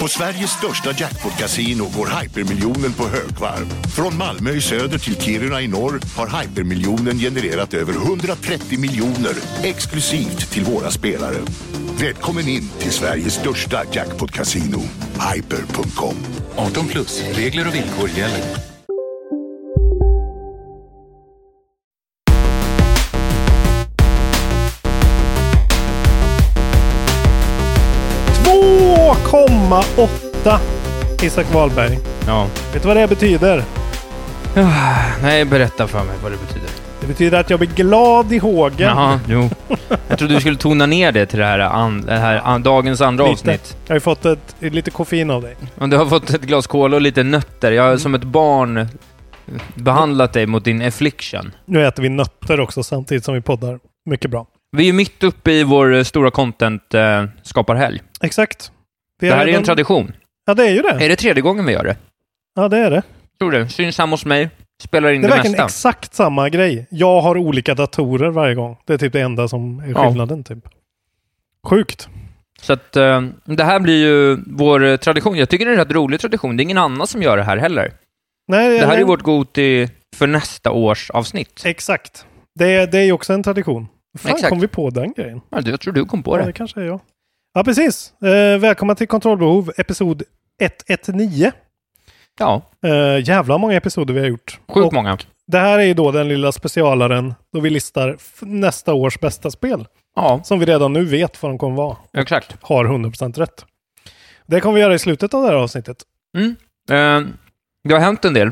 På Sveriges största jackpot-kasino går hypermiljonen på högvarv. Från Malmö i söder till Kiruna i norr har hypermiljonen genererat över 130 miljoner exklusivt till våra spelare. Välkommen in till Sveriges största jackpot-kasino, hyper.com. 18 plus, regler och villkor gäller. Åh, komma åtta, Isak Wahlberg. Ja. Vet du vad det betyder? Nej, berätta för mig vad det betyder. Det betyder att jag blir glad i hågen. Jaha, jo. Jag trodde du skulle tona ner det till det här, an, det här an, dagens andra Lite. avsnitt. Jag har ju fått ett, lite koffein av dig. Om du har fått ett glas cola och lite nötter. Jag har som ett barn behandlat dig mot din affliction. Nu äter vi nötter också samtidigt som vi poddar. Mycket bra. Vi är ju mitt uppe i vår eh, stora content-skaparhelg. Exakt. Vi det här är redan- en tradition. Ja, det är ju det. Är det tredje gången vi gör det? Ja, det är det. Tror du? Syns hemma hos mig. Spelar in Det det, är verkligen mesta. exakt samma grej. Jag har olika datorer varje gång. Det är typ det enda som är Ja. skillnaden. Typ. Sjukt. Så att eh, det här blir ju vår eh, tradition. Jag tycker det är en rätt rolig tradition. Det är ingen annan som gör det här heller. Nej, Det här nej. är vårt Goti för nästa års avsnitt. Exakt. Det är, det är ju också en tradition. Fan, Exakt. kom vi på den grejen? Ja, Jag tror du kom på Ja, det. det kanske är jag. Ja, precis. Eh, välkomna till Kontrollbehov, episod 119. Ja, Eh, jävla många episoder vi har gjort. sjukt Och många. Det här är ju då den lilla specialaren då vi listar f- nästa års bästa spel. Ja, Som vi redan nu vet vad de kommer vara. exakt. Har 100% rätt. Det kommer vi göra i slutet av det här avsnittet. Eh, det har hänt en del,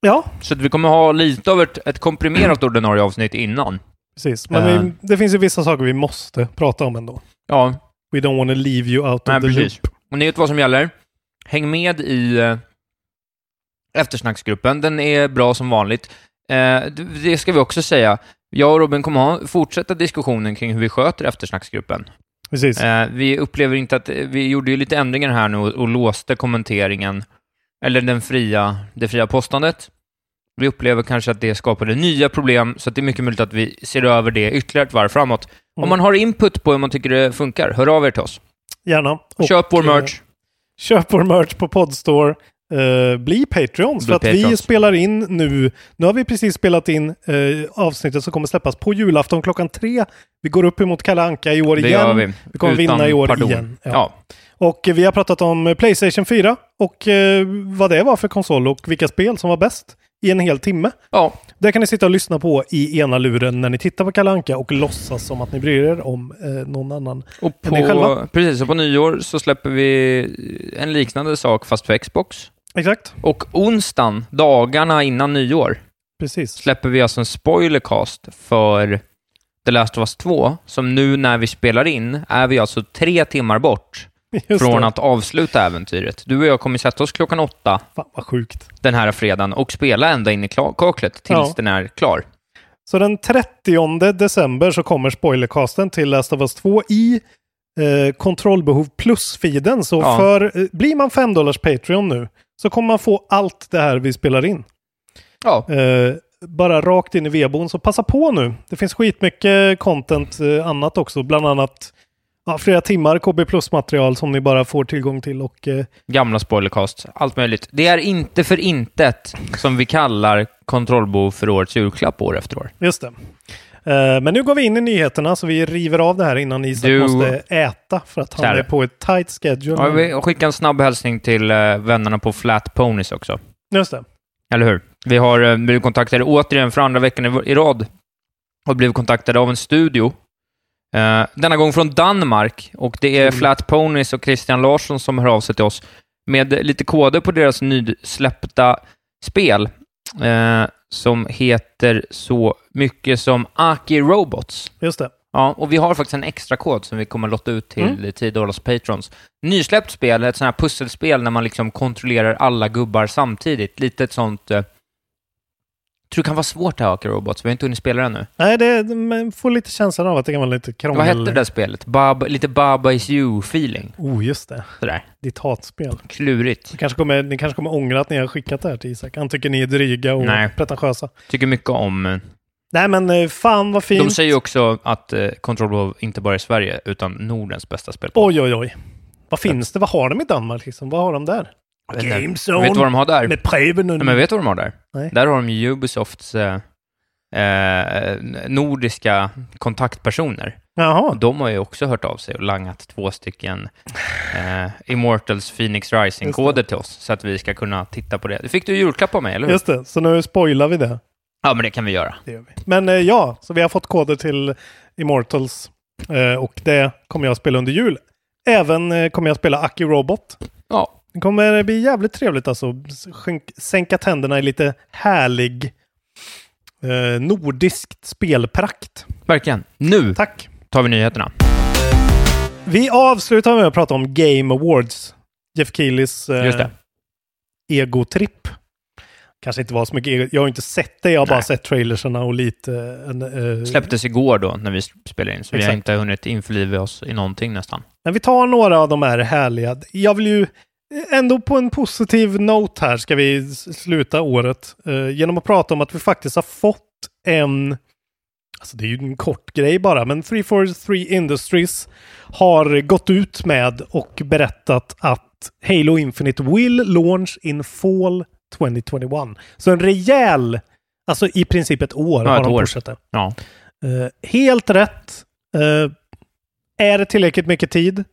Ja, så att vi kommer ha lite av ett, ett komprimerat ordinarie avsnitt innan. precis. Men Eh. vi, det finns ju vissa saker vi måste prata om ändå. Ja, We don't want to leave you out of nej, the precis. loop. Och ni vet vad som gäller. Häng med i eh, eftersnacksgruppen. Den är bra som vanligt. Eh, d- det ska vi också säga. Jag och Robin kommer ha, fortsätta diskussionen kring hur vi sköter eftersnacksgruppen. Precis. Eh, vi upplever inte att, vi gjorde ju lite ändringar här nu och, och låste kommenteringen, eller den fria, det fria postandet. Vi upplever kanske att det skapade nya problem, så att det är mycket möjligt att vi ser över det ytterligare ett varv framåt. Om Mm. man har input på hur man tycker det funkar, hör av er till oss. Gärna. Och, Köp vår eh, merch. Köp vår merch på Podstore. Eh, bli Patreons. Bli för att vi Patreons. spelar in nu. Nu har vi precis spelat in eh, avsnittet som kommer släppas på julafton klockan tre. Vi går upp emot Kalle Anka i år Det igen. gör vi. Vi kommer Utan vinna i år pardon. igen. Ja. Ja. Och eh, vi har pratat om eh, Playstation 4 och eh, vad det var för konsol och vilka spel som var bäst i en hel timme. Ja. Det kan ni sitta och lyssna på i ena luren när ni tittar på Kalle Anka och låtsas som att ni bryr er om eh, någon annan. Och Är ni själva? på, precis, och på nyår så släpper vi en liknande sak fast för Xbox. Exakt. Och onsdagen, dagarna innan nyår, Precis. släpper vi alltså en spoilercast för The Last of Us 2, som nu när vi spelar in är vi alltså tre timmar bort Just från det. att avsluta äventyret. Du och jag kommer sätta oss klockan åtta Fan vad sjukt. den här fredagen och spela ända in i kla- kaklet tills Ja. den är klar. Så den 30 december så kommer spoilercasten till Last of Us 2 i eh, kontrollbehov plus-feeden. Så Ja. för, eh, blir man 5 dollars Patreon nu så kommer man få allt det här vi spelar in. Ja, Eh, bara rakt in i vedboden, så passa på nu. Det finns skitmycket content eh, annat också, bland annat ja, flera timmar KB plus-material som ni bara får tillgång till. Och, eh, gamla spoilercast, allt möjligt. Det är inte för intet som vi kallar kontrollbov för årets julklapp år efter år. just det. Eh, Men nu går vi in i nyheterna, så vi river av det här innan Isak Du- måste äta för att han Kära. är på ett tight schedule. Ja, nu. vi skickar en snabb hälsning till eh, vännerna på Flat Ponies också. Just det. Eller hur? Vi har eh, blivit kontaktade återigen för andra veckan i, i rad och blivit kontaktade av en studio Eh, denna gång från Danmark och det är Flat Ponies och Christian Larsson som hör av sig till oss med lite koder på deras nysläppta spel eh, som heter så mycket som Aki Robots. Just det. Ja, och vi har faktiskt en extra kod som vi kommer lotta ut till Mm. mm. 10 dollars patrons. Nysläppt spel, ett sånt här pusselspel när man liksom kontrollerar alla gubbar samtidigt. Lite ett sånt... Eh, tror det kan vara svårt det här Aki Robots, vi har inte hunnit spela det ännu. Nej, det, man får lite känslan av att det kan vara lite krångel. Vad hette det där spelet? Bab, lite Baba is you-feeling. Oh, just det. Sådär. Ditt hatspel. Klurigt. Ni kanske, kommer, ni kanske kommer ångra att ni har skickat det här till Isak. Han tycker ni är dryga och Nej. pretentiösa. Tycker mycket om... eh, Nej, men eh, fan vad fint. De säger ju också att eh, Control Ball inte bara är Sverige, utan Nordens bästa spel. Oj, oj, oj. Vad finns det? Vad har de i Danmark liksom? Vad har de där? Vet du- Gamezone. Vet du vad de har där? Med Preben och... Nej, men vet du vad de har där? Nej. Där har de ju Ubisofts eh, eh, nordiska kontaktpersoner. Jaha. De har ju också hört av sig och langat två stycken eh, Immortals Phoenix Rising-koder till oss, så att vi ska kunna titta på det. Det fick du i julklapp av mig, eller hur? Just det, så nu spoilar vi det. Ja, men det kan vi göra. det gör vi. Men eh, ja, så vi har fått koder till Immortals eh, och det kommer jag spela under jul. Även eh, kommer jag spela Aki Robot. Ja. Det kommer bli jävligt trevligt alltså. Skänk, sänka tänderna i lite härlig eh, nordiskt spelprakt. Verkligen. Nu Tack! tar vi nyheterna. Vi avslutar med att prata om Game Awards. Jeff Keelys Just eh, det. egotripp. Kanske inte var så mycket ego. Jag har inte sett det, jag har bara sett trailersarna och lite... eh, en, eh, Släpptes igår då, när vi spelade in, så vi har Exakt. inte hunnit införliva oss i någonting nästan. Men vi tar några av de här härliga. Jag vill ju ändå på en positiv note här ska vi s- sluta året eh, genom att prata om att vi faktiskt har fått en Alltså det är ju en kort grej bara, men 343 Industries har gått ut med och berättat att Halo Infinite will launch in fall 2021. Så en rejäl, alltså i princip ett år Ja, har ett de år. pushat det. Ja. Eh, helt rätt. Eh, är det tillräckligt mycket tid?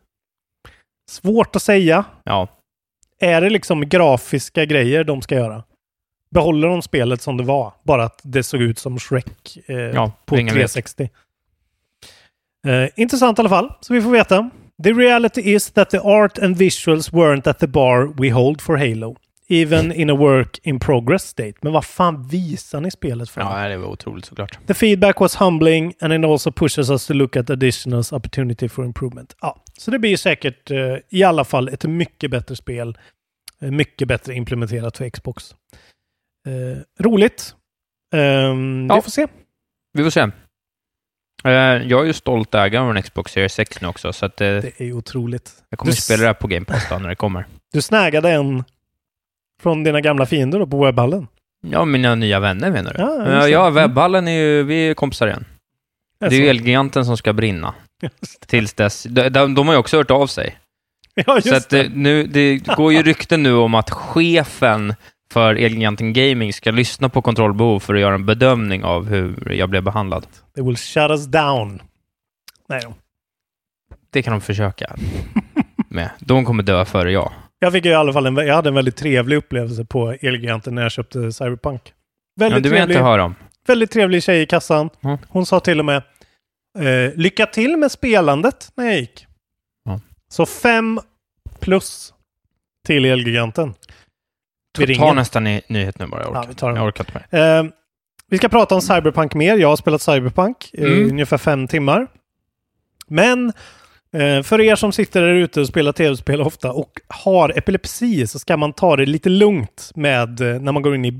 Svårt att säga. Ja. Är det liksom grafiska grejer de ska göra? Behåller de spelet som det var? Bara att det såg ut som Shrek eh, Ja, på ingen vet. 360. Eh, intressant i alla fall, så vi får veta. The reality is that the art and visuals weren't at the bar we hold for Halo. Even in a work in progress state. Men vad fan visar ni spelet för? ja, det var otroligt såklart. The feedback was humbling and it also pushes us to look at additional opportunity for improvement. Ja, så det blir säkert eh, i alla fall ett mycket bättre spel. eh, Mycket bättre implementerat för Xbox. Eh, roligt. Ehm, Vi Ja. får se. Vi får se. Eh, Jag är ju stolt ägare av en Xbox Series 6 nu också, så att eh, Det är ju otroligt. jag kommer du- spela det här på Game Pass då, när det kommer. Du snägade en från dina gamla fiender då på webbhallen. Ja, mina nya vänner menar du? Ja, just Eh, det. ja Mm. webbhallen är ju, vi är kompisar igen. Det är ju Så- Elgiganten som ska brinna. Tills dess. De, de, de har ju också hört av sig. ja, just så att eh, det. Nu, det går ju rykten nu om att chefen för Elgiganten Gaming ska lyssna på kontrollbehov för att göra en bedömning av hur jag blev behandlad. They will shut us down. Nej då. Det kan de försöka med. De kommer dö före jag. Jag fick ju i alla fall en, jag hade en väldigt trevlig upplevelse på Elgiganten när jag köpte Cyberpunk. Ja, Väldigt du vill jag trevlig. inte höra om. väldigt trevlig tjej i kassan. Mm. Hon sa till och med eh, lycka till med spelandet när jag gick. Ja. Så fem plus till Elgiganten. Vi Ta, ringer. ta nästa ny, nyhet nu bara. Jag orkar, Ja, vi tar den. jag orkar inte mer. Eh, vi ska prata om Cyberpunk mer. Jag har spelat Cyberpunk eh, i Mm. ungefär fem timmar. Men eh, för er som sitter där ute och spelar tv-spel ofta och har epilepsi så ska man ta det lite lugnt med eh, när man går in i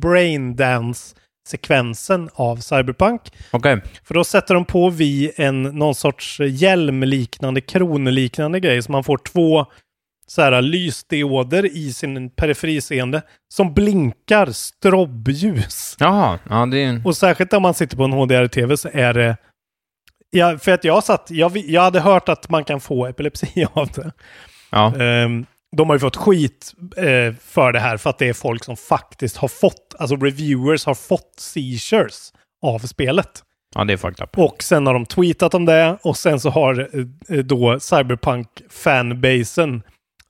braindance-sekvensen av Cyberpunk. Okej. För då sätter de på vi en någon sorts hjälmliknande, kronliknande grej. Så man får två så här lysdioder i sin periferiseende som blinkar strobbljus. Jaha, ja det är ju... Och särskilt om man sitter på en HDR-TV så är det... Ja, för att jag satt... Jag, vi- jag hade hört att man kan få epilepsi av det. Ja. Ehm, de har ju fått skit eh, för det här för att det är folk som faktiskt har fått, alltså reviewers har fått seizures av spelet. ja, det är fucked up. Och sen har de tweetat om det och sen så har eh, då Cyberpunk-fanbasen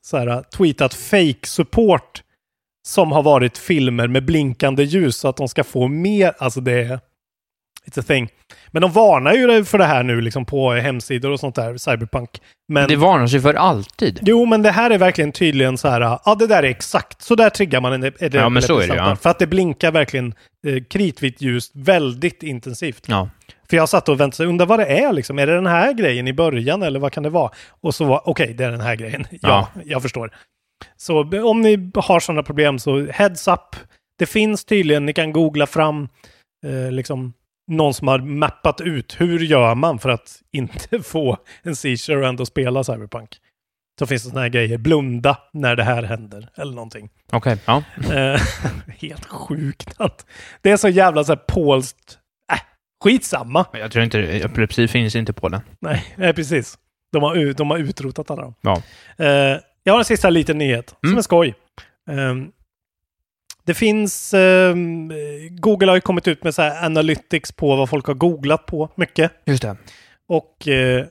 så här, tweetat fake support som har varit filmer med blinkande ljus så att de ska få mer. Alltså det är... It's a thing. Men de varnar ju dig för det här nu liksom på hemsidor och sånt där, Cyberpunk. Men, Det varnar sig för alltid. Jo, men det här är verkligen tydligen så här, ja ah, det där är exakt, så där triggar man en ep- Ja, men så är det, epilepsisamtal. ja. För att det blinkar verkligen eh, kritvitt ljus väldigt intensivt. Ja. För jag satt och väntade, undrar vad det är liksom. Är det den här grejen i början eller vad kan det vara? Och så var, okej, det är den här grejen. Ja, Ja. jag förstår. Så b- om ni har sådana problem så heads up. Det finns tydligen, ni kan googla fram eh, liksom någon som har mappat ut hur gör man för att inte få en seizure och ändå spela Cyberpunk. Så finns det sådana här grejer, blunda när det här händer eller någonting. Okej. Ja. Eh, Helt sjukt att det är så jävla så här polskt, äh, skitsamma. Jag tror inte det. Epilepsi finns inte på den. Nej, nej precis. De har, ut- de har utrotat alla dem. Ja. Eh, jag har en sista liten nyhet som Mm. är skoj. Ehm, det finns... ehm, Google har ju kommit ut med så här analytics på vad folk har googlat på mycket. Just det. Och eh,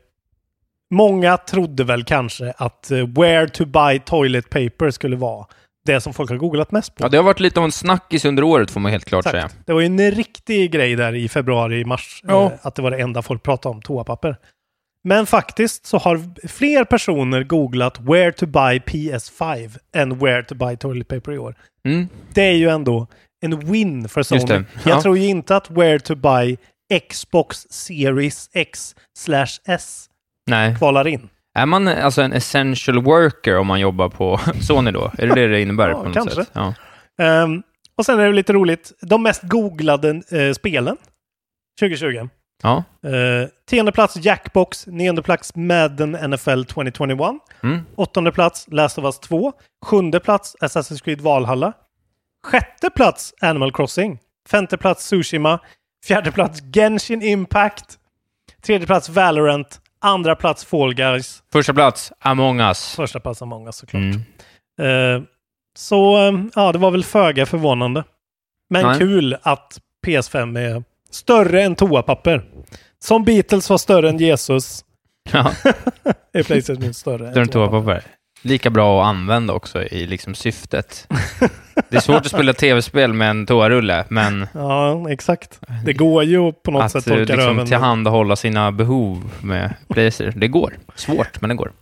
många trodde väl kanske att eh, where to buy toilet paper skulle vara det som folk har googlat mest på. Ja, det har varit lite av en snackis under året får man helt klart säga. Exakt. Det var ju en riktig grej där i februari, mars. Ja. Eh, att det var det enda folk pratade om, toapapper. Men faktiskt så har fler personer googlat where to buy PS5 än where to buy toilet paper i år. Mm. Det är ju ändå en win för Sony. Just det. Ja. Jag tror ju inte att where to buy Xbox Series X slash S Nej. kvalar in. Är man eh, alltså en essential worker om man jobbar på Sony då? Är det det det innebär Ja, på något kanske. sätt? Ja, Ehm, och sen är det lite roligt. De mest googlade eh, spelen 2020. ja. Eh, tionde plats Jackbox, nionde plats Madden NFL 2021, Mm. åttonde plats Last of Us 2, sjunde plats Assassin's Creed Valhalla, sjätte plats Animal Crossing, femte plats Tsushima, fjärde plats Genshin Impact, tredje plats Valorant, andra plats Fall Guys, Första plats, Among Us. första plats Among Us såklart. Mm. Eh, så eh, ja, det var väl föga förvånande. Men Nej. kul att PS5 är större än toapapper. Som Beatles var större än Jesus Ja, är Playstation större det är än en toapapper. Lika bra att använda också i liksom syftet. Det är svårt att spela tv-spel med en toarulle, men Ja, exakt. Det går ju att på något Eh, att sätt eh, torka liksom röven. tillhandahålla sina behov med Placer, det går. Svårt, men det går.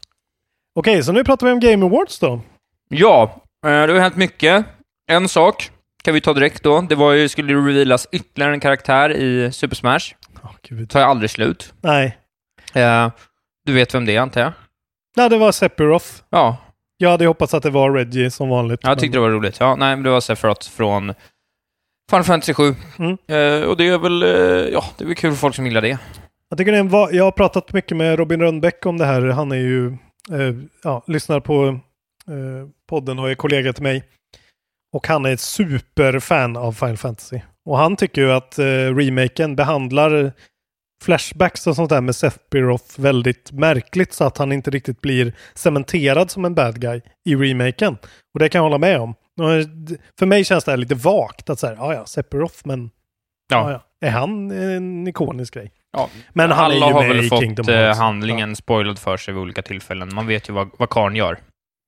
Okej, så nu pratar vi om Game Awards då. Ja, eh, det har hänt mycket. En sak kan vi ta direkt då. Det var ju, skulle ju revealas ytterligare en karaktär i Super Smash. Oh, Gud. Tar jag aldrig slut. Nej. Eh, du vet vem det är, antar jag? Nej, det var Sephiroth. Ja, Jag hade ju hoppats att det var Reggie som vanligt. jag tyckte det var roligt. Ja, nej, men det var Sephiroth från Final Fantasy 7. Mm. Eh, och det är väl, eh, ja, det är väl kul för folk som gillar det. Jag, tycker det är en va- jag har pratat mycket med Robin Rönnbäck om det här. Han är ju, eh, ja, lyssnar på eh, podden och är kollega till mig. Och han är ett superfan av Final Fantasy. Och han tycker ju att eh, remaken behandlar flashbacks och sånt där med Sephiroth väldigt märkligt så att han inte riktigt blir cementerad som en bad guy i remaken. Och det kan jag hålla med om. Och d- För mig känns det här lite vagt att säga, ja ja, Sephiroth, men ja. Ja, är han en ikonisk grej? Ja. Men han Alla är ju har med väl i fått Kingdom eh, Hearts. handlingen spoilad för sig vid olika tillfällen. Man vet ju vad, vad karln gör.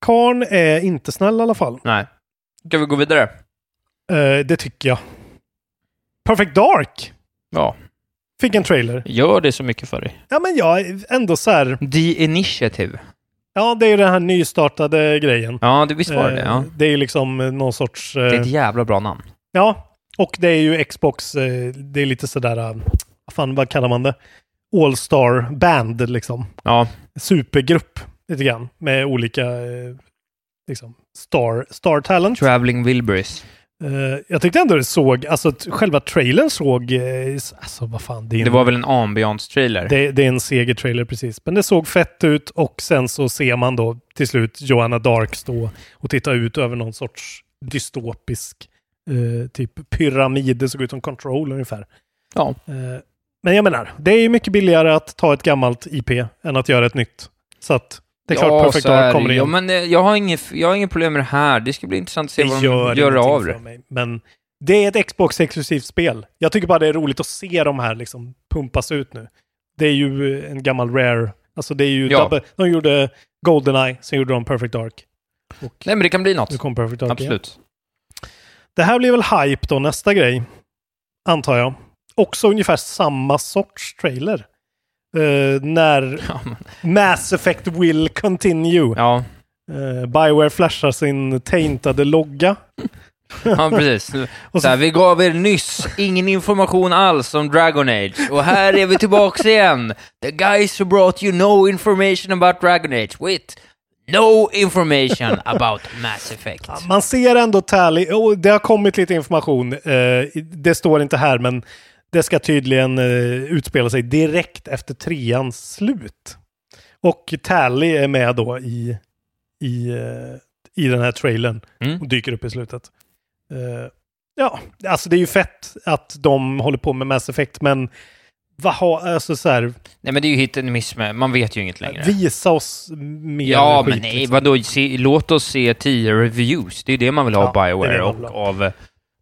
Karn är inte snäll i alla fall. Nej. Ska vi gå vidare? Eh, det tycker jag. Perfect Dark Ja. fick en trailer. Gör det så mycket för dig. Ja, men jag är ändå så här. The Initiative. Ja, det är ju den här nystartade grejen. Ja, det visst var det Eh, ja. Det är ju liksom eh, någon sorts... eh, Det är ett jävla bra namn. Ja, och det är ju Xbox, eh, det är lite sådär, eh, vad fan vad kallar man det? All-star band liksom. Ja, Supergrupp lite grann med olika eh, liksom star, star talent. Traveling Wilburys. Eh, jag tyckte ändå det såg, alltså t- själva trailern såg, eh, s- alltså vad fan, det är en, Det var väl en ambiance-trailer? det, det är en segertrailer precis. Men det såg fett ut och sen så ser man då till slut Joanna Dark stå och titta ut över någon sorts dystopisk eh, typ pyramid. Det såg ut som Control ungefär. Ja. Eh, men jag menar, det är ju mycket billigare att ta ett gammalt IP än att göra ett nytt. Så att det är klart Perfect så är Dark det kommer ju. igen. Ja, men eh, jag har inget jag har inget problem med det här. Det ska bli intressant att se vad de gör, ingenting av för det. mig. Men det är ett Xbox-exklusivt spel. Jag tycker bara det är roligt att se de här liksom pumpas ut nu. Det är ju eh, en gammal Rare. Alltså det är ju... Ja. Double, de gjorde Goldeneye, sen gjorde de Perfect Dark. Och Nej, men det kan bli nu något. kom Perfect Dark igen. Absolut. Det här blir väl hype då, nästa grej. Antar jag. också ungefär samma sorts trailer. Eh, när Ja, men- Mass Effect will continue. ja, Eh, Bioware flashar sin taintade logga. ja precis. så- Så här, vi gav er nyss ingen information alls om Dragon Age och här är vi tillbaks igen. The guys who brought you no information about Dragon Age with no information about Mass Effect. Man ser ändå Tally. och det har kommit lite information. Eh, det står inte här, men det ska tydligen eh, utspela sig direkt efter treans slut. Och Tally är med då i, i, eh, i den här trailern Mm. och dyker upp i slutet. Eh, ja, alltså det är ju fett att de håller på med Mass Effect, men vad har, alltså så här, Nej men det är ju hit and miss med, man vet ju inget längre. visa oss mer Ja, skit, men nej, liksom. vadå, se, låt oss se 10 reviews. Det är ju det man vill ha av Ja, det är det Bioware man vill och av,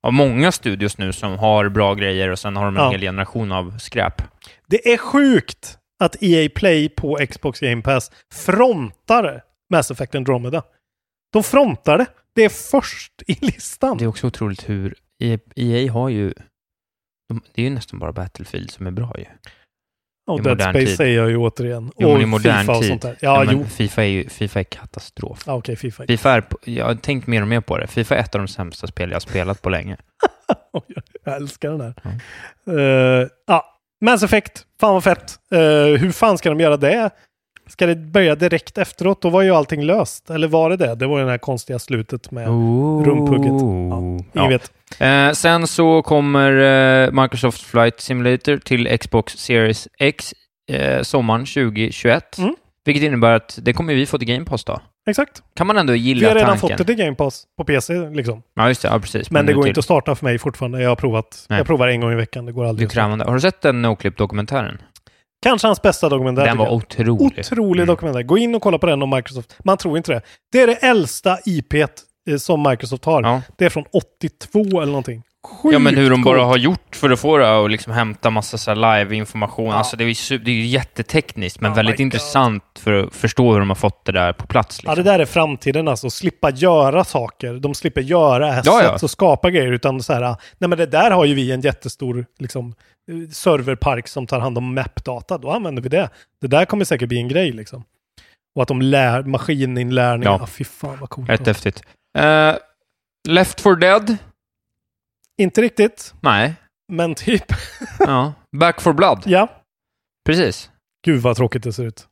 av många studios nu som har bra grejer och sen har de en Ja. hel generation av skräp. Det är sjukt att EA Play på Xbox Game Pass frontar Mass Effect Andromeda. De frontar det. Det är först i listan. Det är också otroligt hur E EA, EA har ju... De, det är ju nästan bara Battlefield som är bra ju. och i Dead modern Space tid. säger jag ju återigen. Jo, men och i modern Fifa och tid. sånt där. Nej, Ja, men jo. FIFA är ju FIFA är katastrof. Ja, okej, Fifa. FIFA är, på- jag har tänkt mer och mer på det. FIFA är ett av de sämsta spel jag har spelat på länge. Oj, jag älskar den där. Eh, ja. Mass Effect, fan vad fett. Eh, hur fan ska de göra det? Ska det börja direkt efteråt? Då var ju allting löst. Eller var det det? Det var ju det här konstiga slutet med rumphugget. Ja, Oh, Ja. ingen vet. Eh, sen så kommer eh, Microsoft Flight Simulator till Xbox Series X eh, sommaren 2021. Mm. Vilket innebär att det kommer vi få till Game Pass då. Exakt. Kan man ändå gilla Vi har redan tanken. fått det till Game Pass på PC liksom. Ja, just det. Ja, precis. Men det nu går till- inte att starta för mig fortfarande. Jag har provat. Nej. Jag provar en gång i veckan. Det går Det är aldrig. att starta. krävande. Har du sett den Noclip-dokumentären? Kanske hans bästa dokumentär. Den tycker var jag. otrolig. Otrolig Mm. dokumentär. Gå in och kolla på den om Microsoft. Man tror inte det. Det är det äldsta IP som Microsoft har. Ja. Det är från 82 eller någonting. Sjukt Ja, men hur de bara coolt. har gjort för att få det och liksom hämta massa så här live-information. Alltså det är ju su- det är ju jättetekniskt, men Oh my väldigt God. intressant för att förstå hur de har fått det där på plats. Liksom. Ja, det där är framtiden alltså. Slippa göra saker. De slipper göra assets Ja, ja. och skapa grejer. Utan så här, nej men det där har ju vi en jättestor liksom, eh, serverpark som tar hand om map-data. Då använder vi det. Det där kommer säkert bli en grej liksom. Och att de lär, maskininlärning. Ja. Ja. Ah, fy fan vad coolt. Rätt häftigt. Eh, Left for dead? Inte riktigt, Nej. men typ. Ja. Back for blood? ja. Precis. Gud vad tråkigt det ser ut.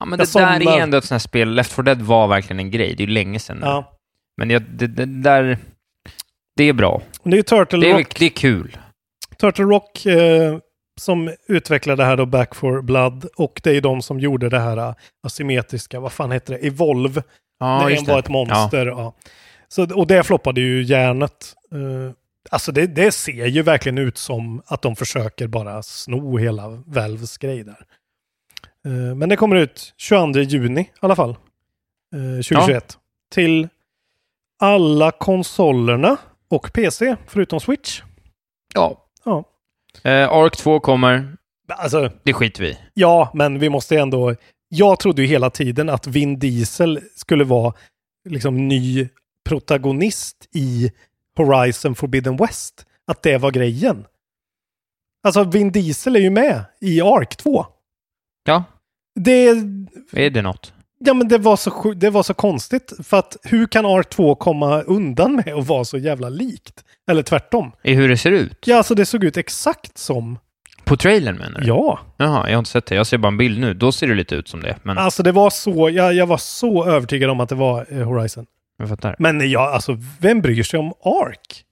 Ja, men Jag det där somnar. är ändå ett sånt här spel. Left for dead var verkligen en grej. Det är ju länge sedan nu. Ja. Men jag, det, det där... Det är bra. Det är ju Turtle Det är, Rock, det är kul. Turtle Rock eh, som utvecklade det här då Back for Blood. Och det är ju de som gjorde det här eh, asymmetriska, vad fan heter det, Evolve. Ja, när en var ett monster. Ja. Så, och det floppade ju hjärnet. Eh, alltså det, det ser ju verkligen ut som att de försöker bara sno hela Valves grej där. Eh, men det kommer ut 22 juni i alla fall. eh, 2021. Till alla konsolerna och PC, förutom Switch. Ja. Ja. Eh, Ark 2 kommer. Alltså, Det skiter vi i. Ja, men vi måste ändå... Jag trodde ju hela tiden att Vin Diesel skulle vara liksom ny protagonist i Horizon Forbidden West. Att det var grejen. Alltså, Vin Diesel är ju med i Ark 2. Ja, Det, är det något? ja, men det, var så, sju- det var så konstigt, för att hur kan Ark 2 komma undan med att vara så jävla likt? Eller tvärtom. I hur det ser ut? Ja, alltså det såg ut exakt som... På trailern menar du? Ja. Jaha, jag har inte sett det. Jag ser bara en bild nu. Då ser det lite ut som det. Men Alltså det var så... Jag, jag var så övertygad om att det var eh, Horizon. jag fattar. Men ja, alltså vem bryr sig om Ark?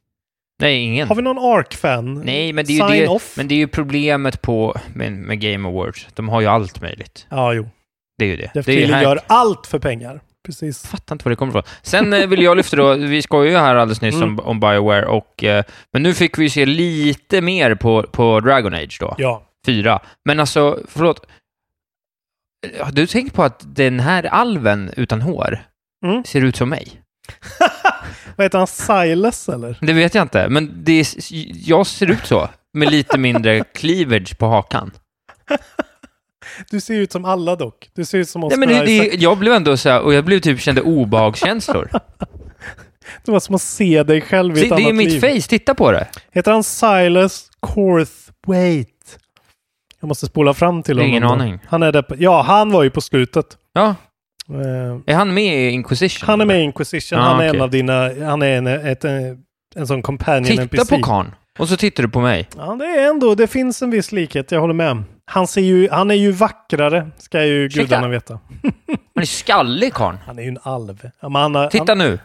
Nej, ingen. Har vi någon Ark-fan? Nej, men det, är Sign ju det, off? men det är ju problemet på, med, med Game Awards. De har ju allt möjligt. Ja, jo. Det är ju det. Jeff det är ju Keely här- gör allt för pengar. Precis. Jag fattar inte var det kommer ifrån. Sen eh, vill jag lyfta då, vi skojade ju här alldeles nyss Mm. om, om Bioware, och, eh, men nu fick vi ju se lite mer på, på Dragon Age då, Ja. fyra. Men alltså, förlåt. Har du tänkt på att den här alven utan hår Mm. ser ut som mig? Vad heter han? Silas eller? Det vet jag inte, men det är, s- jag ser ut så, med lite mindre cleavage på hakan. Du ser ut som alla dock. Du ser ut som Nej, Oscar men det, Isaac. det, jag blev ändå så här, och jag blev typ, kände obehagskänslor. Det var som att se dig själv i Se, ett det annat är mitt liv. face, titta på det. Heter han Silas Corthwaite? Wait. Jag måste spola fram till honom. Ingen då. aning. Han är där på, ja, han var ju på slutet. Ja, Eh, är han med i Inquisition? han är med i Inquisition. Ja, han är Ah, okej. en av dina... Han är en, ett, eh, en sån companion Titta NPC. på karn. Och så tittar du på mig. Ja, det är ändå... Det finns en viss likhet, jag håller med. Han, ser ju, han är ju vackrare, ska ju Ursäkta? gudarna veta. Han är skallig karn. Han är ju en alv. Ja, men han, har- Titta han, nu.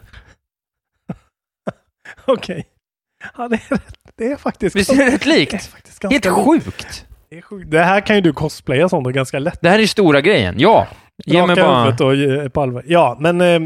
Okej. Ja, det är, rätt- det är faktiskt... Visst är det rätt likt? Det är faktiskt Helt ganska likt. sjukt. Det, är sjukt. det här kan ju du cosplaya som då ganska lätt. Det här är stora grejen. Ja. Ge mig Raka bara... huvudet och eh, på allvar. Ja, men eh,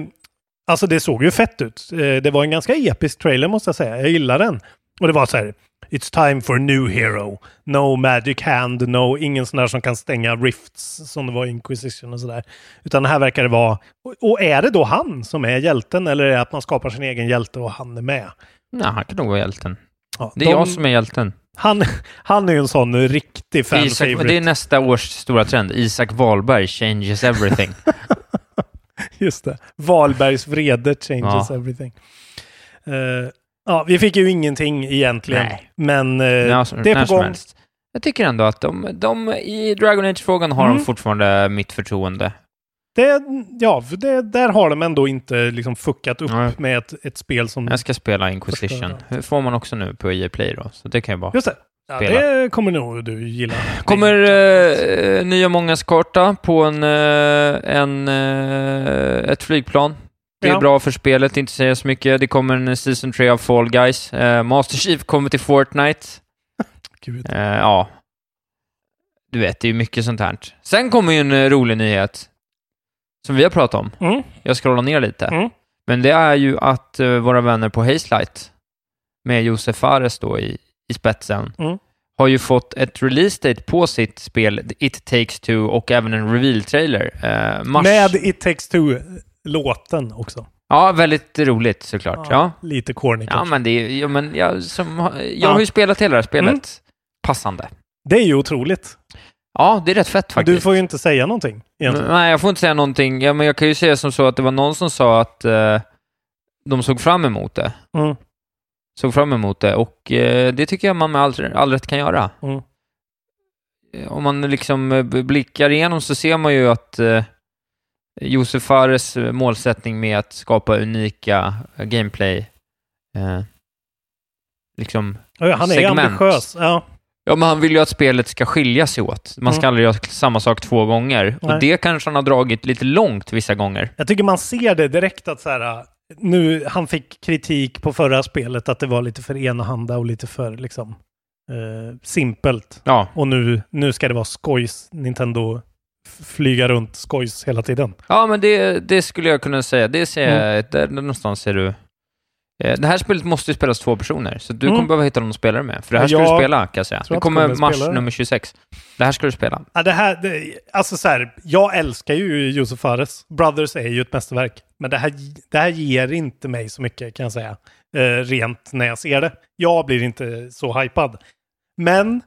alltså det såg ju fett ut. Eh, det var en ganska episk trailer måste jag säga. Jag gillar den. Och det var så här. It's time for a new hero. No magic hand, no ingen sån där som kan stänga rifts som det var i Inquisition och sådär. Utan här verkar det vara... och- Och är det då han som är hjälten eller är det att man skapar sin egen hjälte och han är med? Nej, han kan nog vara hjälten. Ja, Det är de- jag som är hjälten. han, han är ju en sån riktig fan Isak, favorite. det är nästa års stora trend. Isak Wahlberg changes everything. Just det. Wahlbergs vrede changes Ja. everything. Eh, ja, vi fick ju ingenting egentligen. Nej. Men eh, när, som- det är när på som gång. helst. Jag tycker ändå att de, de i Dragon Age-frågan har Mm. de fortfarande mitt förtroende. Det, ja, för det, där har de ändå inte liksom fuckat upp Nej. med ett, ett spel som... Jag ska spela Inquisition. Förstöra. Det får man också nu på EA Play då, så det kan ju vara. Just det. Ja, Spela. det kommer nog du gilla. Kommer eh, nya Mångas-karta på en, eh, en, eh, ett flygplan. Det är Ja. bra för spelet, inte säger så mycket. Det kommer en Season 3 av Fall Guys. Eh, Master Chief kommer till Fortnite. Gud. Eh, ja. Du vet, det är ju mycket sånt här. Sen kommer ju en eh, rolig nyhet. Som vi har pratat om. Mm. Jag scrollar ner lite. Mm. Men det är ju att eh, våra vänner på Hazelight, med Josef Fares då i, i spetsen, Mm. har ju fått ett release date på sitt spel It takes two och även en reveal-trailer. Eh, mars. Med It takes two-låten också. Ja, väldigt roligt såklart. Ja, Lite corny ja kanske. men det är ju- ja, men jag, som, har- jag Ja. har ju spelat hela det här spelet. Mm. Passande. Det är ju otroligt. Ja, det är rätt fett faktiskt. Du får ju inte säga någonting egentligen. Nej, jag får inte säga någonting. Ja, men jag kan ju säga som så att det var någon som sa att eh, de såg fram emot det. Mm. Såg fram emot det och eh, det tycker jag man med all, all rätt kan göra. Mm. Eh, Om man liksom eh, blickar igenom så ser man ju att eh, Josef Fares eh, målsättning med att skapa unika eh, gameplay eh, liksom Ja, Han är segment. ambitiös. Ja. Ja, men han vill ju att spelet ska skilja sig åt. Man ska Mm. aldrig göra samma sak två gånger. Nej. Och det kanske han har dragit lite långt vissa gånger. Jag tycker man ser det direkt att så här, nu, han fick kritik på förra spelet att det var lite för enahanda och lite för liksom eh, simpelt. Ja, Och nu, nu ska det vara skojs, Nintendo f- flyga runt skojs hela tiden. ja men det, det skulle jag kunna säga. Det ser Mm. jag, där någonstans ser du... Eh, Det här spelet måste ju spelas två personer, så du Mm. kommer behöva hitta någon att spela det med. För det här ska Jag du spela, kan jag säga. tror Det att du kommer kommer mars spela det. nummer 26. Det här ska du spela. Ja, det här, det, alltså så här, jag älskar ju Josef Fares. Brothers är ju ett mästerverk. Men det här, det här ger inte mig så mycket kan jag säga. Eh, rent när jag ser det. Jag blir inte så hypad. Men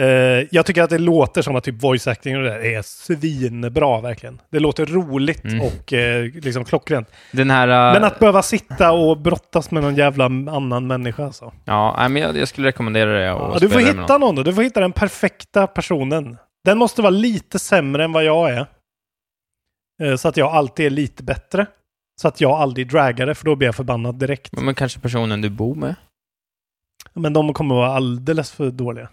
eh, jag tycker att det låter som att typ voice acting och det där är svinbra verkligen. Det låter roligt Mm. och eh, liksom klockrent. Den här... eh, Men att behöva sitta och brottas med någon jävla annan människa alltså. Ja, nej, men jag, jag skulle rekommendera det. att Ja, du får spela det med hitta någon då. Du får hitta den perfekta personen. Den måste vara lite sämre än vad jag är. Eh, Så att jag alltid är lite bättre. Så att jag aldrig draggar det, för då blir jag förbannad direkt. någon. Men kanske personen du bor med. Men de kommer vara alldeles för dåliga.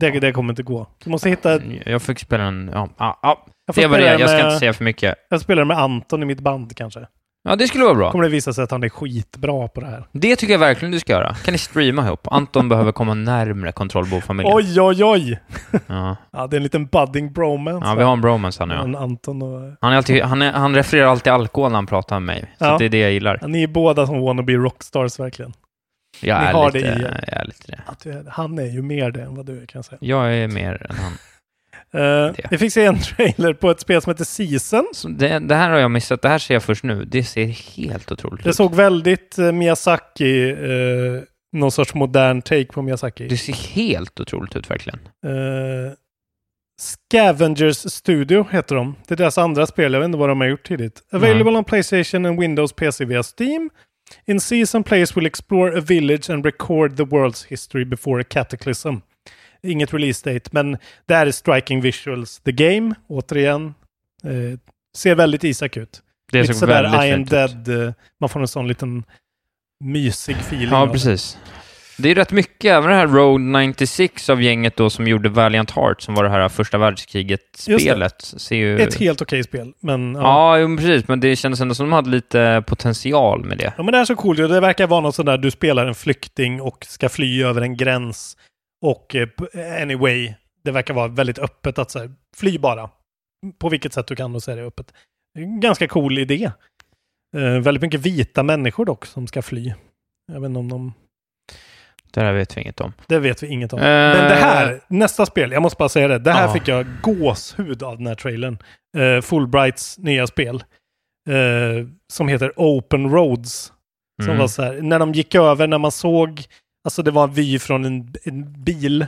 Det, det kommer inte gå. Du måste hitta... Jag fick spela en... Ja, ja, ja. Jag, får Det var spela det. Jag ska med, inte säga för mycket. jag spelar med Anton i mitt band kanske. Ja, det skulle vara bra. kommer det visa sig att han är skitbra på det här. Det tycker jag verkligen du ska göra. Kan ni streama ihop? Anton behöver komma närmre kontrollbofamiljen. Oj, oj, oj! Ja. Ja, det är en liten budding bromance. ja, vi här. har en bromance här nu. Ja. Men Anton och... Han, är alltid, han, är, han refererar alltid alkohol när han pratar med mig. Så Ja. det är det jag gillar. Ja, Ni är båda som wannabe rockstars verkligen. Jag Ni är, har lite, det i er. jag är lite det. att du- han är ju mer det än vad du är kan jag säga. Jag är mer än han. Eh, Det. vi fick se en trailer på ett spel som heter Season. Så det, det här har jag missat. Det här ser jag först nu. Det ser helt otroligt Det ut. såg väldigt eh, Miyazaki, eh, någon sorts modern take på Miyazaki. Det ser helt otroligt ut verkligen. Eh, Scavengers Studio heter de. Det är deras andra spel, jag vet inte vad de har gjort tidigt. Available on Playstation and Windows PC via Steam. In season, players will explore a village and record the world's history before a cataclysm. Inget release date, men det här är Striking Visuals. The Game, återigen, eh, ser väldigt Isak ut. Det Lite såg väldigt sådär I am fint ut. dead, eh, man får en sån liten mysig feeling. av Ja, det. precis. Det är rätt mycket, även det här Road 96 av gänget då som gjorde Valiant Heart, som var det här första världskriget-spelet. Ser ju... Ett helt okej spel, men ja. ja. Ja, jo, precis, men det kändes ändå som de hade lite potential med det. men det här är så coolt. ju. Det verkar vara något sånt där, du spelar en flykting och ska fly över en gräns. Och eh, p- anyway, det verkar vara väldigt öppet att så här, fly bara. På vilket sätt du kan, och så är det öppet. Det är en Ganska cool idé. Eh, väldigt mycket vita människor dock, som ska fly. Jag vet inte om de... Det här vet vi inget om. Det vet vi inget om. Eh. Men det här, nästa spel, jag måste bara säga det. Det här Ja. fick jag gåshud av den här trailern. Eh, Fulbrights nya spel. eh, som heter Open Roads. Som Mm. var så här, när de gick över, när man såg, alltså det var en vy från en, en bil.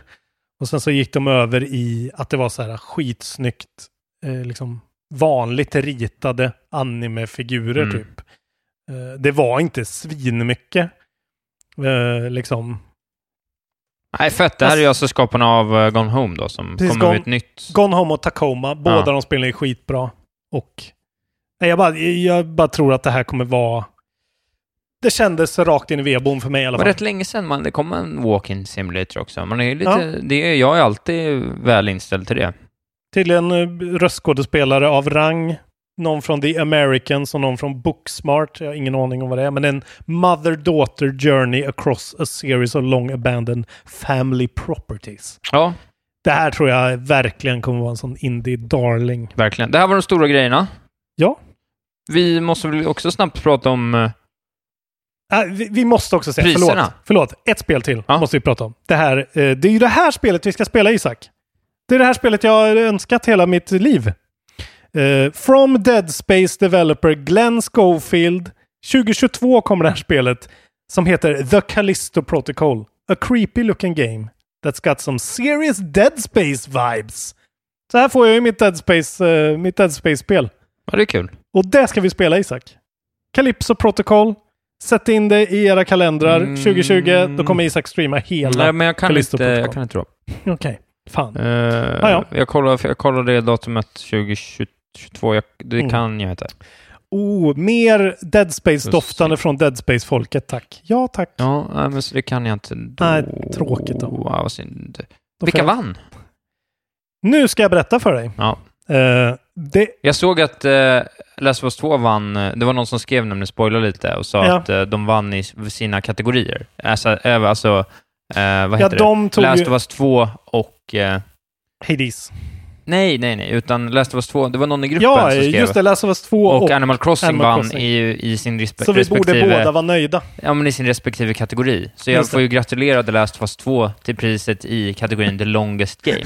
Och sen så gick de över i att det var så här skitsnyggt, eh, liksom vanligt ritade animefigurer Mm. typ. Eh, det var inte svinmycket. Eh, liksom. Nej, fett. Det här är ju alltså skaparna av eh, Gone Home då, som Precis, kommer med ett Gone- nytt. Gone Home och Tacoma, båda Ja. de spelar ju skitbra. Och nej, jag, bara, jag bara tror att det här kommer vara... Det kändes rakt in i vedboden för mig i Det alla var fall. rätt länge sedan man, det kom en walk-in simulator också. Man är ju lite, det är, jag är alltid väl inställd till det. Tydligen eh, röstskådespelare av rang. Någon från The Americans och någon från Booksmart. Jag har ingen aning om vad det är, men en mother-daughter journey across a series of long abandoned family properties. Ja, Det här tror jag verkligen kommer vara en sån indie darling. verkligen. Det här var de stora grejerna. Ja. Vi måste väl också snabbt prata om... eh, Äh, vi, vi måste också säga, förlåt, Priserna. förlåt, ett spel till Ja. måste vi prata om. Det, här, eh, det är ju det här spelet vi ska spela, Isak. Det är det här spelet jag har önskat hela mitt liv. Eh, From Dead Space Developer Glenn Schofield. 2022 kommer det här spelet som heter The Callisto Protocol. A creepy looking game that's got some serious Dead Space vibes. Så här får jag ju mitt Dead Space, eh, mitt Dead Space-spel. Ja, det är kul. Och det ska vi spela Isak. Calypso Protocol. Sätt in det i era kalendrar. Mm. 2020, då kommer Isak streama hela. Nej, men jag kan Callisto inte, jag Protocol. kan inte dra. Okej, fan. Uh, ja. Jag kollade jag kollar det datumet 2022. Jag, det Mm. kan jag inte. Oh, mer Dead Space-doftande se. från Dead Space-folket, tack. Ja, tack. Ja, nej, men så det kan jag inte. Då... Nej, tråkigt då. Ja, vad synd. Då får Vilka jag- vann? Nu ska jag berätta för dig. Ja. Eh, det, Jag såg att eh, Last of Us 2 vann, eh, det var någon som skrev nämligen, spoilade lite, och sa Ja. att eh, de vann i s- sina kategorier. Alltså, eh, alltså eh, vad ja, heter de det? tog Last ju... of Us 2 och... Eh, Hades. nej, nej, nej, utan Last of Us 2, det var någon i gruppen Ja, som skrev. just det. Last of Us 2 Och, och... Animal Crossing Animal vann Crossing. I, i sin respe- så vi borde respektive... båda vara nöjda. Ja, men i sin respektive kategori. Så jag Just det. får ju gratulera The Last of Us 2 till priset i kategorin The Longest Game.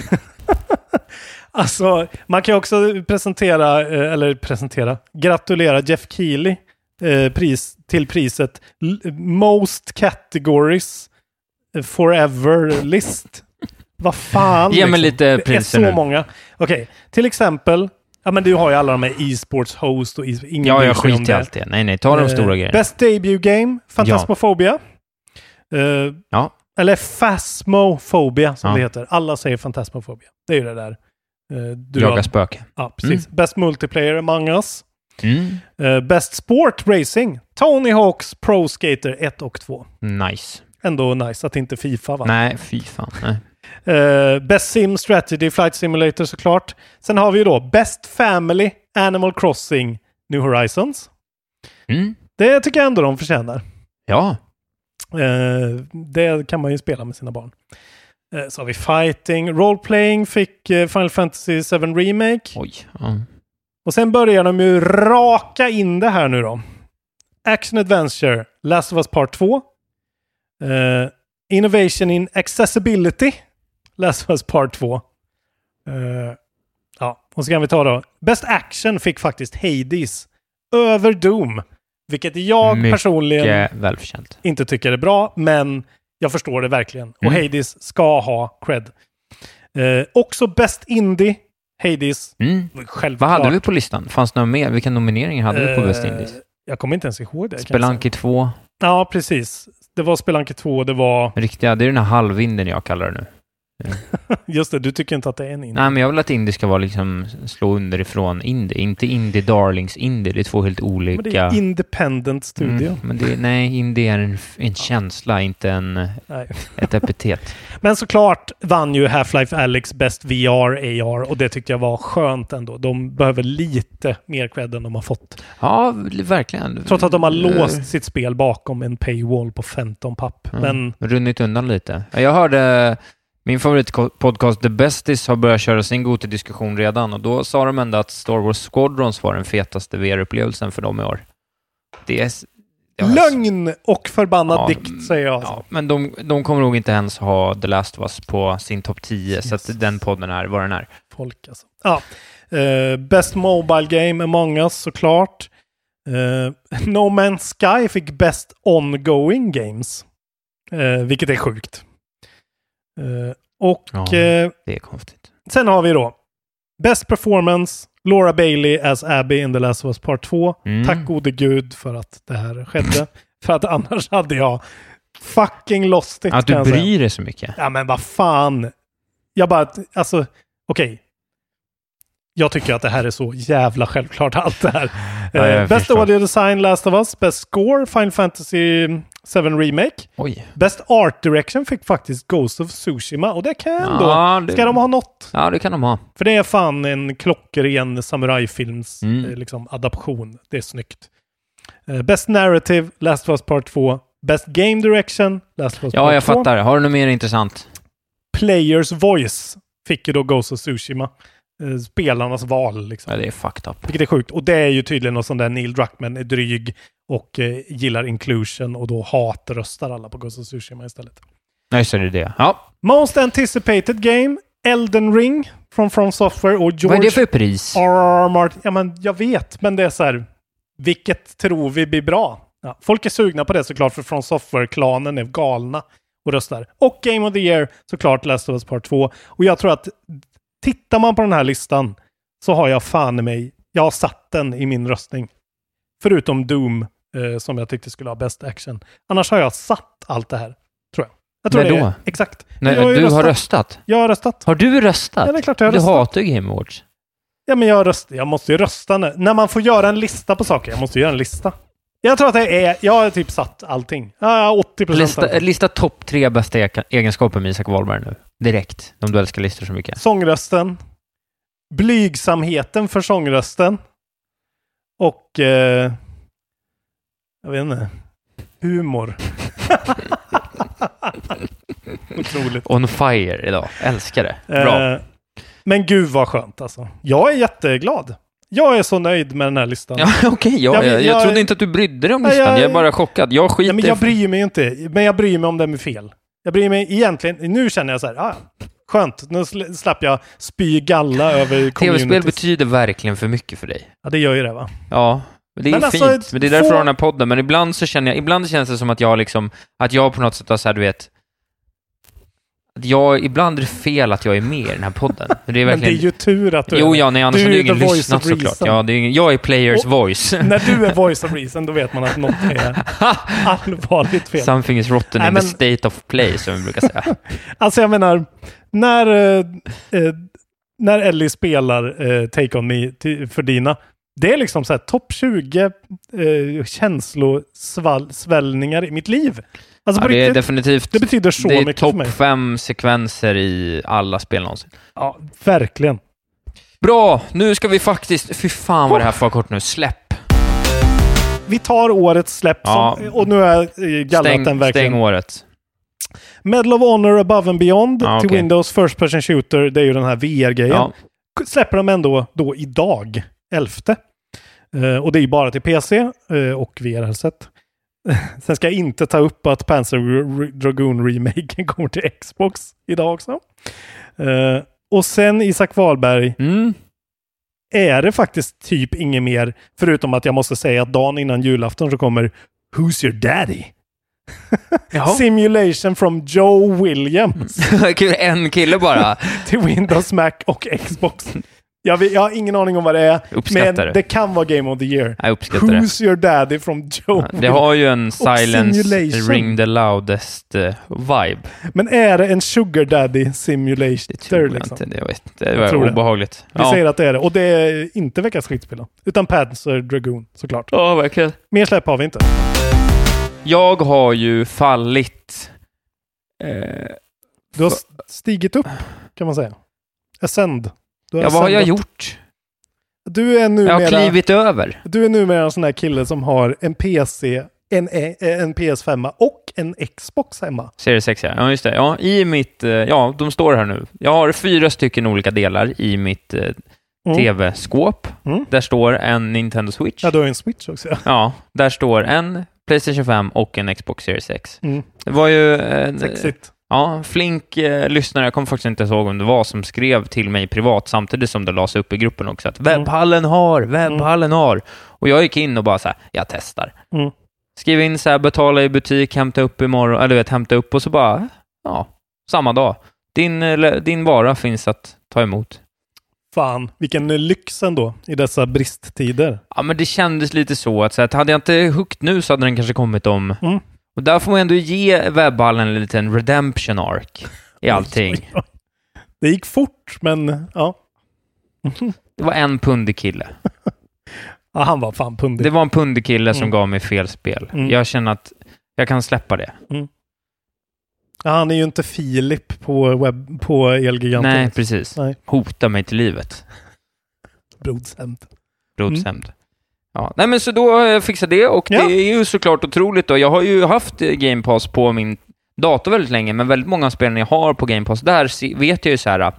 Alltså, man kan ju också presentera, eh, eller presentera, gratulera Jeff Keely eh, pris, till priset L- Most Categories Forever List. Vad fan? liksom. Ge mig lite Det är priser så nu. många. Okej, till exempel, ja men du har ju alla de här e-sports host och e- ingen Ja, bryr jag sig om skiter i det. allt det. Nej, nej, ta de Eh, stora grejerna. Best debut game, Fantasmophobia. Eh, Ja. Eller Phasmophobia som Ja. det heter. Alla säger Fantasmophobia. Det är ju det där. eh, du Jaga Mm. har- spöken. Ja, precis. Best multiplayer among us. Mm. Eh, best sport racing. Tony Hawks Pro Skater 1 och 2. Nice. Ändå nice att inte Fifa va? Nej, fy fan. Nej. Eh, best sim strategy, flight simulator såklart. Sen har vi ju då Best family, Animal Crossing, New Horizons. Mm. Det tycker jag ändå de förtjänar. Ja. Eh, det kan man ju spela med sina barn. Eh, så har vi fighting. Role-playing fick eh, Final Fantasy 7 Remake. Oj. Ja. Och sen börjar de ju raka in det här nu då. Action Adventure, Last of Us Part 2. Eh, Innovation in Accessibility, Last of Us Part 2. Eh, ja, och så kan vi ta då. Best Action fick faktiskt Hades över Doom. Vilket jag Mycket. personligen Mycket välförtjänt. inte tycker är bra, men jag förstår det verkligen. Och Mm. Hades ska ha cred. Eh, också Best Indie, Hades. Mm. Självklart. Vad hade vi på listan? Fanns det några mer? Vilka nomineringar hade vi på Best Eh, Indies? Jag kommer inte ens ihåg det. kan jag säga. Spelanki 2, Ja, precis. Det var Spelanki 2, det var... riktiga, det är den här halvvinden jag kallar det nu. Mm. Just det, du tycker inte att det är en indie. Nej, men jag vill att indie ska vara liksom slå underifrån indie, inte indie darlings indie, det är två helt olika. Men det är independent studio. Mm, men det, nej, indie är en, en känsla, inte en, Nej. ett epitet. Men såklart vann ju Half-Life Alyx bäst VR, AR och det tyckte jag var skönt ändå. De behöver lite mer cred än de har fått. Ja, verkligen. Trots att de har Eh, låst sitt spel bakom en paywall på 15 papp. Mm. Men Runnit undan lite. Jag hörde min favoritpodcast The Besties har börjat köra sin Goti-diskussion redan och då sa de ändå att Star Wars Squadrons var den fetaste VR-upplevelsen för dem i år. Det är... s- det har jag s- lögn och förbannad Ja, dikt säger jag. Ja, men de, de kommer nog inte ens ha The Last of Us på sin topp 10, så att den podden är vad den är. folk alltså. Ja. Eh, best Mobile Game, Among Us såklart. Eh, no Man's Sky fick Best Ongoing Games. Eh, vilket är sjukt. Eh, och Ja. eh, Det är konstigt. sen har vi då Best Performance, Laura Bailey as Abby in The Last of Us Part 2. Mm. Tack gode gud för att det här skedde. för att annars hade jag fucking lost it. Att kan du jag säga. bryr dig så mycket. Ja men vad fan. Jag bara, alltså, okej. Jag tycker att det här är så jävla självklart allt det här. Ja, jag Eh, Best förstår. Audio Design, Last of Us, Best Score, Final Fantasy 7 Remake. Oj. Best Art Direction fick faktiskt Ghost of Tsushima och det kan jag ändå. Ja, det- Ska de ha något? Ja, det kan de ha. För det är fan en klockren samurajfilms Mm. eh, liksom, adaption. Det är snyggt. Eh, Best Narrative, Last of Us Part 2. Best Game Direction, Last of Us Part Ja, jag 2. fattar. Har du något mer intressant? Players Voice fick ju då Ghost of Tsushima. Eh, Spelarnas val liksom. Ja, det är fucked up. Vilket är sjukt. Och det är ju tydligen någon sån där Neil Druckmann är dryg och eh, gillar inclusion och då hatröstar alla på Ghost of Tsushima istället. Nej, så är det det. Ja. Most anticipated game, Elden Ring från From Software och Vad är det George för pris? R.R. Martin. Ja, men jag vet, men det är så här. Vilket tror vi blir bra? Ja, folk är sugna på det såklart, för från Software-klanen är galna och röstar. Och Game of the Year, såklart Last of Us Part 2. Och jag tror att tittar man på den här listan så har jag fan i mig, jag har satt den i min röstning. Förutom Doom, eh, som jag tyckte skulle ha bäst action. Annars har jag satt allt det här, tror jag. jag tror När det är- då? Exakt. Nej, jag ju du har röstat. Jag har röstat. Har du röstat? Ja, det är klart jag har du röstat. hatar ju Game Awards. Ja, men jag, röst, jag måste ju rösta nu. När man får göra en lista på saker. Jag måste ju göra en lista. Jag tror att det är... Jag har typ satt allting. Ja, jag har 80 procent. alltså. Lista, lista topp tre bästa eka- egenskaper med Isak Wahlberg nu. Direkt. Om du älskar listor så mycket. Sångrösten. Blygsamheten för sångrösten. Och... Eh, jag vet inte. Humor. Otroligt. On fire idag. Älskar det. Bra. Eh, men gud vad skönt alltså. Jag är jätteglad. Jag är så nöjd med den här listan. Ja, Okej, jag, jag jag, vill- jag, jag- trodde inte att du brydde dig om Nej, listan. jag- jag, är bara chockad. Jag skiter Nej, men jag i- bryr mig ju inte. Men jag bryr mig om den är fel. Jag bryr mig egentligen. Nu känner jag så här, ah, skönt. Nu sl- slapp jag spy galla över Tv-spel communities. betyder verkligen för mycket för dig. Ja, det gör ju det va? Ja, det är Men alltså, fint. men det är därför få- jag har den här podden. Men ibland så känner jag, ibland känns det som att jag liksom, att jag på något sätt har så här, du vet, att jag, ibland är det fel att jag är med i den här podden. Men det är Men det är verkligen... ju tur att du jo, är ja, nej, annars Du är hade ju ju ingen the voice lyssnat of reason. såklart. Ja, det är, ingen- jag är players Och- voice. När du är voice of reason, då vet man att något är allvarligt fel. Something is rotten Nej, in men- the state of play, som vi brukar säga. Alltså jag menar, när, eh, eh, när Ellie spelar eh, Take On Me till, för Dina, det är liksom så här topp 20 eh, känslosvällningar i mitt liv. Alltså Ja, på det är riktigt. definitivt... Det betyder så det är mycket för topp mig. fem sekvenser i alla spel någonsin. Ja, verkligen. Bra! Nu ska vi faktiskt... Fy fan vad det här Oh! får vara kort nu. Släpp! Vi tar årets släpp Ja. som, och nu har jag eh, gallrat den Stäng, verkligen. stäng året. Medal of Honor Above and Beyond Ja, till okej. Windows First Person Shooter, det är ju den här VR-grejen. Ja. Släpper de ändå då idag, 11. Eh, och det är ju bara till PC eh, och VR-headset. Sen ska jag inte ta upp att Panzer Dra- Dragoon-remaken kommer till Xbox idag också. Eh, och sen Isak Wahlberg, Mm. är det faktiskt typ inget mer, förutom att jag måste säga att dagen innan julafton så kommer Who's your daddy? Jaha. Simulation from Joe Williams Kul, en kille bara. till Windows, Mac och Xbox. Jag, vet, jag har ingen aning om vad det är, men Uppskattar det. det kan vara Game of the Year. Jag uppskattar det. Who's your daddy from Joe? Det har ju en silence simulation. ring the loudest eh, vibe. Men är det en Sugar Daddy Simulator? Det tror jag liksom? inte. Det, jag vet, inte. det Jag var tror det. obehagligt. Vi säger att det är det. Och det är inte veckans skitspel då. Utan Panzer Dragoon såklart. Ja, verkligen. Mer släpp har vi inte. Jag har ju fallit... Eh, Du har s- stigit upp kan man säga. Ascend. Du ja, vad har jag ascendat. gjort? Du är, Jag har numera, klivit över. du är numera en sån här kille som har en PC, en, E- eh, en PS5 och en Xbox hemma. Series 6, ja. ja. just det. Ja, i mitt... eh, Ja, de står här nu. Jag har fyra stycken olika delar i mitt eh, Mm. tv-skåp. Mm. Där står en Nintendo Switch. Ja, du har ju en Switch också. ja. Ja, där står en Playstation 5 och en Xbox Series 6. Mm. Det var ju... eh, Sexigt. Ja, en flink eh, lyssnare, jag kommer faktiskt inte ihåg om det var, som skrev till mig privat samtidigt som det lades upp i gruppen också att webbhallen Mm. har, webbhallen har. Och jag gick in och bara så här, jag testar. Mm. Skrev in så här, betala i butik, hämta upp imorgon, eller du vet, hämta upp och så bara, ja, samma dag. Din, eh, le- din vara finns att ta emot. Fan, vilken lyx ändå i dessa bristtider. Ja, men det kändes lite så att, så att hade jag inte huggit nu så hade den kanske kommit om... Mm. Och där får man ändå ge webbhallen en liten redemption arc i allting. Det gick fort, men ja. Det var en pundig kille. ja han var fan pundig. Det var en pundig kille som Mm. gav mig fel spel. Mm. Jag känner att jag kan släppa det. Ja, han är ju inte Filip på, webb, på Elgiganten. Nej, precis. Nej. Hota mig till livet. Brodsent. Rodsämd. Ja. Nej, men så då har jag fixat det och Mm. Ja. det är ju såklart otroligt då. Jag har ju haft eh, Game Pass på min dator väldigt länge, men väldigt många av spelen jag har på Game Pass där se- vet jag ju så här, ah,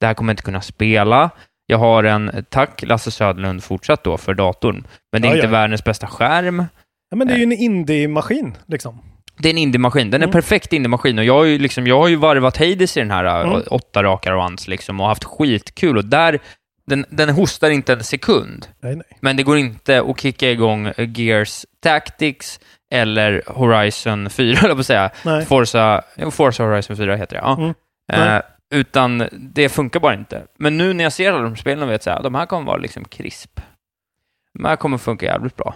det här kommer jag inte kunna spela. Jag har en, eh, tack Lasse Söderlund fortsatt då för datorn, men det är Ja, inte ja. världens bästa skärm. Ja, men det är ju en indie-maskin liksom. Det är en indie-maskin. Den är Mm. perfekt indie-maskin och jag har ju, liksom, jag har ju varvat Hades i den här äh, Mm. åtta raka runs liksom och haft skitkul och där, den, den hostar inte en sekund. Nej, nej. Men det går inte att kicka igång eh, Gears Tactics eller Horizon 4, höll jag på att säga. nej. Forza, jo, Forza Horizon 4 heter det, ja. Mm. Eh, Nej. utan det funkar bara inte. Men nu när jag ser alla de spelen vet jag att de här kommer vara liksom krisp. De här kommer funka jävligt bra.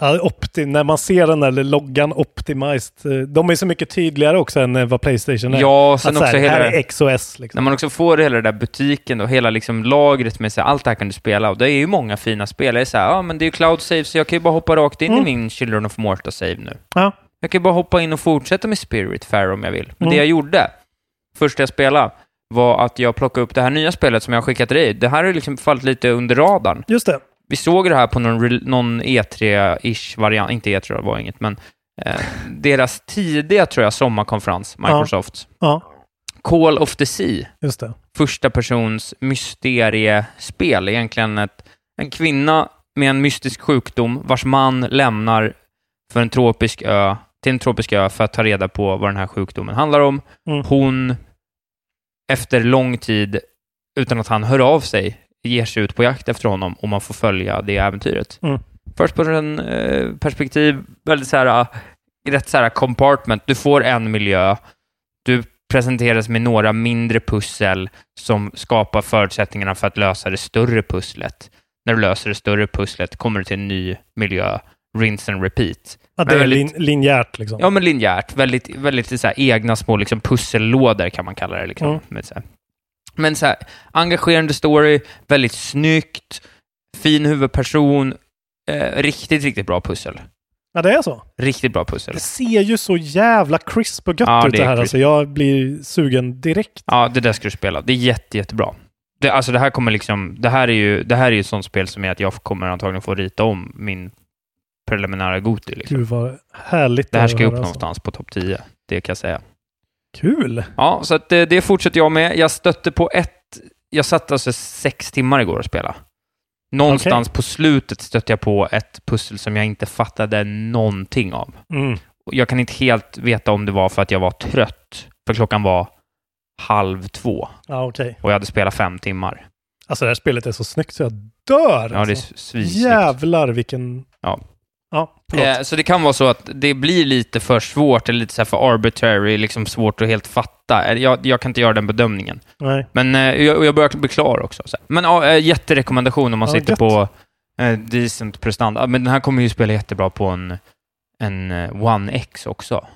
Ja, opti- när man ser den där loggan Optimized. eh, De är så mycket tydligare också än eh, vad Playstation är. Ja, Att sen så här, också hela... här är X och S liksom. När man också får hela den där butiken och hela liksom lagret med sig, allt det här kan du spela och det är ju många fina spel. Jag är så här, ja men det är ju cloud save så jag kan ju bara hoppa rakt in Mm. i min Children of Morta save nu. Ja. Jag kan ju bara hoppa in och fortsätta med Spirit Fair om jag vill. Men Mm. det jag gjorde, först jag spelade, var att jag plockade upp det här nya spelet som jag skickat till dig. Det här har liksom fallit lite under radarn. Just det. Vi såg det här på någon, re- någon E3-ish variant, inte E3 det var inget, men eh, deras tidiga tror jag sommarkonferens, Microsofts. Ja, Call of the Sea just det. första persons mysteriespel. Egentligen ett, en kvinna med en mystisk sjukdom vars man lämnar för en tropisk ö, till en tropisk ö för att ta reda på vad den här sjukdomen handlar om. Mm. Hon, efter lång tid, utan att han hör av sig, ger sig ut på jakt efter honom och man får följa det äventyret. Mm. Först på den eh, perspektiv, väldigt så här, ah, rätt så här compartment. Du får en miljö, du presenteras med några mindre pussel som skapar förutsättningarna för att lösa det större pusslet. När du löser det större pusslet kommer du till en ny miljö, rinse and repeat. Ja, det Men är lin, väldigt- linjärt liksom. Ja, men linjärt. Väldigt, väldigt så här, egna små liksom, pussellådor kan man kalla det. Liksom. Mm. Med, så här. Men så här, engagerande story, väldigt snyggt, fin huvudperson, eh, riktigt, riktigt bra pussel. Ja, det är så. Riktigt bra pussel. Det ser ju så jävla crisp och gött Ja, ut det det är här. crisp. Alltså, jag blir sugen direkt. Ja, det där ska du spela. Det är jätte, jättebra. Det, alltså det här kommer liksom, det här är ju, det här är ju ett sånt spel som är att jag kommer antagligen få rita om min preliminära Goti. Liksom. Gud vad härligt. Det här är ska att ju upp höra, alltså. någonstans på topp 10, det kan jag säga. Kul! Ja, så att eh, det, det fortsätter jag med. Jag stötte på ett, jag satt alltså sex timmar igår och spela. Någonstans på slutet stötte jag på ett pussel som jag inte fattade någonting av. Mm. Och Jag kan inte helt veta om det var för att jag var trött, för klockan var halv två Ja, okej. och jag hade spelat fem timmar. Alltså det här spelet är så snyggt så jag dör! Ja, det är alltså. svinsnyggt. Jävlar vilken... Ja. ja, förlåt. Eh, så det kan vara så att det blir lite för svårt, eller lite så här för arbitrary, liksom svårt att helt fatta. Eh, Jag, jag kan inte göra den bedömningen. Nej. Men eh, jag, jag börjar bli klar också. Så här. Men ja, eh, jätterekommendation om man Ja, sitter gött. på eh, decent prestanda. Ah, Men den här kommer ju spela jättebra på en, en eh, One X också.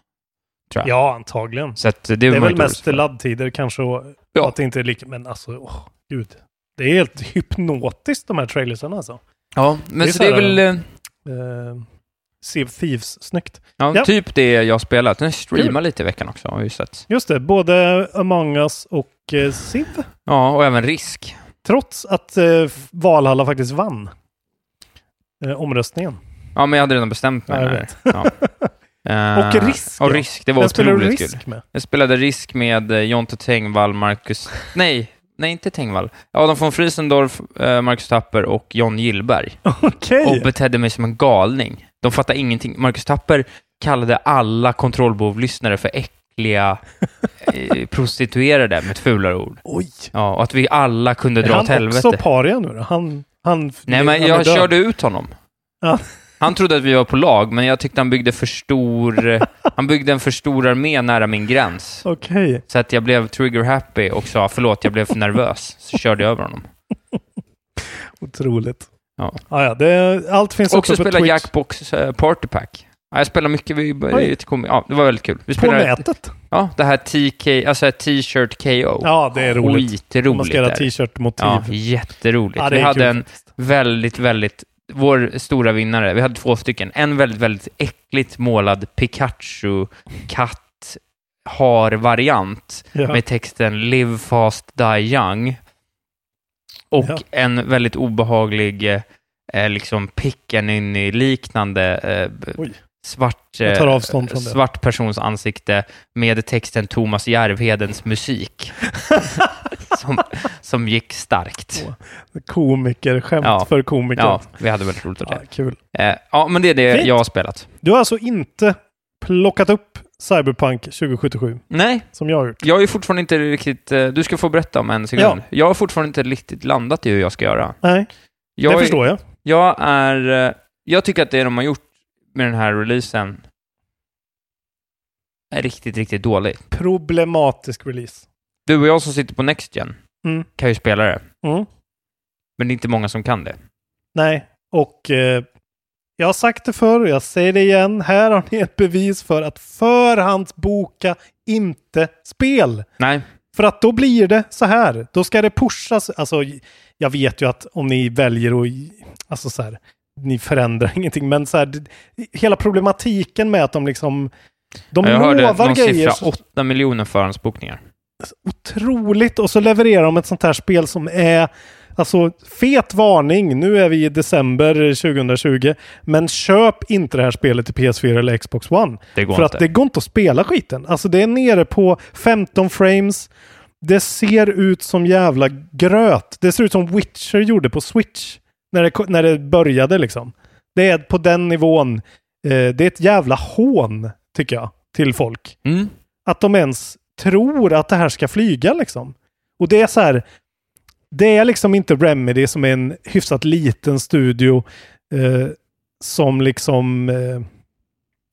Ja, antagligen. Så att det, Det är man ju väl inte mest orolig för. laddtider kanske och Ja. att det inte är lika... Men alltså, åh, gud. Det är helt hypnotiskt de här trailersarna alltså. Ja, men Det är så så det är här, väl... eh, Eh, Sea of Thieves, snyggt. Ja, Ja. typ det jag har spelat. Den streamar lite i veckan också, har vi ju sett. Just det, både Among Us och eh, Civ. Ja, och även Risk. Trots att eh, Valhalla faktiskt vann eh, omröstningen. Ja, men jag hade redan bestämt Ja, mig. jag där. Ja. Och Eh, Risk, Och ja. Risk, det var Den spelar du otroligt risk kul. med. Jag spelade Risk med eh, Jonte Tengvall, Marcus... Nej, nej inte Tengvall. Adam von Friesendorf, eh, Marcus Tapper och John Gillberg. Okej! Och betedde mig som en galning. De fattade ingenting. Marcus Tapper kallade alla kontrollbovlyssnare för äckliga eh, prostituerade med ett fulare ord. Oj! Ja, och att vi alla kunde Är dra åt han helvete. också paria nu då? Han... han Nej, men han är jag död. körde ut honom. Ja. Han trodde att vi var på lag, men jag tyckte han byggde för stor... han byggde en för stor armé nära min gräns. Okej. Så att jag blev trigger happy och sa förlåt, jag blev för nervös. Så körde jag över honom. Otroligt. Ja. Ah, ja, det, allt finns Också uppe på spela Twitch. Jackbox eh, Party Pack. Ja, jag spelar mycket. Vi började, Oj. ju till komi- ja, det var väldigt kul. Vi på spelade, nätet. Ja, det här TK, alltså T-shirt KO. Ja, det är roligt. Skitroligt. Man ska göra är det. t-shirt-motiv. Ja, jätteroligt. Ja, det vi är hade kul en faktiskt. väldigt, väldigt, vår stora vinnare, vi hade två stycken. En väldigt, väldigt äckligt målad Pikachu-katt har variant Ja. med texten Live fast, die young. Och Ja. en väldigt obehaglig, eh, eh, liksom Pickaninny-liknande eh, b- Oj. svart, eh, Jag tar avstånd från det. svart persons ansikte med texten Thomas Järvhedens musik. som, som gick starkt. Komiker, skämt Ja. för komiker. Ja, vi hade väldigt roligt av Ja, det. kul. Eh, Ja, men det är det Fint. jag har spelat. Du har alltså inte plockat upp Cyberpunk 2077 Nej, som jag har gjort? jag är fortfarande inte riktigt... eh, Du ska få berätta om en sekund. Jag har fortfarande inte riktigt landat i hur jag ska göra. Nej, Jag det är, förstår jag. Jag är... eh, Jag tycker att det de har gjort med den här releasen är riktigt, riktigt dåligt. Problematisk release. Du och jag som sitter på NextGen Mm. kan ju spela det, Mm. men det är inte många som kan det. Nej, och eh, jag har sagt det förr, jag säger det igen. Här har ni ett bevis för att förhandsboka inte spel. Nej, För att då blir det så här. Då ska det pushas. Alltså, jag vet ju att om ni väljer att... Alltså så här, ni förändrar ingenting. Men så här, det- hela problematiken med att de liksom... De jag hörde lovar någon grejer. siffra, Så 8 miljoner förhandsbokningar. otroligt. Och så levererar de ett sånt här spel som är... Alltså, fet varning. Nu är vi i december 2020. Men köp inte det här spelet till PS4 eller Xbox One. Det går För inte. att det går inte att spela skiten. Alltså det är nere på 15 frames. Det ser ut som jävla gröt. Det ser ut som Witcher gjorde på Switch. När det, ko- när det började liksom. Det är på den nivån. Eh, det är ett jävla hån, tycker jag, till folk. Mm. Att de ens tror att det här ska flyga liksom. Och det är så här. Det är liksom inte Remedy som är en hyfsat liten studio eh, som liksom... Eh,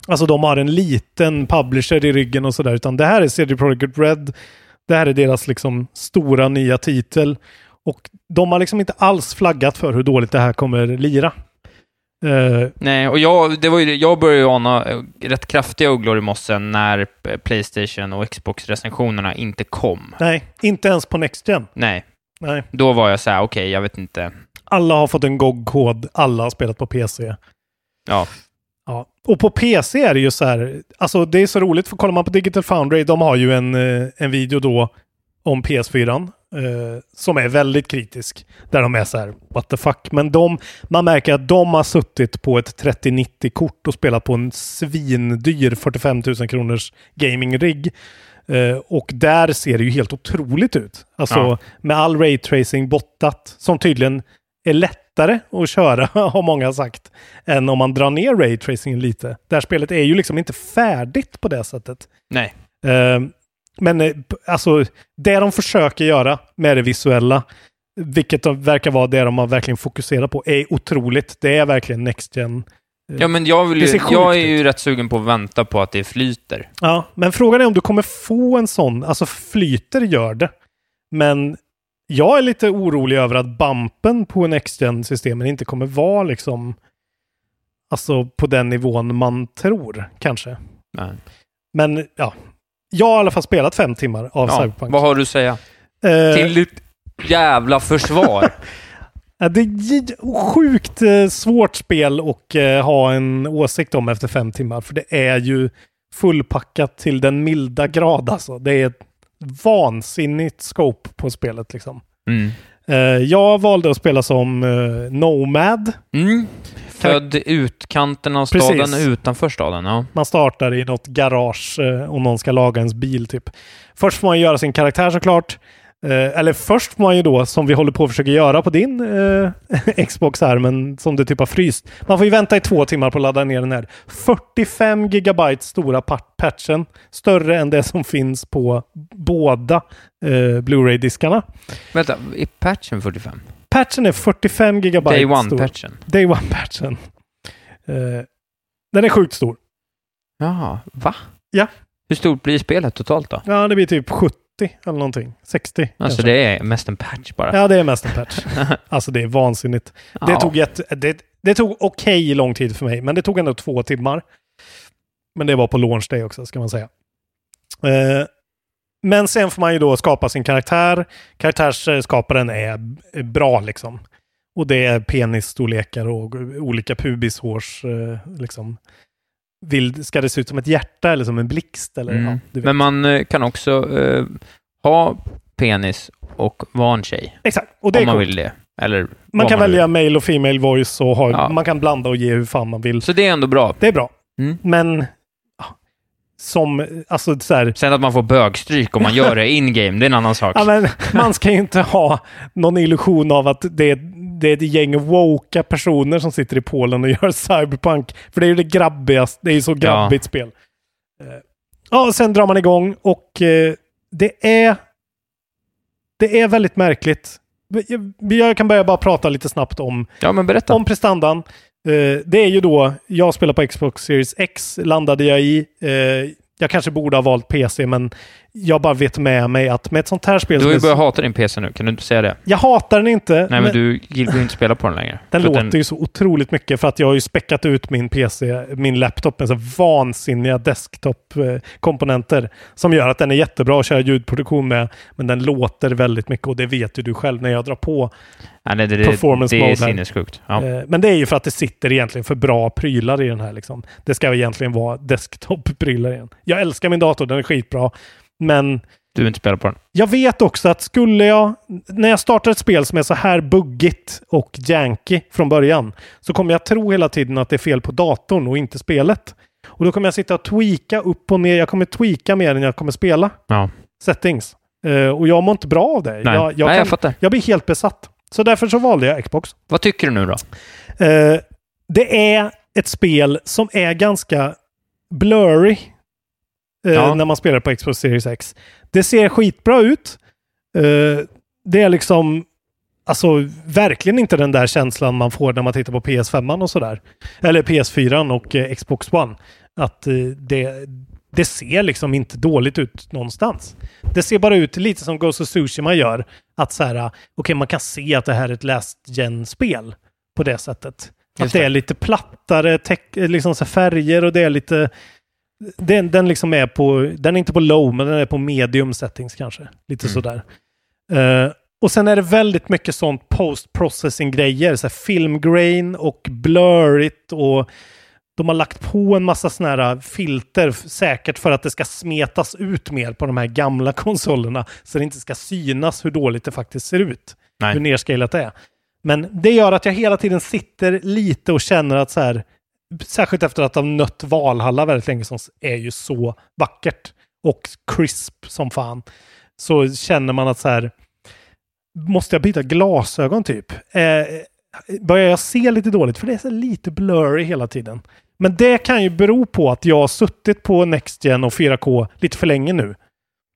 alltså de har en liten publisher i ryggen och sådär. Utan det här är CD Projekt Red. Det här är deras liksom stora nya titel. Och de har liksom inte alls flaggat för hur dåligt det här kommer lira. Eh, Nej, och jag, det var ju, det- jag började ju ana eh, rätt kraftiga ugglor i mossen när eh, Playstation och Xbox-recensionerna inte kom. nej, inte ens på Next Gen. Nej, Nej. då var jag så här, okej, jag vet inte. Alla har fått en GOG-kod. Alla har spelat på PC. Ja, Ja. Och på PC är det ju så här, alltså det är så roligt för kollar man på Digital Foundry, de har ju en, eh, en video då om PS4 eh, som är väldigt kritisk. Där de är så här, what the fuck. Men de, man märker att de har suttit på ett 3090-kort och spelat på en svindyr 45 000 kronors gaming-rigg. Eh, och där ser det ju helt otroligt ut. Alltså Ja. med all raytracing bottat, som tydligen är lättare att köra, har många sagt, än om man drar ner raytracingen lite. Det här spelet är ju liksom inte färdigt på det sättet. nej. Eh, Men eh, p- alltså, det de försöker göra med det visuella, vilket de verkar vara det de har verkligen fokuserat på, är otroligt. Det är verkligen next gen Ja, men jag, vill Det ser ju, sjukt jag är ju rätt sugen på att vänta på att det flyter. Ja, men frågan är om du kommer få en sån. Alltså flyter gör det. Men jag är lite orolig över att bumpen på next gen systemen inte kommer vara liksom alltså på den nivån man tror kanske. Nej. Men ja, jag har i alla fall spelat fem timmar av Ja, Cyberpunk. vad har du att säga? Eh, Till ditt jävla försvar. Ja, det är gi- sjukt eh, svårt spel att eh, ha en åsikt om efter fem timmar. För det är ju fullpackat till den milda grad alltså. Det är ett vansinnigt scope på spelet liksom. Mm. Eh, jag valde att spela som eh, Nomad. Mm. Född i utkanten av staden, Precis. utanför staden. Ja. Man startar i något garage eh, om någon ska laga ens bil typ. Först får man göra sin karaktär såklart. Eh, eller först får man ju då, som vi håller på att försöka göra på din eh, Xbox här, men som det typ har fryst. Man får ju vänta i två timmar på att ladda ner den här 45 gigabyte stora pa- patchen. Större än det som finns på båda eh, Blu-ray-diskarna. Vänta, är patchen 45? Patchen är 45 gigabyte Day stor. one-patchen? Day One-patchen. Eh, den är sjukt stor. Jaha, va? Ja. Hur stort blir spelet totalt då? Ja, det blir typ 70 eller någonting. 60 Alltså kanske. det är mest en patch bara. Ja, det är mest en patch. Alltså det är vansinnigt. Det Ja. tog, jätte, det, det tog okej lång tid för mig, men det tog ändå två timmar. Men det var på launch day också, ska man säga. Eh, men sen får man ju då skapa sin karaktär. Karaktärsskaparen är b- bra liksom. Och det är penisstorlekar och olika pubishårs... eh, Liksom. Vill, ska det se ut som ett hjärta eller som en blixt? Eller, Mm. ja, du vet. Men man eh, kan också eh, ha penis och vara en tjej. Exakt, och det är om man coolt. vill det. Eller Man vad kan man välja male och female voice och ha, Ja. man kan blanda och ge hur fan man vill. Så det är ändå bra. Det är bra. Mm. Men ja, som, alltså så här, Sen att man får bögstryk om man gör det in-game, det är en annan sak. ja, men, man ska ju inte ha någon illusion av att det är, det är ett gäng woka personer som sitter i Polen och gör cyberpunk. För det är ju det grabbigaste, det är ju så grabbigt spel. Eh, Ja, och sen drar man igång och eh, det är det är väldigt märkligt. Jag- Jag kan börja bara prata lite snabbt om Ja, men berätta. Om prestandan. Eh, det är ju då, jag spelar på Xbox Series X, landade jag i. Eh, jag kanske borde ha valt PC, men jag bara vet med mig att med ett sånt här spel... Du som har är ju så- börjat hata din PC nu, kan du inte säga det? Jag hatar den inte. Nej, men du vill ju inte spela på den längre. Den För att låter ju så otroligt mycket för att jag har ju späckat ut min PC, min laptop med så vansinniga desktop-komponenter som gör att den är jättebra att köra ljudproduktion med. Men den låter väldigt mycket och det vet ju du själv när jag drar på Ja, nej, det, det, performance det är mode här. sinnessjukt. Ja. Eh, Men det är ju för att det sitter egentligen för bra prylar i den här. Liksom. Det ska egentligen vara desktop-prylar igen. Jag älskar min dator, den är skitbra. Men Du vill inte spela på den. jag vet också att skulle jag, när jag startar ett spel som är så här buggigt och janky från början, så kommer jag tro hela tiden att det är fel på datorn och inte spelet. Och då kommer jag sitta och tweaka upp och ner. Jag kommer tweaka mer än jag kommer spela Ja. settings. Eh, och jag mår inte bra av det. Nej. Jag, jag, nej, jag kan, fattar. jag blir helt besatt. Så därför så valde jag Xbox. Vad tycker du nu då? Eh, det är ett spel som är ganska blurry eh, Ja. när man spelar på Xbox Series X. Det ser skitbra ut. Eh, det är liksom alltså verkligen inte den där känslan man får när man tittar på PS5 och sådär. Eller PS4 och eh, Xbox One. Att eh, det, det ser liksom inte dåligt ut någonstans. Det ser bara ut lite som Ghost of Tsushima gör. Att så här, eh, okej man kan se att det här är ett last gen spel på det sättet. Att Just det det. är lite plattare teck- liksom så här färger och det är lite... Den, den liksom är på... Den är inte på low, men den är på medium settings kanske. Lite sådär. Eh, och sen är det väldigt mycket sånt post-processing-grejer. Så här filmgrain och blurrigt och de har lagt på en massa såna här filter f- säkert för att det ska smetas ut mer på de här gamla konsolerna så det inte ska synas hur dåligt det faktiskt ser ut. Nej. Hur nerscalat det är. Men det gör att jag hela tiden sitter lite och känner att så här, särskilt efter att ha nött Valhalla väldigt länge som är ju så vackert och crisp som fan, så känner man att så här, måste jag byta glasögon typ? Eh, börjar jag se lite dåligt? För det är så lite blurry hela tiden. Men det kan ju bero på att jag har suttit på NextGen och 4K lite för länge nu.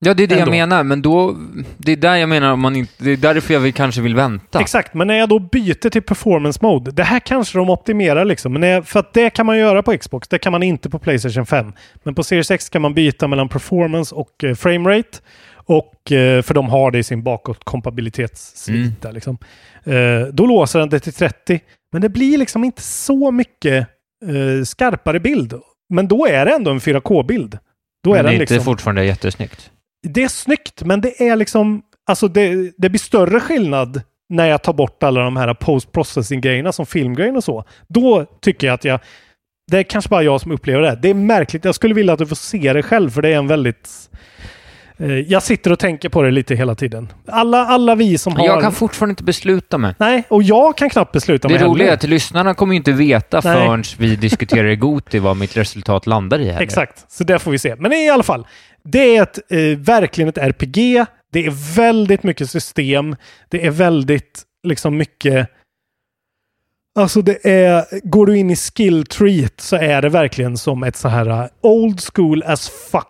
Ja, det är det Ändå. jag menar, men då... Det är där jag menar om man inte... Det är därför jag vill, kanske vill vänta. Exakt, men när jag då byter till performance mode. Det här kanske de optimerar liksom. Men när jag, för att det kan man göra på Xbox. Det kan man inte på Playstation 5. Men på Series X kan man byta mellan performance och eh, framerate. Och, eh, för de har det i sin bakåtkompatibilitetssvita. Mm. Liksom. Eh, då låser den det till 30. Men det blir liksom inte så mycket eh, skarpare bild. Men då är det ändå en 4K-bild. Då är men det den är liksom... inte fortfarande jättesnyggt. Det är snyggt, men det är liksom... Alltså det, det blir större skillnad när jag tar bort alla de här post-processing-grejerna som filmgrejen och så. Då tycker jag att jag... Det är kanske bara jag som upplever det. här. Det är märkligt. Jag skulle vilja att du får se det själv, för det är en väldigt... Eh, jag sitter och tänker på det lite hela tiden. Alla, alla vi som har... Jag kan fortfarande inte besluta mig. Nej, och jag kan knappt besluta Det mig roliga är heller. att lyssnarna kommer ju inte veta Nej. förrän vi diskuterar i Goti vad mitt resultat landar i. Heller. Exakt, så det får vi se. Men i alla fall, det är ett, eh, verkligen ett RPG. Det är väldigt mycket system. Det är väldigt liksom mycket... Alltså det är, går du in i skill treat så är det verkligen som ett så här eh, old school as fuck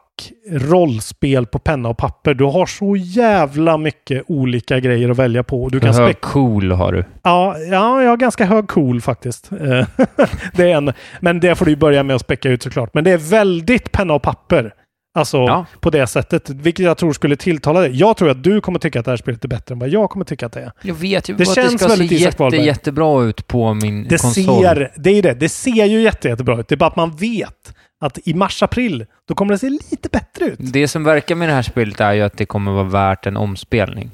rollspel på penna och papper. Du har så jävla mycket olika grejer att välja på. Du kan Hör spek- cool har du. Ja, ja, jag har ganska hög cool faktiskt. Eh, det är en, men det får du ju börja med att späcka ut såklart. Men det är väldigt penna och papper. Alltså Ja. på det sättet, vilket jag tror skulle tilltala dig. Jag tror att du kommer tycka att det här spelet är bättre än vad jag kommer tycka att det är. Jag vet ju Det bara känns att det ska väldigt se Isak jätte, Wahlberg. jättebra ut på min Det konsol. ser, det är ju det, det ser ju jätte, jättebra ut. Det är bara att man vet att i mars-april, då kommer det se lite bättre ut. Det som verkar med det här spelet är ju att det kommer vara värt en omspelning.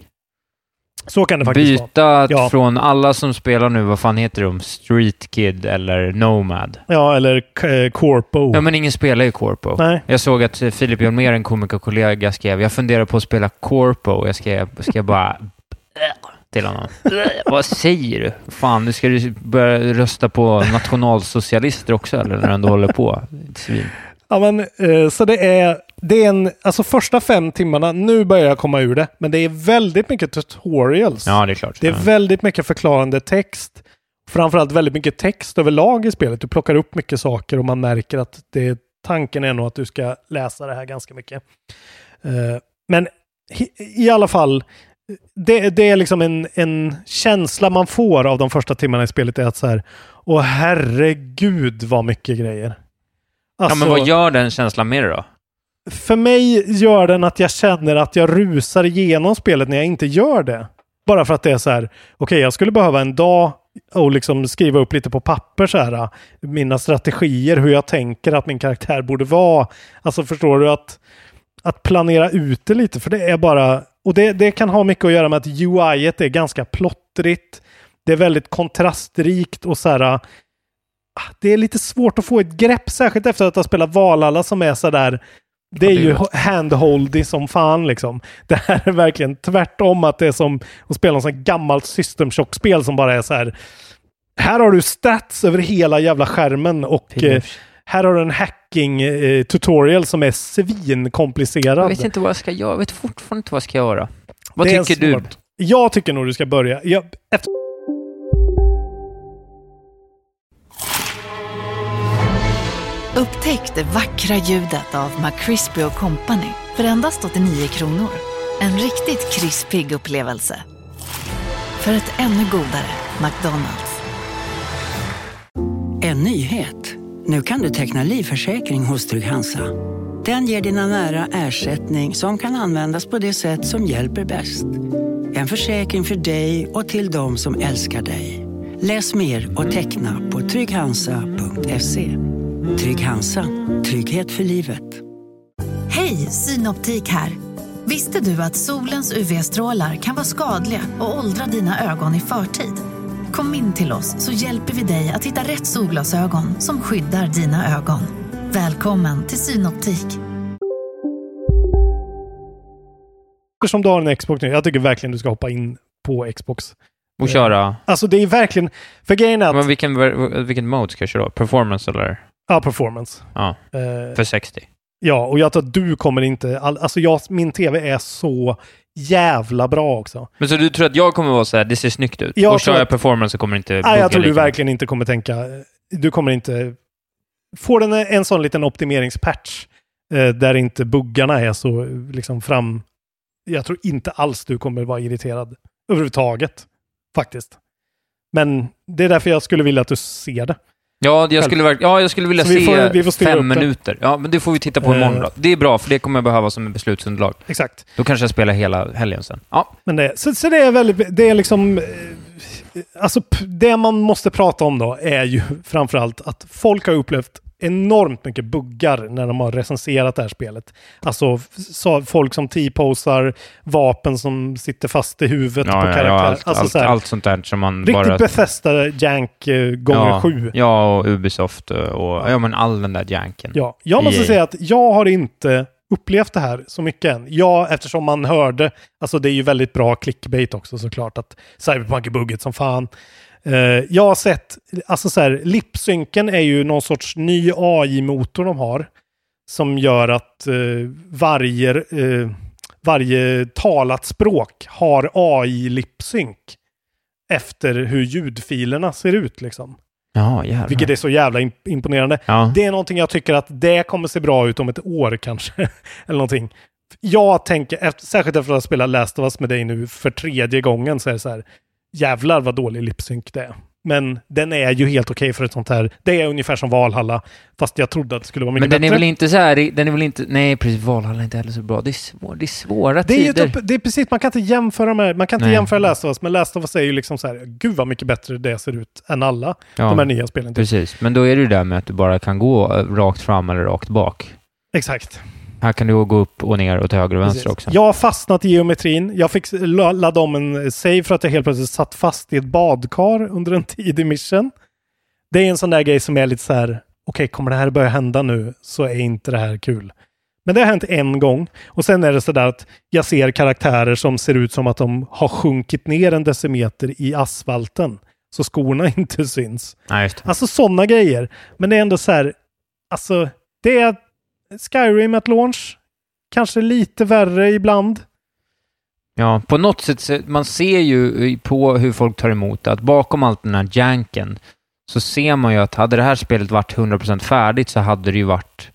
Så kan det faktiskt vara. Byta Ja. från alla som spelar nu, vad fan heter de? Street Kid eller Nomad? Ja, eller eh, Corpo. Ja, men ingen spelar ju Corpo. Nej. Jag såg att eh, Filip Hjelmér, en komikerkollega, skrev jag funderar på att spela Corpo och jag skrev, skrev bara till honom. Vad säger du? Fan, nu ska du börja rösta på nationalsocialister också eller när du ändå håller på. Svin. Ja, men, eh, så det är, det är en, alltså första fem timmarna, nu börjar jag komma ur det, men det är väldigt mycket tutorials. Ja, det är klart. det är Ja. väldigt mycket förklarande text. Framförallt väldigt mycket text överlag i spelet. Du plockar upp mycket saker och man märker att det, tanken är nog att du ska läsa det här ganska mycket. Eh, men hi- i alla fall, det, det är liksom en, en känsla man får av de första timmarna i spelet är att så här, åh herregud vad mycket grejer. ja, men Alltså- vad gör den känslan med det då? för mig gör den att jag känner att jag rusar igenom spelet när jag inte gör det. Bara för att det är så här, okej jag skulle behöva en dag och liksom skriva upp lite på papper så här, äh, mina strategier, hur jag tänker att min karaktär borde vara. Alltså förstår du att, att planera ut det lite, för det är bara, och det, det kan ha mycket att göra med att UI är ganska plottrigt. Det är väldigt kontrastrikt och så här, äh, det är lite svårt att få ett grepp, särskilt efter att ha spelat Valhalla som är så där det är Ja, det är ju handholdy som fan liksom. Det här är verkligen tvärtom att det är som att spela något sånt här gammalt system spel som bara är så här. Här har du stats över hela jävla skärmen och eh, här har du en hacking eh, tutorial som är Jag svinkomplicerad. vet inte vad jag ska göra. Jag vet fortfarande inte vad jag ska göra. Vad Det är tycker du? svårt. Jag tycker nog du ska börja. Jag, efter... Upptäck det vackra ljudet av McCrispy Company för endast 89 kronor. En riktigt krispig upplevelse. För ett ännu godare McDonalds. En nyhet. Nu kan du teckna livförsäkring hos Trygg-Hansa. Den ger dina nära ersättning som kan användas på det sätt som hjälper bäst. En försäkring för dig och till de som älskar dig. Läs mer och teckna på trygghansa.se. Trygg-Hansa. Trygghet för livet. Hej, Synoptik här. Visste du att solens UV-strålar kan vara skadliga och åldra dina ögon i förtid? Kom in till oss så hjälper vi dig att hitta rätt solglasögon som skyddar dina ögon. Välkommen till Synoptik. Som du har en Xbox nu, jag tycker verkligen du ska hoppa in på Xbox. Och köra? Alltså det är verkligen, för grejen är att, Men vilken, vilken mode ska jag köra? Performance eller? ja performance. Ja, Eh, för 60. Ja, och jag tror att du kommer inte... All, alltså jag, min tv är så jävla bra också. Men så du tror att jag kommer vara så här, det ser snyggt ut? Jag och kör tror jag att- performance så kommer det inte Nej, funka jag tror du Eh, lika. verkligen inte kommer tänka... Du kommer inte... Får den en sån liten optimeringspatch eh, där inte buggarna är så liksom fram... Jag tror inte alls du kommer vara irriterad överhuvudtaget, faktiskt. Men det är därför jag skulle vilja att du ser det. Ja, jag skulle, verk- ja, jag skulle vilja Så vi se får- vi får styra fem upp det. minuter. Ja, men det får vi titta på Eh. imorgon då. Det är bra, för det kommer jag behöva som en beslutsunderlag. Exakt. Då kanske jag spelar hela helgen sen. Ja, Men det, så, så det är väldigt, det är liksom, eh, alltså p- det man måste prata om då är ju framförallt att folk har upplevt enormt mycket buggar när de har recenserat det här spelet. Alltså f- så, folk som T-posar, vapen som sitter fast i huvudet på karaktärer. allt, alltså, allt, så här, allt sånt där som man riktigt bara... Bethesda jank eh, gånger ja, sju. Ja, och Ubisoft eh, och... Ja, men all den där janken. Ja, jag måste EA. säga att jag har inte upplevt det här så mycket än. Ja, eftersom man hörde, alltså det är ju väldigt bra clickbait också såklart, att Cyberpunk är bugget som fan. Eh, jag har sett, alltså så här, lipsynken är ju någon sorts ny AI-motor de har, som gör att eh, varje, eh, varje talat språk har AI-lipsynk efter hur ljudfilerna ser ut liksom. Ja, jävlar. Vilket är så jävla imp- imponerande. Ja. Det är någonting jag tycker att det kommer se bra ut om ett år kanske. Eller någonting. Jag tänker, efter, särskilt efter att ha spelat Last of Us med dig nu för tredje gången, så är det så här. Jävlar vad dålig lipsynk det är. Men den är ju helt okej för ett sånt här. Det är ungefär som Valhalla, fast jag trodde att det skulle vara mycket Men den är bättre. väl inte så här... Den är väl inte... Nej, precis. Valhalla är inte heller så bra. Det är, svår, det är svåra det är ju tider. typ, det är precis, man kan inte jämföra med, man kan inte Nej. jämföra Last of Us, men Last of Us är ju liksom så här, gud vad mycket bättre det ser ut än alla Ja. de här nya spelen. Typ. Precis, men då är det ju det där med att du bara kan gå eh, rakt fram eller rakt bak. Exakt. Här kan du gå upp och ner och till höger och vänster Precis. också. Jag har fastnat i geometrin. Jag fick la- ladda om en save för att jag helt plötsligt satt fast i ett badkar under en tidig mission. Det är en sån där grej som är lite så här, okej kommer det här börja hända nu så är inte det här kul. Men det har hänt en gång och sen är det så där att jag ser karaktärer som ser ut som att de har sjunkit ner en decimeter i asfalten. Så skorna inte syns. Nej, just det. Alltså sådana grejer. Men det är ändå så här, alltså det är Skyrim at launch. Kanske lite värre ibland. Ja, på något sätt, så- man ser ju i- på hur folk tar emot det, att bakom allt den här janken så ser man ju att hade det här spelet varit 100% färdigt så hade det ju varit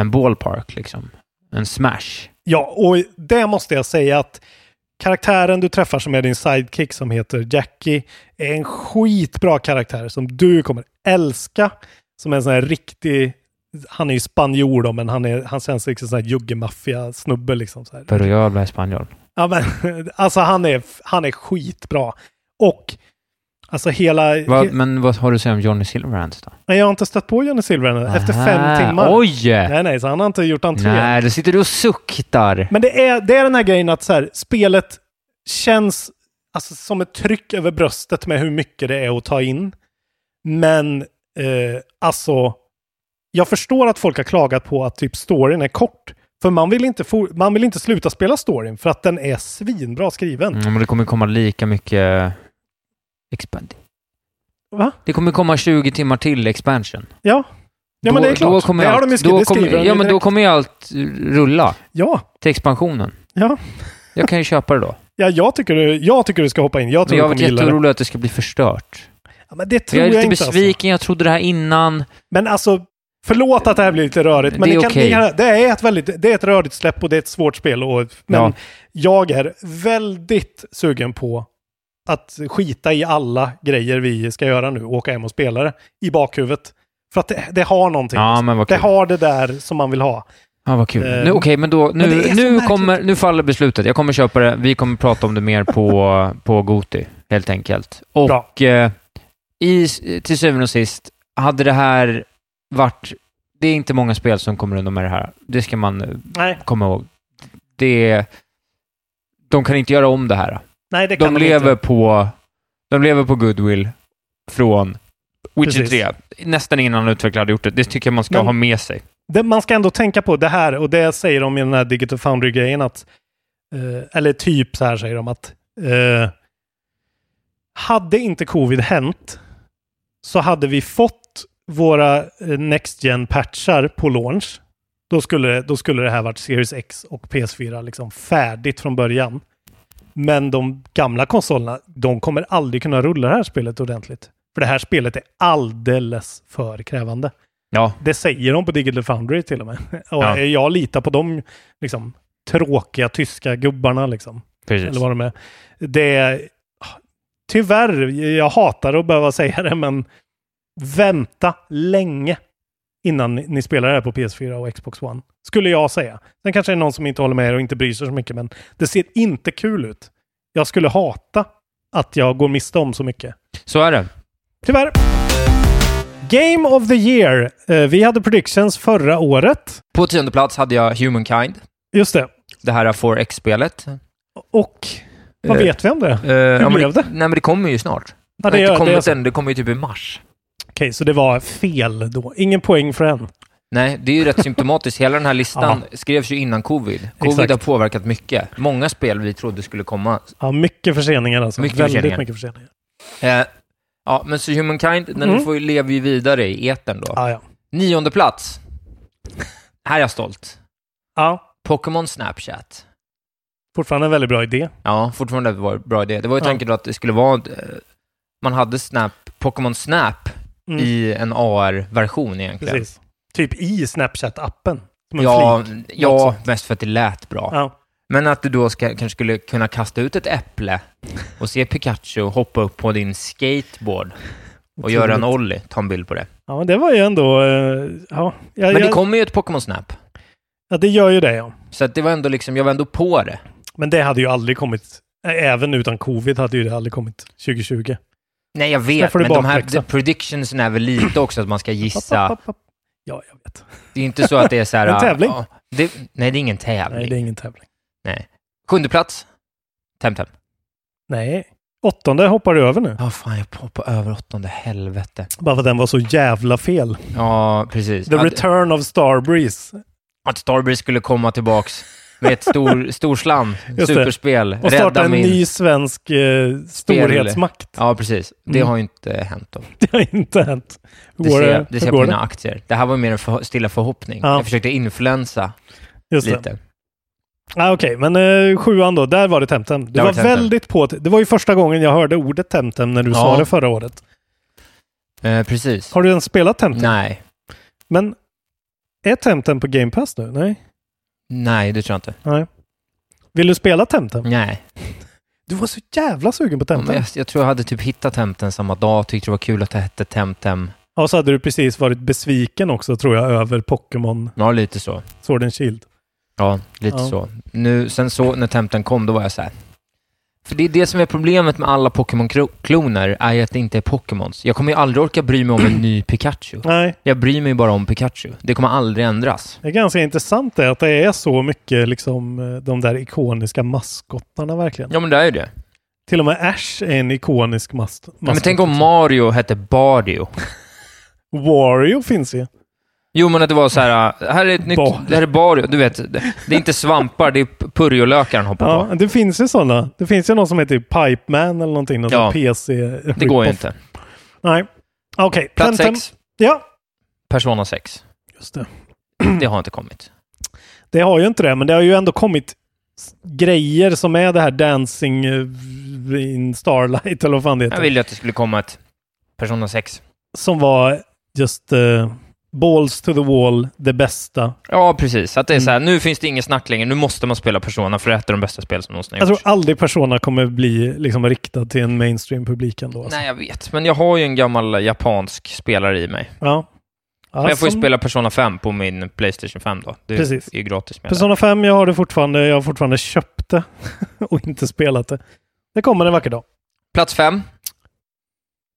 en ballpark liksom. En smash. Ja, och det måste jag säga att karaktären du träffar som är din sidekick som heter Jackie är en skitbra karaktär som du kommer älska. Som är en sån här riktig, han är ju spanjor då, men han, är, han känns liksom sån här juggemaffia-snubbe liksom. Så här. För att jag blev spanjol. Ja, men, alltså han är, han är skitbra. Och Alltså hela... Va, he- men vad har du att säga om Johnny Silverhands då? Nej, jag har inte stött på Johnny Silver ännu. Efter Aha, fem timmar. Oj! Nej, nej, så han har inte gjort entré. Nej, då sitter du och suktar. Men det är, det är den här grejen att så här, spelet känns alltså, som ett tryck över bröstet med hur mycket det är att ta in. Men eh, alltså, jag förstår att folk har klagat på att typ storyn är kort. För man vill inte, for, man vill inte sluta spela storyn för att den är svinbra skriven. Mm, men det kommer komma lika mycket... Expand. Va? Det kommer komma 20 timmar till expansion. Ja. Ja, Då- men det är Då klart. kommer det har allt, de ju då skrivit. kommer- skriver de ju ja, men då direkt. kommer ju allt rulla ja, till expansionen. ja. Jag kan ju köpa det då. ja jag, tycker du, jag tycker du ska hoppa in. Jag Men tror jag du varit kommer gilla det. jätteorolig att det ska bli förstört. Ja, men det tror Jag är jag, lite inte. Alltså. besviken, jag trodde det här innan. Men alltså, förlåt att det här blir lite rörigt. Men Det det, är kan, okej. det, kan, det, är ett väldigt, det är ett rörigt släpp och det är ett svårt spel. Och, men Ja. jag är väldigt sugen på att skita i alla grejer vi ska göra nu och åka hem och spela det i bakhuvudet. För att det, det har någonting. Ja, alltså. men vad det kul. har det där som man vill ha. Ja, vad kul. Eh, Nu, Okej, men då, men det är nu, så nu, märkligt. kommer, nu faller beslutet. Jag kommer köpa det. Vi kommer prata om det mer på, på Goti, helt enkelt. Och eh, i, till syvende och sist, hade det här varit... Det är inte många spel som kommer undan med det här. Det ska man eh, Nej, komma ihåg. Det är, de kan inte göra om det här. nej det kan de, de lever inte. på, de lever på goodwill från Witcher Precis. 3. Nästan innan en utvecklare hade gjort det. Det tycker jag man ska Men- ha med sig. det, man ska ändå tänka på det här och det säger de i den här Digital Foundry-grejen att, eh, eller typ så här säger de att, eh, hade inte covid hänt så hade vi fått våra eh, Next gen patchar på launch. Då skulle, det- då skulle det här varit Series X och PS4 liksom färdigt från början. Men de gamla konsolerna, de kommer aldrig kunna rulla det här spelet ordentligt. För det här spelet är alldeles för krävande. Ja. Det säger de på Digital Foundry till och med. Och ja. jag litar på de liksom, tråkiga tyska gubbarna. Liksom. Precis. Eller vad de är. Det är. ah, Tyvärr, jag hatar att behöva säga det, men vänta länge innan ni spelar det här på PS4 och Xbox One. Skulle jag säga. Sen kanske det är någon som inte håller med er och inte bryr sig så mycket, men det ser inte kul ut. Jag skulle hata att jag går miste om så mycket. Så är det. Tyvärr. Game of the year. Eh, Vi hade predictions förra året. På tionde plats hade jag Humankind. Just det. Det här 4X-spelet. Och vad vet vi om det? Uh, Hur ja, blev det? Nej, Eh, men det kommer ju snart. Ja, det, Eh, det, gör, kommer det, sen, alltså. det kommer ju typ i mars. Okej, okay, så det var fel då. Ingen poäng för en. Nej, det är ju rätt symptomatiskt. Hela den här listan ja. skrevs ju innan covid. Covid Exakt. har påverkat mycket. Många spel vi trodde skulle komma. Ja, mycket förseningar alltså. Mycket Väldigt förseningar. mycket förseningar. Eh, ja, men så Humankind, den mm. får ju, lever ju vidare i eten då. Ah, ja. Nionde plats. Här är jag stolt. Ja. Pokémon Snapchat. Fortfarande en väldigt bra idé. Ja, fortfarande en bra idé. Det var ju tanken då att det skulle vara... eh, Man hade Snap, Pokémon Snap mm. i en AR-version egentligen. Precis. Typ i Snapchat-appen. Ja, flik, ja mest för att det lät bra. Ja. Men att du då ska, kanske skulle kunna kasta ut ett äpple och se Pikachu hoppa upp på din skateboard och Otroligt. göra en ollie. Ta en bild på det. Ja, men det var ju ändå... eh, Ja, jag, men det kommer ju ett Pokémon Snap. Ja, det gör ju det, ja. Så det var ändå liksom, jag var ändå på det. Men det hade ju aldrig kommit, även utan covid hade ju det aldrig kommit 2020. Nej, jag vet, men de här predictionsen är väl lite också att man ska gissa. Pop, pop, pop, ja, jag vet. Det är inte så att det är så här... ah, en tävling? Ja, det, nej, det är ingen tävling. Nej, det är ingen tävling. Nej. Sjunde plats? Temtem. Nej. Åttonde hoppar du över nu. Ja, oh, fan, jag hoppar över åttonde. Helvete. Bara för att den var så jävla fel. Ja, precis. The return of Starbreeze. Att Starbreeze skulle komma tillbaks med ett stor, storslam, superspel. Och starta en min... ny svensk eh, storhetsmakt. Ja, precis. Det mm. har ju inte hänt då. Det har inte hänt. Hur det ser, det, det ser jag på mina aktier. Det här var mer en för, stilla förhoppning. Ja. Jag försökte influensa Just lite. Det. Ah, Okej, okay. men eh, sjuan då, där var det Temtem. Du där var, var temtem. väldigt på... Det var ju första gången jag hörde ordet Temtem när du ja. sa det förra året. Eh, precis. Har du ens spelat Temtem? Nej. Men är Temtem på Game Pass nu? Nej? Nej, det tror jag inte. Nej. Vill du spela Temtem? Nej. Du var så jävla sugen på Temtem. Jag, jag, tror jag hade typ hittat Temtem samma dag, tyckte det var kul att det hette Temtem. Ja, och så hade du precis varit besviken också tror jag över Pokémon. Ja, lite så. Sword and Shield. Ja, lite ja. så. Nu, sen så när Temtem kom, då var jag så här. För det är det som är problemet med alla Pokémon-kloner, är att det inte är Pokémons. Jag kommer ju aldrig orka bry mig om en ny Pikachu. Nej. Jag bryr mig bara om Pikachu. Det kommer aldrig ändras. Det är ganska intressant det, att det är så mycket liksom de där ikoniska maskottarna verkligen. Ja, men det är ju det. Till och med Ash är en ikonisk mas maskott. Ja, men tänk om Mario hette Bardio. Wario finns ju. Jo, men att det var så här, äh, här är ett nytt, det här är Bario, du vet, det, det är inte svampar, det är purjolökar han hoppar ja, på. Det finns ju sådana. Det finns ju någon som heter Pipe Man eller någonting, någon ja, pc Det går ju inte. Nej. Okej. Okay. Plats Temtem. sex. Ja. Persona 6. Just det. Det har inte kommit. Det har ju inte det, men det har ju ändå kommit grejer som är det här Dancing eh, in Starlight, eller vad fan det heter. Jag ville att det skulle komma ett Persona 6. Som var just... Uh, balls to the wall, det bästa. Ja, precis. Att det är så här, nu finns det ingen snack längre, nu måste man spela Persona, för det är ett av de bästa spel som någonsin Jag tror aldrig Persona kommer bli liksom, riktad till en mainstream-publik ändå. Alltså. Nej, jag vet. Men jag har ju en gammal japansk spelare i mig. Ja. Alltså, ja men jag får ju som... spela Persona 5 på min Playstation 5 då. Det Alltså- precis. är ju gratis. Med Persona 5, jag har det fortfarande. Jag har fortfarande köpt det och inte spelat det. Det kommer en vacker dag. Plats 5.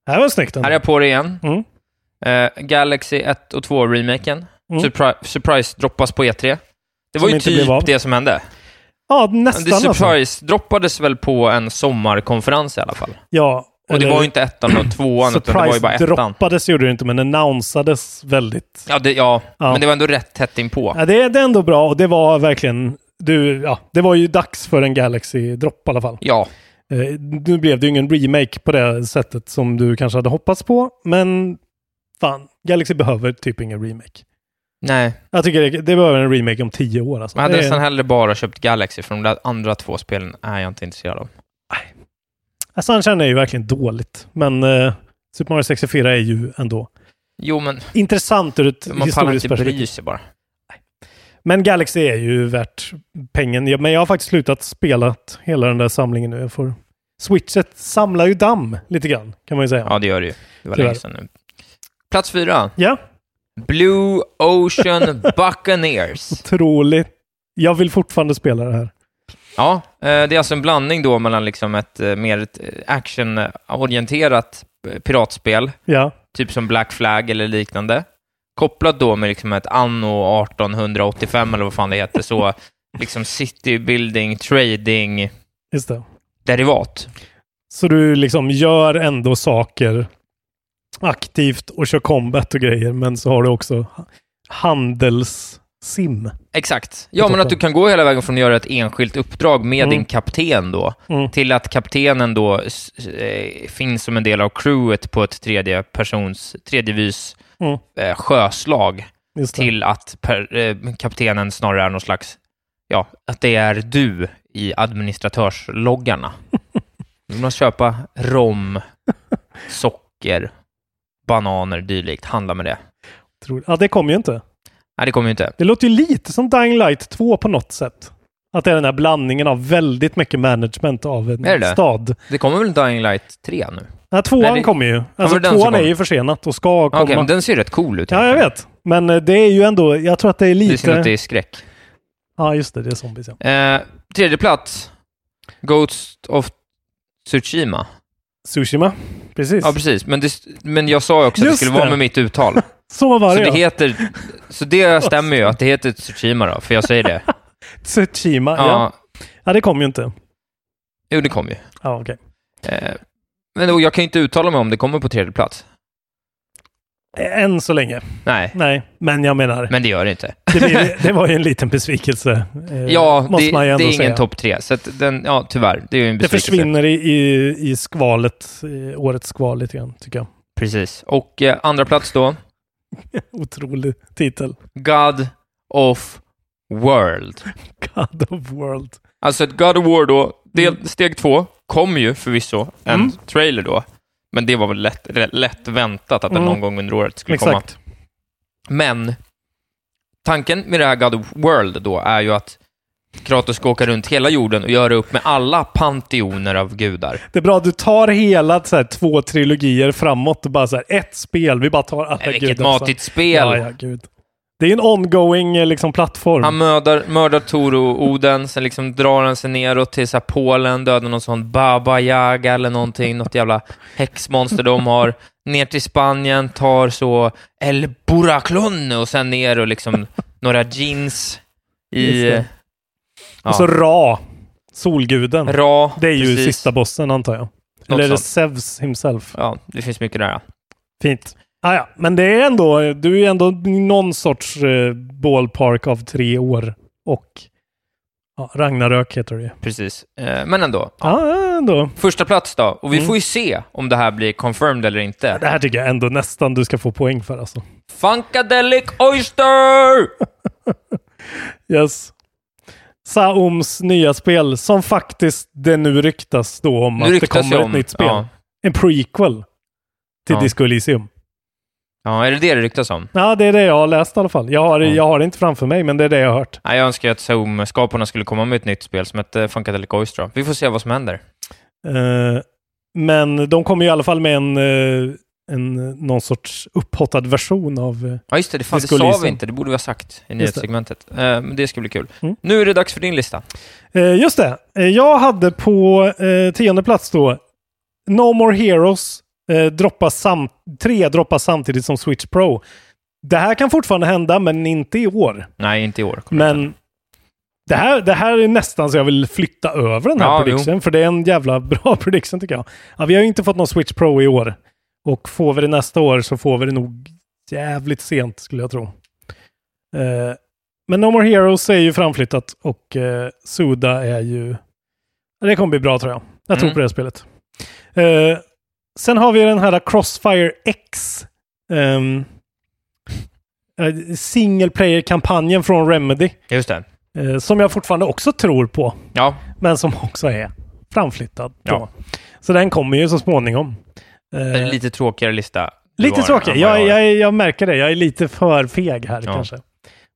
Här var snyggt ändå. Här är jag på det igen. Mm. Uh, Galaxy 1 och 2-remaken. Mm. Surpri surprise-droppas på E3. Det som var ju typ det som hände. Ja, nästan. Det surprise-droppades alltså. väl på en sommarkonferens i alla fall. Ja. Och det var ju inte ettan och tvåan, utan det var ju bara ettan. Surprise-droppades gjorde det inte, men annonsades väldigt. Ja, det, ja. ja, men det var ändå rätt tätt inpå. Ja, det, det är ändå bra och det var verkligen... Du, ja, det var ju dags för en Galaxy-dropp i alla fall. Ja. Uh, nu blev det ju ingen remake på det sättet som du kanske hade hoppats på, men fan, Galaxy behöver typ ingen remake. Nej. Jag tycker det, det behöver en remake om tio år. Alltså. Man hade det nästan är... hellre bara köpt Galaxy, för de där andra två spelen är jag inte intresserad av. Nej. Sunshine alltså, är ju verkligen dåligt, men eh, Super Mario 64 är ju ändå... Jo, men Intressant ur ett man pallar historiskt inte bry perspektiv. sig bara. Men Galaxy är ju värt pengen. Ja, Men jag har faktiskt slutat spela hela den där samlingen nu. Jag får... Switchet samlar ju damm lite grann, kan man ju säga. Ja, det gör det ju. Det var Tyvärr. länge sedan nu. Plats fyra. ja. Blue Ocean Buccaneers. Otroligt. Jag vill fortfarande spela det här. Ja, eh, det är alltså en blandning då mellan liksom ett eh, mer ett, eh, actionorienterat eh, piratspel, Ja. typ som Black Flag eller liknande, kopplat då med liksom ett anno 1885 eller vad fan det heter, så liksom city building, trading, Just det. derivat. Så du liksom gör ändå saker aktivt och kör combat och grejer, men så har du också handelssim. Exakt. Ja, men att du kan gå hela vägen från att göra ett enskilt uppdrag med Mm. din kapten då, Mm. till att kaptenen då s- s- eh, finns som en del av crewet på ett tredje persons, tredjevis Mm. eh, sjöslag. Just det. till att per, eh, kaptenen snarare är någon slags, ja, att det är du i administratörsloggarna. Du måste köpa rom, socker, bananer, dylikt. Handla med det. Tror- Ja, det kommer ju inte. Nej, det kommer ju inte. Det låter ju lite som Dying Light 2 på något sätt. Att det är den här blandningen av väldigt mycket management av en Är det det? stad. Det kommer väl Dying Light 3 nu? Nej, tvåan Nej, det- kommer ju. Alltså, var det den som tvåan är kom? ju försenat och ska Okej, komma. men den ser ju rätt cool ut. Ja, jag vet. Men eh, det är ju ändå, jag tror att det är Det är synd att det lite... är skräck. Ja, just det. Det är zombies, ja. Eh, tredje plats, Ghost of Tsushima. Tsushima. Precis. Ja, precis. Men, det, men jag sa ju också att det Just skulle det. vara med mitt uttal. Så var Så det, det, ja. heter, så det stämmer ju att det heter Tsushima då, för jag säger det. Tsushima, ja. Ja, Ja, det kom ju inte. jo, det kom ju. Ja, okej. Eh, Men och jag kan ju inte uttala mig om det kommer på tredje plats. Eh, Än så länge. Nej, Nej, men jag menar, men det gör det inte. det, blir, det var ju en liten besvikelse. eh, Ja, det, måste man ju ändå det är säga. ingen topp tre, så att den, ja, tyvärr, det är ju en Det besvikelse. försvinner i, i, i skvalet, i årets skval lite grann, tycker jag. Precis. Och eh, andra plats då, Otrolig titel. God of World. God of World. Alltså ett God of War då, del, steg två, kom ju förvisso en Mm. trailer då, men det var väl lätt, rätt- lätt väntat att den Mm. någon gång under året skulle komma. Exakt. Men tanken med det här God of World då är ju att Kratos ska åka runt hela jorden och göra upp med alla panteoner av gudar. Det är bra, du tar hela så här, två trilogier framåt och bara så här, ett spel. Vi bara tar alla Nej, Vilket gudar, så här. matigt spel! alltså. Ja, ja, gud. Det är en ongoing eh, liksom, plattform. Han mördar, mördar Tor och Oden, sen liksom drar han sig neråt till så här Polen, dödar någon sån Baba Yaga eller någonting, något jävla häxmonster de har. Ner till Spanien, tar så El Buraclon och sen ner och liksom några jeans i... Just det. Ja, Och så Ra, solguden. Ra. det är ju precis. sista bossen, antar jag. Något Eller är det sånt. Zeus himself? Ja, det finns mycket där. Ja. Fint. Ah, ja. Men det är ändå, du är ju ändå någon sorts eh, ballpark av tre år. Och ja, Ragnarök heter det ju. Precis. Eh, Men ändå. Ja, ah, ändå. Första plats då. Och vi Mm. får ju se om det här blir confirmed eller Det inte. här tycker jag ändå nästan du ska få poäng för alltså. Funkadelic Oyster! Yes. Saoms nya spel, som faktiskt det nu ryktas då om att det kommer jag ett nytt spel. Ja. En prequel till Ja. Disco Elysium. ja, är det det det ryktas om? Ja, det är det jag har läst i alla fall. Jag har, Ja. jag har det inte framför mig, men det är det jag har hört. Nej, jag önskar ju att Zoom-skaparna skulle komma med ett nytt spel som hette Funkadelic Oyster. då. Vi får se vad som händer. Eh, men de kommer ju i alla fall med en, eh, en någon sorts upphottad version av... eh, Ja, just det. Det, fan, det Disco sa Elysium. vi inte. Det borde vi ha sagt i Just det. nyhetssegmentet. Eh, Men det ska bli kul. Mm. Nu är det dags för din lista. Eh, just det. Eh, jag hade på eh, tionde plats då No More Heroes. Eh, droppas sam- tre droppas samtidigt som Switch Pro. Det här kan fortfarande hända, men inte i år. Nej, inte i år. Men det här, det här är nästan så jag vill flytta över den här Ja, prediction, för det är en jävla bra prediction tycker jag. Ja, vi har ju inte fått någon Switch Pro i år. Och får vi det nästa år så får vi det nog jävligt sent, skulle jag tro. Eh, men No More Heroes är ju framflyttat och eh, Suda är ju... Ja, Det kommer bli bra tror jag. Jag tror Mm. på det här spelet. Eh, sen har vi den här Crossfire X. Um, single player-kampanjen från Remedy. Just det. Eh, som jag fortfarande också tror på, Ja, men som också är framflyttad. Ja. Då. Så den kommer ju så småningom. Eh, en lite tråkigare lista. Lite var tråkig. än vad Jag, var. jag, jag märker det. Jag är lite för feg här Ja. kanske.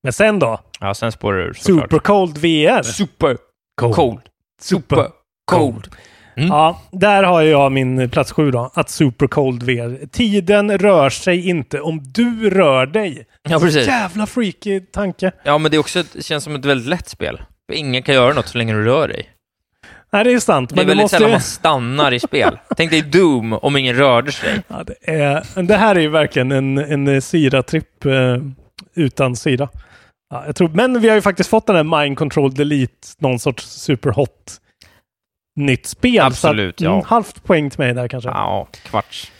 Men sen då? Ja, sen spårar det ur såklart. Super Cold VR. Super cold. Super cold. Ja, där har jag min plats sju då. Att Super Cold VR. Tiden rör sig inte om du rör dig. Ja, precis. Jävla freaky tanke. Ja, men det är också, ett- det känns som ett väldigt lätt spel. Ingen kan göra något så länge du rör dig. Nej, det är sant. Det är Men det väldigt måste sällan ju... man stannar i spel. Tänk dig Doom om ingen rörde sig. Ja, det, är... det här är ju verkligen en, en eh, syratripp eh, utan syra. Ja, jag tror... Men vi har ju faktiskt fått den här Mind Control Delete, någon sorts superhot nytt spel. Absolut, så att, mm, ja. halvt poäng till mig där kanske. Ja, kvarts.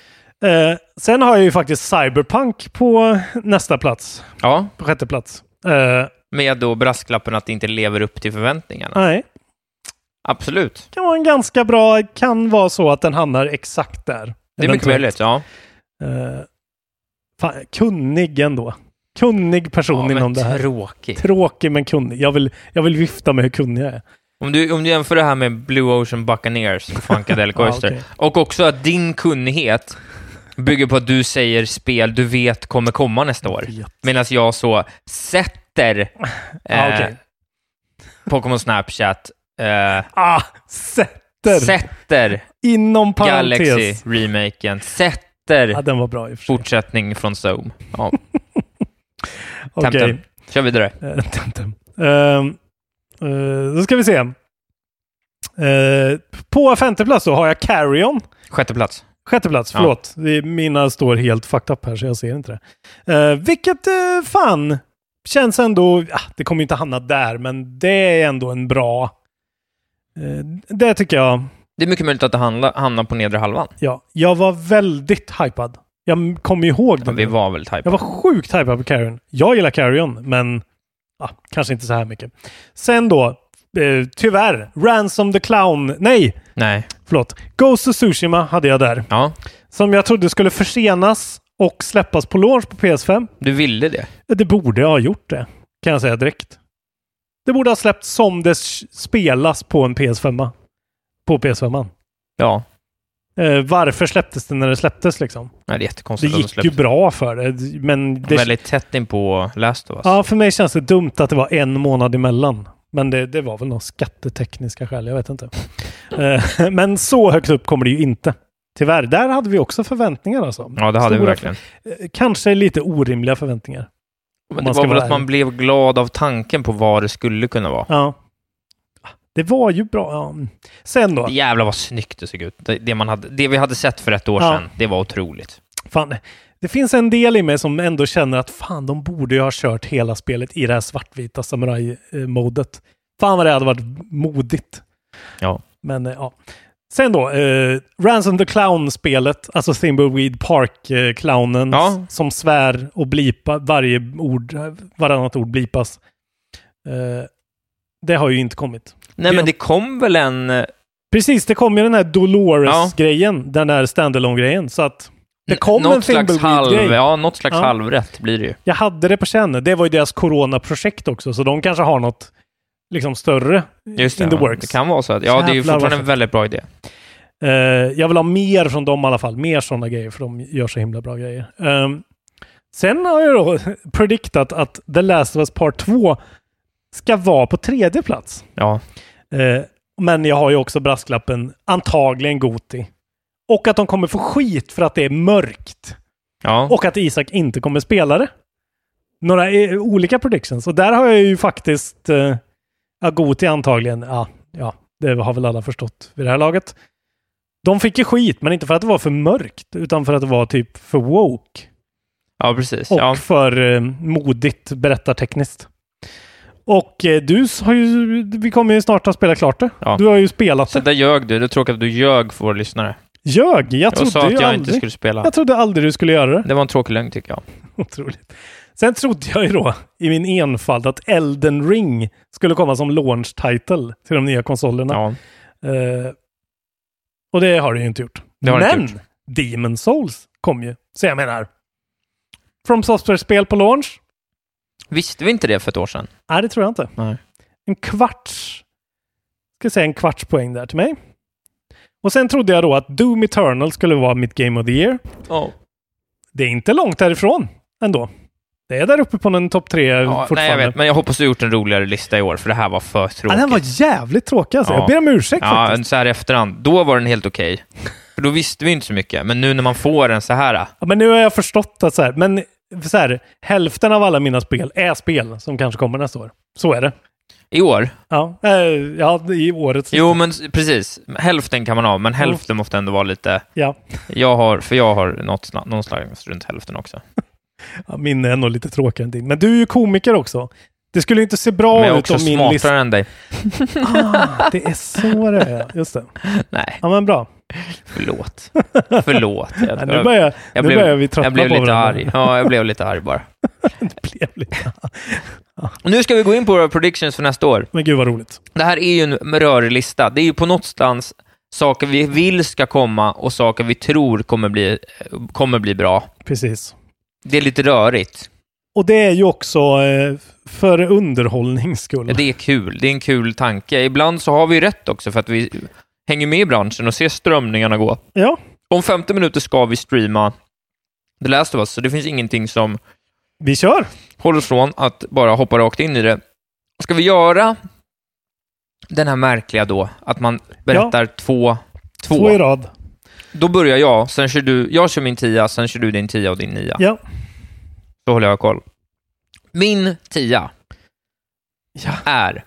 Eh, sen har jag ju faktiskt Cyberpunk på nästa plats. Ja, På sjätte plats. Eh, med då brasklappen att det inte lever upp till förväntningarna. nej, Absolut. kan vara en ganska bra, kan vara så att den hamnar exakt där. Det är mycket möjligt, ja. Eh, fan, kunnig ändå. Kunnig person ja inom det här. tråkigt. Tråkig men kunnig. Jag vill, jag vill vifta med hur kunnig jag är. Om du, om du jämför det här med Blue Ocean Buccaneers och Funkadelic Ja, Oyster, okej. och också att din kunnighet bygger på att du säger spel du vet kommer komma nästa år, medan jag så sätter eh, Ah, okej. Pokémon Snapchat, eh, Ah, sätter! sätter inom parentes. Galaxy-remaken, sätter Ja, den var bra i och för sig. fortsättning från Zoom. Ja, Okej. Temtem. Kör vidare. Eh, Temtem. Ehm, eh, då ska vi se. Eh, på femte plats då har jag Carrion. Sjätte plats. Sjätte plats, Ja. förlåt. Det är- Mina står helt fucked up här så jag ser inte det. Eh, vilket eh, fan känns ändå... Ah, det kommer ju inte hamna där, men det är ändå en bra... Eh, det tycker jag. Det är mycket möjligt att det handla, hamnar på nedre halvan. Ja, jag var väldigt hypad. Jag m- kommer ihåg det. Vi nu. var väl typ. Jag var sjukt hypad på Carrion. Jag gillar Carrion, men ah, kanske inte så här mycket. Sen då, eh, tyvärr, Ransom the Clown. Nej, Nej. förlåt. Ghost of Tsushima hade jag där. Ja, Som jag trodde skulle försenas och släppas på launch på PS5. du ville det. Det borde ha gjort det, kan jag säga direkt. Det borde ha släppts som det s- spelas på en PS5. På PS5. Ja. Eh, varför släpptes det när det släpptes liksom? Nej, det är Det jättekonstigt att de gick ju släppte bra för det, men det... väldigt tätt in på Last of Us. Ja, för mig känns det dumt att det var en månad emellan. Men det, det var väl några skattetekniska skäl, jag vet inte. Eh, men så högt upp kommer det ju inte. Tyvärr, där hade vi också förväntningar alltså. Ja, det hade vi Stora verkligen. Eh, Kanske lite orimliga förväntningar. Men det man ska var väl vara att man ärlig. blev glad av tanken på vad det skulle kunna vara. Ja. Det var ju bra. Ja. mm. Sen då. Jävlar vad snyggt det såg ut. Det, det, man hade, det vi hade sett för ett år Ja. sedan, det var otroligt. Fan, det finns en del i mig som ändå känner att fan, de borde ju ha kört hela spelet i det här svartvita samurajmodet. Fan vad det hade varit modigt. Ja. Men eh, ja. Sen då, eh, Ransom the Clown-spelet, alltså Thimbleweed Park-clownen Ja. som svär och blipar, varje ord, varannat ord blipas. Eh, det har ju inte kommit. Nej, Det- men det kom väl en... eh, Precis, det kom ju den här Dolores-grejen, den där standalone-grejen, så att det kom en något slags, halv, Thimbleweed-grej. ja, något slags Ja. halvrätt blir det ju. Jag hade det på känn. Det var ju deras coronaprojekt också, så de kanske har något liksom större Just det, in the ja. works. det kan vara så. Att, ja, det är ju Jävlar fortfarande vad en väldigt bra idé. Eh, jag vill ha mer från dem i alla fall. Mer sådana grejer, för de gör så himla bra grejer. Ehm, sen har jag då prediktat att The Last of Us Part 2 ska vara på tredje plats. Ja, Eh, men jag har ju också brasklappen antagligen Goti. Och att de kommer få skit för att det är mörkt. ja. Och att Isak inte kommer spela det. Några eh, olika predictions. Och där har jag ju faktiskt eh, ja, Goti antagligen. Ja, ja, det har väl alla förstått vid det här laget. De fick ju skit, men inte för att det var för mörkt, utan för att det var typ för woke. ja precis. Och Ja. för eh, modigt berättartekniskt. Och eh, du s- har ju, vi kommer ju snart att spela klart det. Ja. Du har ju spelat Så det. där ljög du. Det är tråkigt att du ljög för våra lyssnare. Ljög! Jag Jag trodde sa att ju jag inte aldrig. skulle spela. Jag trodde aldrig du skulle göra det. Det var en tråkig lögn tycker jag. Otroligt. Sen trodde jag ju då, i min enfald, att Elden Ring skulle komma som launch title till de nya konsolerna. Ja. Eh, och det har det ju inte gjort. Det har det Men inte gjort. Demon Souls kom ju. Så jag menar, From Software-spel på launch? Visste vi inte det för ett år sedan? Nej, det tror jag inte. Nej. En kvarts, ska säga en kvarts poäng där till mig. Och sen trodde jag då att Doom Eternal skulle vara mitt Game of the Year. Ja. Det är inte långt därifrån ändå. Det är där uppe på den topp tre Ja, nej, jag fortfarande. vet, men jag hoppas du gjort en roligare lista i år, för det här var för ja, tråkigt. den var jävligt tråkig alltså. Ja. Jag ber om ursäkt Ja, faktiskt. en så här i efterhand. Då var den helt okej. För då visste vi inte så mycket. Men nu när man får den så här. Ja, men nu har jag förstått att så här, men så här, hälften av alla mina spel är spel som kanske kommer nästa år. Så är det. I år? Ja, eh, ja i årets. Jo, men s- precis. Hälften kan man ha, men hälften måste ändå vara lite... Ja. Jag har, för jag har något, sna- någon slags runt hälften också. Ja, min är nog lite tråkigare än din. Men du är ju komiker också. Det skulle ju inte se bra men jag är ut också om min smartare lista... än dig. Ah, det är så det är. Just det. Nej, Ja, men bra. förlåt. Förlåt. Jag, Ja, nu börjar, jag nu blev- börjar vi tröttna jag blev på lite varandra. arg. Ja, jag blev lite arg bara. blev lite. Nu ska vi gå in på våra predictions för nästa år. Men gud vad roligt. Det här är ju en rörig lista. Det är ju på någonstans saker vi vill ska komma och saker vi tror kommer bli, kommer bli bra. Precis. Det är lite rörigt. Och det är ju också eh, för underhållnings skull. Ja, Det är kul. Det är en kul tanke. Ibland så har vi rätt också för att vi hänger med i branschen och ser strömningarna gå. Ja. Om 50 minuter ska vi streama The Last of Us, så det finns ingenting som Vi kör! håller oss från att bara hoppa rakt in i det. Ska vi göra den här märkliga då, att man berättar två, två, Två i rad. Då börjar jag, sen kör du, jag kör min tia, sen kör du din tia och din nia. Ja. Så håller jag koll. Min tia Ja. är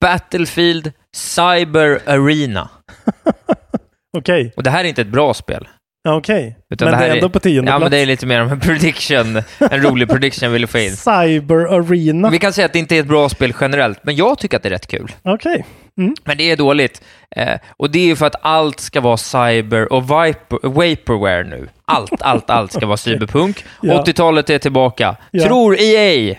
Battlefield Cyber Arena. Okej. Och det här är inte ett bra spel. Ja, okej. Utan Men det det här är ändå är- på tionde Ja, men plats. det är lite mer av en prediction, en rolig prediction vill jag få in. Cyber Arena. Vi kan säga att det inte är ett bra spel generellt, men jag tycker att det är rätt kul. Okej. Men det är dåligt. Eh, och det är ju för att allt ska vara cyber och viper, vaporware nu. Allt, allt, allt ska vara cyberpunk. Ja. 80-talet är tillbaka. Ja. Tror EA!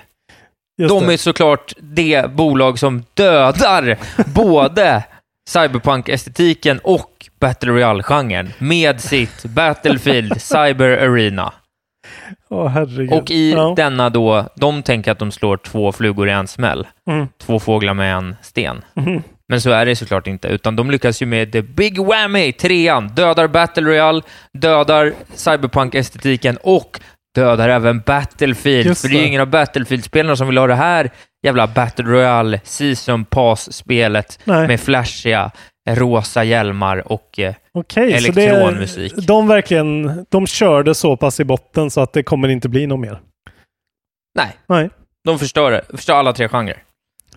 Just De det. är såklart det bolag som dödar både cyberpunk-estetiken och Battle Royale-genren med sitt Battlefield Cyber Arena. Åh, herregud. Och i ja. denna då, de tänker att de slår två flugor i en smäll. Mm. Två fåglar med en sten. Mhm. Men så är det såklart inte, utan de lyckas ju med the big whammy, trean, dödar Battle Royale, dödar Cyberpunk-estetiken och dödar även Battlefield. Just för det är ju det. ingen av Battlefield-spelarna som vill ha det här jävla Battle Royale Season Pass-spelet Nej. med flashiga rosa hjälmar och... Eh, Okej, så elektronmusik. det, de verkligen, de körde så pass i botten så att det kommer inte bli något mer. nej, Nej. de förstör, det. förstör alla tre genrer.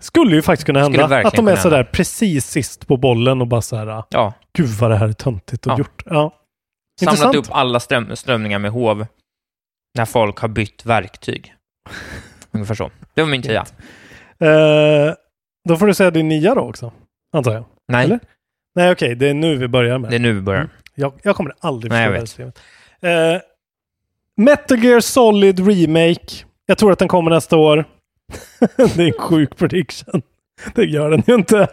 Skulle ju faktiskt kunna Skulle hända verkligen att de är kunna sådär precis sist på bollen och bara så här, "Ah, Ja. gud vad det här är töntigt och Ja. gjort. Ja. Samlat Intressant. upp alla ström, strömningar med hov när folk har bytt verktyg. Ungefär så. Det var min tia. Eh, då får du säga din nia då också, antar jag. Nej, Eller? Mm. Nej, okej, det är nu vi börjar med. det är nu vi börjar. Jag, jag kommer aldrig förstå Nej, det här jag vet. systemet. Eh, Metal Gear Solid Remake. Jag tror att den kommer nästa år. det är en sjuk prediction. Det gör den ju inte.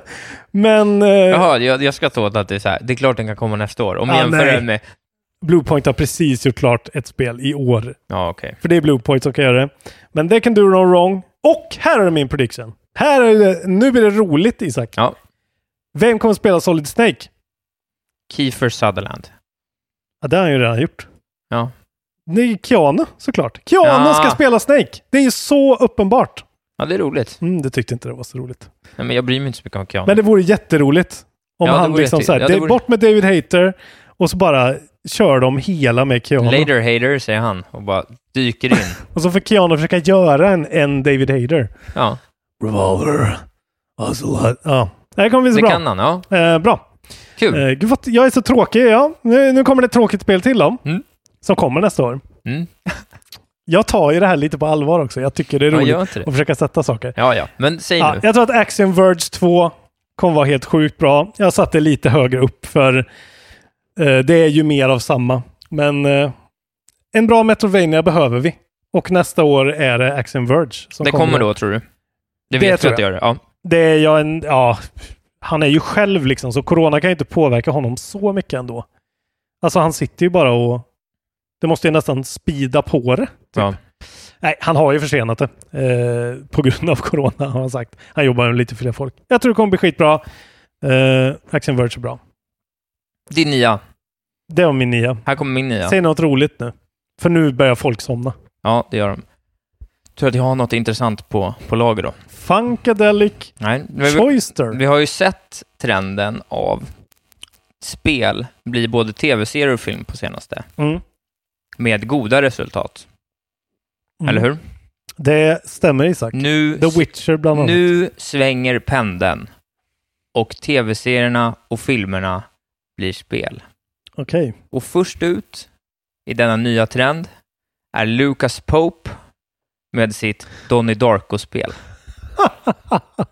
Men eh, Jaha, jag, jag ska ta åt att det är så här. Det är klart den kan komma nästa år. Om Ja, vi jämför nej. den med... Bluepoint har precis gjort klart ett spel i år. Ja, okej. För det är Bluepoint som kan göra det. Men det kan do no wrong. Och här är min prediction. Här är det, nu blir det roligt Isak. Ja. Vem kommer spela Solid Snake? Kiefer Sutherland. Ja, det har han ju redan gjort. Ja. Det är Keanu såklart. Keanu Ja. ska spela Snake. Det är ju så uppenbart. Ja, det är roligt. Mm, det tyckte inte det var så roligt. Nej, men jag bryr mig inte så mycket om Keanu. Men det vore jätteroligt. Om Ja, det han vore liksom jätte- så här, ja, det det vore- bort med David Hater och så bara kör de hela med Keanu. Later hater, säger han och bara dyker in. Och så får Keanu försöka göra en, en David Hater. Ja, Revolver. Ocelot. Ja, det här kommer bli så det bra. kan han. Ja, Eh, bra. kul. Eh, gud, vad, jag är så tråkig. Ja. Nu, nu kommer det ett tråkigt spel till då. Mm. Som kommer nästa år. Mm. Jag tar ju det här lite på allvar också. Jag tycker det är Ja, roligt gör inte det. att försöka sätta saker. Ja, ja. Men säg Ja, nu. jag tror att Axiom Verge 2 kommer vara helt sjukt bra. Jag satte lite högre upp för eh, det är ju mer av samma. Men eh, en bra Metroidvania behöver vi. Och nästa år är det Axiom Verge. Som Det kommer då, tror du? Det vet vi tror att det gör. det. Ja. Det är jag en, ja, han är ju själv liksom, så corona kan ju inte påverka honom så mycket ändå. Alltså han sitter ju bara och... Det måste ju nästan spida på det. typ. ja. Nej, han har ju försenat det. Eh, på grund av corona har han sagt. Han jobbar med lite fler folk. Jag tror det kommer bli skitbra. Eh, Action Verge är bra. Din nia. Det var min nia. Här kommer min nia. Säg något roligt nu. För nu börjar folk somna. Ja, det gör de. Tror att jag har något intressant på, på lager då. Funkadelic Nej, men vi, Choister. vi har ju sett trenden av spel bli både tv-serier och film på senaste, Mm. med goda resultat. Mm. Eller hur? Det stämmer Isak. Nu, The Witcher bland annat. nu svänger pendeln och tv-serierna och filmerna blir spel. Okej. Och först ut i denna nya trend är Lucas Pope med sitt Donnie Darko-spel.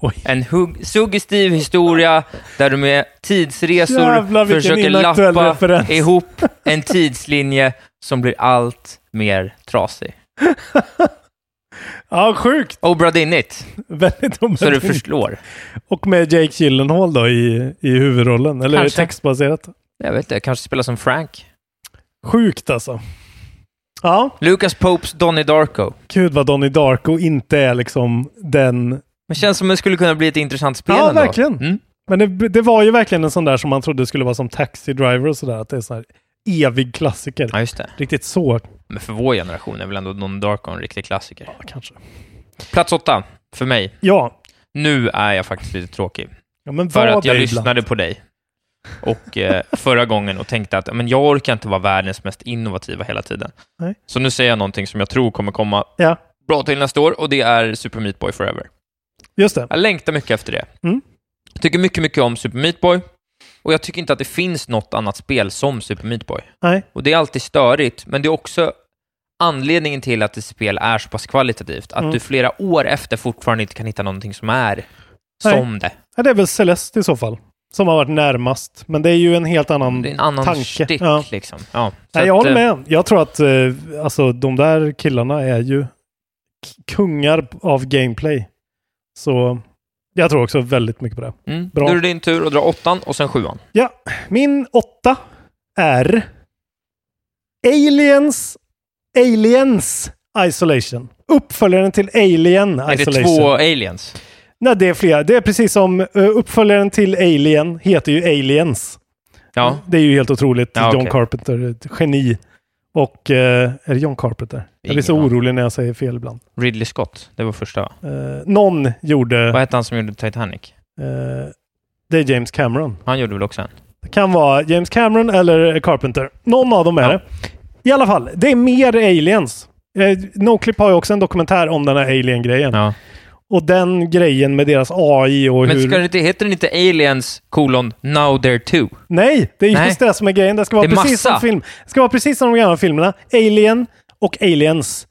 Oj. En hug- suggestiv historia där du med tidsresor Jävlar, vilken försöker inaktuell lappa referens. ihop en tidslinje som blir allt mer trasig. Ja, sjukt. Obra Dinnit, Väldigt så du omöjligt. förstår. Och med Jake Gyllenhaal då i, i huvudrollen. Eller är det Kanske. textbaserat? Jag vet inte, jag kanske spelar som Frank. Sjukt alltså. Ja, Lucas Popes Donnie Darko. gud vad Donnie Darko inte är liksom den... Men känns som det skulle kunna bli ett intressant spel Ja, ändå. verkligen. Mm. Men det, det var ju verkligen en sån där som man trodde skulle vara som Taxi Driver och sådär. Att det är sån här evig klassiker. Ja, just det. Riktigt så, Men för vår generation är väl ändå Don Darko en riktig klassiker. ja, kanske. Plats åtta, för mig. Ja, Nu är jag faktiskt lite tråkig. ja men För vad att jag det lyssnade på dig och eh, förra gången och tänkte att men jag orkar inte vara världens mest innovativa hela tiden. Nej. Så nu säger jag någonting som jag tror kommer komma Ja. bra till nästa år och det är Super Meat Boy Forever. Just det. Jag längtar mycket efter det. Mm. Jag tycker mycket, mycket om Super Meat Boy och jag tycker inte att det finns något annat spel som Super Meat Boy. Nej. Och det är alltid störigt, men det är också anledningen till att ett spel är så pass kvalitativt, att Mm. du flera år efter fortfarande inte kan hitta någonting som är Nej. som det. Ja, det är väl Celeste i så fall. Som har varit närmast. Men det är ju en helt annan... Det är en annan Tanke, stick ja. liksom. Ja, så Nej, jag att, håller eh, med. Jag tror att eh, alltså, de där killarna är ju k- kungar av gameplay. Så jag tror också väldigt mycket på det. Mm. Bra. Nu är det din tur att dra åttan och sen sjuan. Ja, min åtta är Aliens Aliens Isolation. Uppföljaren till Alien Är det Isolation. två aliens? Nej, det är flera. Det är precis som eh, uppföljaren till Alien heter ju Aliens. Ja. Det är ju helt otroligt. Ja, John okej. Carpenter, ett geni. Och eh, är det John Carpenter? Jag blir Ingen så aning. orolig när jag säger fel ibland. Ridley Scott, det var första va? Eh, någon gjorde... Vad hette han som gjorde Titanic? Eh, det är James Cameron. Han gjorde väl också en? Det kan vara James Cameron eller Carpenter. Någon av dem är Ja. det. I alla fall, det är mer aliens. Eh, Noclip har ju också en dokumentär om den här alien-grejen. Ja. Och den grejen med deras AI och Men hur... ska det inte, heter den inte Aliens kolon Now There Too? Nej, det är Nej. just det som är grejen. Det ska vara, Det är precis som, massa. film. Det ska vara precis som de gamla filmerna. Alien och Aliens.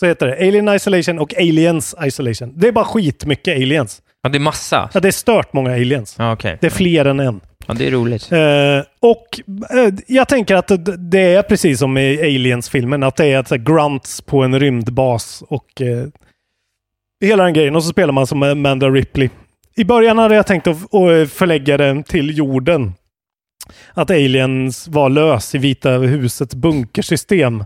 Så heter det. Alien Isolation och Aliens Isolation. Det är bara skitmycket aliens. Ja, det är massa. Ja, det är stört många aliens. Ja, okej. Det är fler än en. Ja, det är roligt. Eh, och eh, jag tänker att d- det är precis som i Aliens-filmen, att det är ett, så här, grunts på en rymdbas och eh, hela den grejen. Och så spelar man som Amanda Ripley. I början hade jag tänkt att att förlägga den till jorden. Att aliens var lös i Vita husets bunkersystem.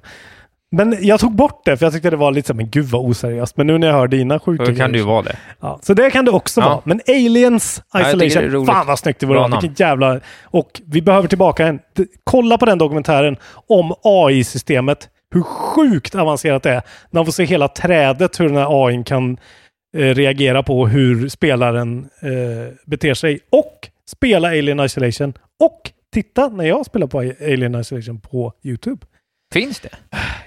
Men jag tog bort det, för jag tyckte det var lite så här, men gud vad oseriöst. Men nu när jag hör dina sjuka Då kan det ju grejer- vara det. Ja, så det kan det också Ja. vara. Men Aliens jag tycker det är Isolation, roligt. fan vad snyggt det vore. Bra att ha. Vilken jävla... Och vi behöver tillbaka den. D- Kolla på den dokumentären om AI-systemet. Hur sjukt avancerat det är. När man får se hela trädet, hur den här AI kan eh, reagera på hur spelaren eh, beter sig. Och spela Alien Isolation. Och titta när jag spelar på Alien Isolation på YouTube. Finns det?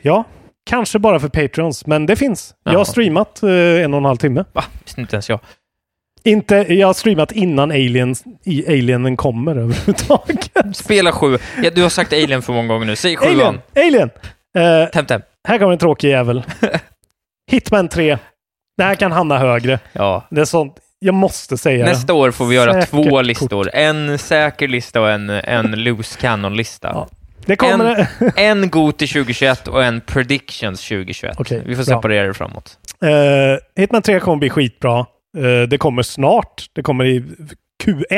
Ja, kanske bara för Patreons, men det finns. Jag har Jaha. streamat eh, en och en halv timme. Va? Visste inte ens jag. Inte, jag har streamat innan aliens, i alienen kommer överhuvudtaget. Spela sju. Ja, du har sagt Alien för många gånger nu. Säg sjuan. Alien! Alien! Eh, Temtem. här kommer en tråkig jävel. Hitman 3. Det här kan hamna högre. Ja. Det är sånt. Jag måste säga det. Nästa år får vi göra Säkert två kort. listor. En säker lista och en, en loose cannon-lista. Ja. Det kommer... En god till 2021 och en predictions 2021. Okej, vi får bra. separera det framåt. Eh, Hitman 3 kommer bli skitbra. Eh, det kommer snart. Det kommer i Q1.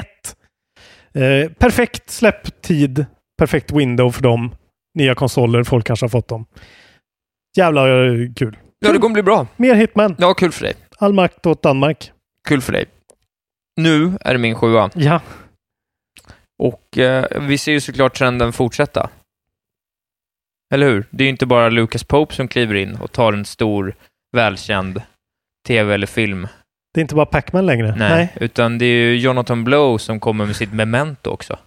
Eh, perfekt släpptid. Perfekt window för dem. Nya konsoler. Folk kanske har fått dem. Jävla eh, kul. Ja, det kommer bli bra. Mer Hitman. Ja, kul för dig. All makt åt Danmark. Kul för dig. Nu är det min sjua. Ja. Och eh, vi ser ju såklart trenden fortsätta. Eller hur? Det är ju inte bara Lucas Pope som kliver in och tar en stor, välkänd tv eller film. Det är inte bara Pac-Man längre? Nej, utan det är ju Jonathan Blow som kommer med sitt memento också.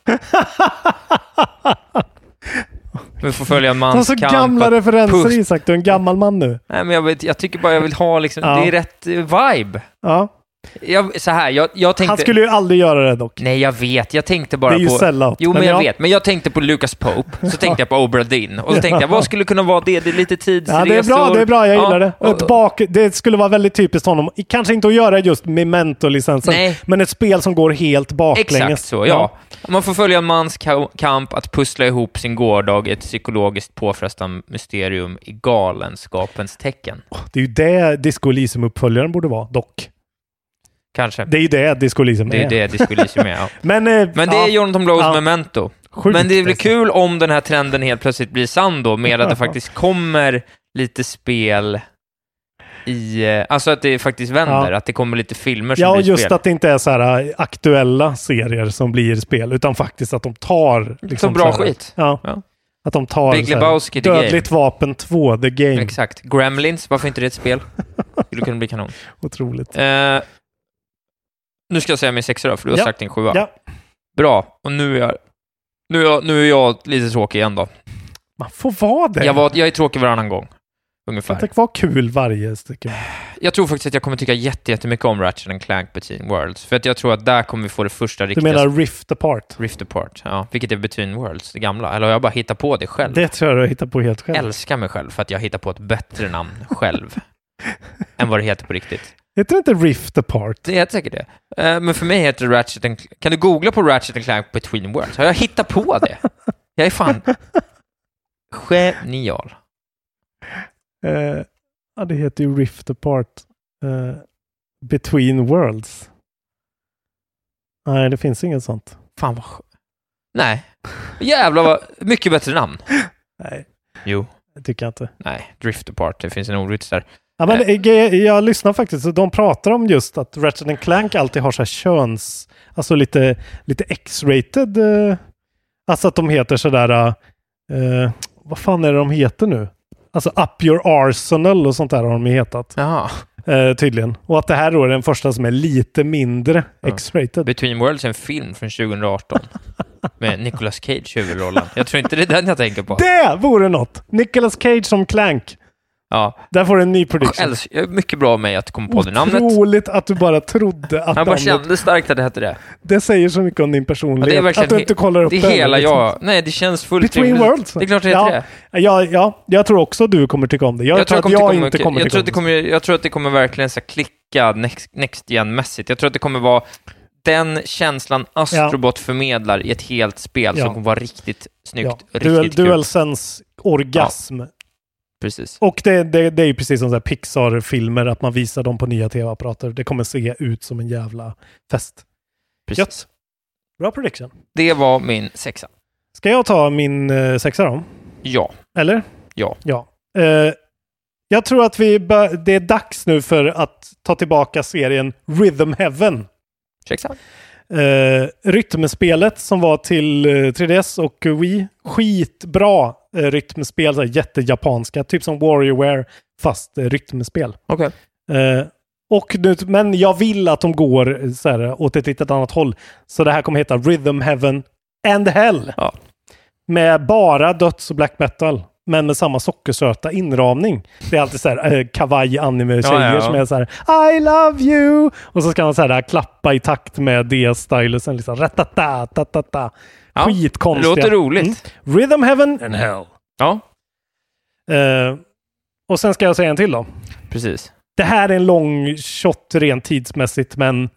Vi får följa en Ta mans så kamp. gamla att referenser puss- Isak, du är en gammal man nu. Nej, men jag, vet, jag tycker bara jag vill ha liksom, Ja. det är rätt eh, vibe. Ja. Jag, så här, jag, jag tänkte... Han skulle ju aldrig göra det dock. Nej, jag vet. Jag tänkte bara Det är ju på... sellout, Jo, men, men jag ja. vet. Men jag tänkte på Lucas Pope, så tänkte jag på Obra Dinn. Och så tänkte jag, vad skulle kunna vara det? Det är lite tidsresor. Ja, det är bra, det är bra. Jag gillar det. och- Ett bak, det skulle vara väldigt typiskt honom. Kanske inte att göra just Memento-licensen, Nej. men ett spel som går helt baklänges. Exakt så, ja. Man får följa en mans ka- kamp att pussla ihop sin gårdag i ett psykologiskt påfrestande mysterium i galenskapens tecken. Det är ju det Disco Elysium-uppföljaren borde vara, dock. Kanske. Det är ju det Disco Elysium Det är det det skulle liksom är. Ja. Men, eh, Men det är ja. Jonathan Blows Ja. memento. Sjukt, Men det blir alltså. kul om den här trenden helt plötsligt blir sann då, med att det faktiskt kommer lite spel i... eh, Alltså att det faktiskt vänder, Ja. att det kommer lite filmer som Ja, blir just spel. att det inte är så här eh, aktuella serier som blir spel, utan faktiskt att de tar... Liksom, bra så här, skit. Ja. Ja. Att de tar Big så här, Lebowski, The Game. Dödligt vapen 2, The Game. Exakt. Gremlins, varför inte det ett spel? Skulle kunna bli kanon. Otroligt. Eh, nu ska jag säga min sexa då, för du har Ja. sagt din sjua. Ja. Bra, och nu är, jag, nu, är jag, nu är jag lite tråkig igen då. Man får vara det. Jag, var, jag är tråkig varannan gång, ungefär. Tänk vad vara kul varje stycke. Jag tror faktiskt att jag kommer tycka jätte- jättemycket om Ratchet and Clank Between Worlds, för att jag tror att där kommer vi få det första Du riktiga... menar Rift Apart? Rift Apart, ja. Vilket är Between Worlds, det gamla. Eller har jag bara hittat på det själv? Det tror jag du hittar på helt själv. Älskar mig själv för att jag hittar på ett bättre namn själv än vad det heter på riktigt. Heter det inte Rift Apart? Det heter säkert det. Eh, Men för mig heter det Ratchet and Clank. Kan du googla på Ratchet and Clank Between Worlds? Har jag hittat på det? Jag är fan genial. Eh, ja, det heter ju Rift Apart. eh, Between Worlds. Nej, det finns inget sånt. Fan vad skö- Nej. Jävlar vad... Mycket bättre namn. Nej, Jo. det tycker jag inte. Nej, Drift Apart. Det finns en ordvits där. Ja, men, eh, ge- jag lyssnar faktiskt, och de pratar om just att Ratchet and Clank alltid har så här köns... Alltså lite, lite X-rated. eh, alltså att de heter sådär... eh, vad fan är det de heter nu? Alltså Up Your Arsenal och sånt där har de ju hetat. Jaha. Eh, tydligen. Och att det här då är den första som är lite mindre X-rated. Between Worlds är en film från 2018 med Nicolas Cage i huvudrollen. Jag tror inte det är den jag tänker på. Det vore något! Nicolas Cage som Clank. Ja. Där får du en ny prediction. Älsk- Mycket bra av mig att komma på det namnet. Otroligt att du bara trodde att Jag bara namnet... kände starkt att det hette det. Det säger så mycket om din Ja, det är personlighet. verkligen att du inte kollar upp det. det. är hela liksom. jag. Nej, det känns fullt Between rimligt. Worlds. Det är klart det heter ja. det. Ja, ja, jag tror också du kommer tycka om det. Jag, tror att det jag kommer- inte kommer jag tror att det tycka om kommer, jag tror att det kommer verkligen så här klicka next, next gen-mässigt. Jag tror att det kommer vara den känslan Astrobot förmedlar i ett helt spel Ja. som kommer vara riktigt det. snyggt, Ja. riktigt Dual, kul. DualSense orgasm. Precis. Och det, det, det är ju precis som så här Pixar-filmer, att man visar dem på nya tv-apparater. Det kommer se ut som en jävla fest. Precis. Gött. Bra prediction. Det var min sexa. Ska jag ta min eh, sexa då? Ja. Eller? Ja. ja. Eh, jag tror att vi bör, det är dags nu för att ta tillbaka serien Rhythm Heaven. Sexa. Eh, rytmspelet som var till eh, 3DS och Wii. Skitbra eh, rytmspel, så här jättejapanska. Typ som WarioWare fast eh, rytmspel. Okej. Eh, och nu, men jag vill att de går eh, så här, åt ett litet annat håll. Så det här kommer heta Rhythm Heaven and Hell. Ja. Med bara döds och black metal. Men med samma sockersöta inramning. Det är alltid så här eh, kavaj anime tjejer Ja, ja, ja. som är så här I love you! Och så ska man så här eh, klappa i takt med DS-stylusen. Liksom, ratata, tatata. Ja, Skitkonstiga. låter roligt. Mm. Rhythm Heaven and Hell. Ja, Eh, och sen ska jag säga en till då. precis. Det här är en lång shot rent tidsmässigt, men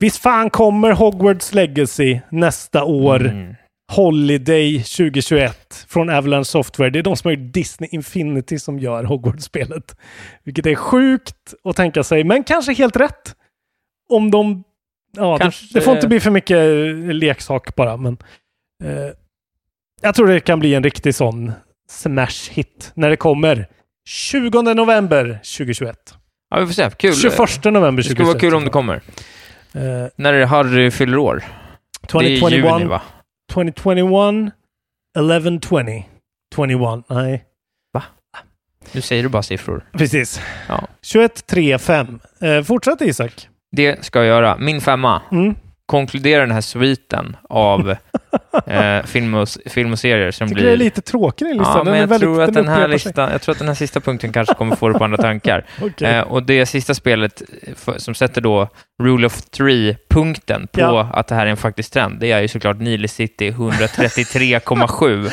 visst fan kommer Hogwarts Legacy nästa år. Mm. Holiday 2021 från Avalanche Software. Det är de som har gjort Disney Infinity som gör Hogwarts-spelet. Vilket är sjukt att tänka sig, men kanske helt rätt. Om de... Ja, Kanske- det, det får inte bli för mycket eh, leksak bara, men... Eh, jag tror det kan bli en riktig sån smash-hit när det kommer. 20 november 2021. Ja, vi får se. Kul. 21 november 2021. Det skulle vara kul om det kommer. Eh, När är det Harry fyller år? Det är i 2021, juni, va? 2021, 1120. 21, nej. Nu säger du bara siffror. Precis. Ja. 21, 3, 5. Eh, fortsätt Isak. Det ska jag göra. Min femma. Mm. Konkludera den här sviten av eh, film, och, film och serier som Tycker blir... det är lite tråkig den listan. ja, men är jag, väldigt- tror att den här upprepar sig. listan, jag tror att den här sista punkten kanske kommer få dig på andra tankar. Okej. Eh, och det sista spelet eh, för, som sätter då Rule of Three-punkten på Ja. att det här är en faktisk trend, det är ju såklart Nile City 133,7.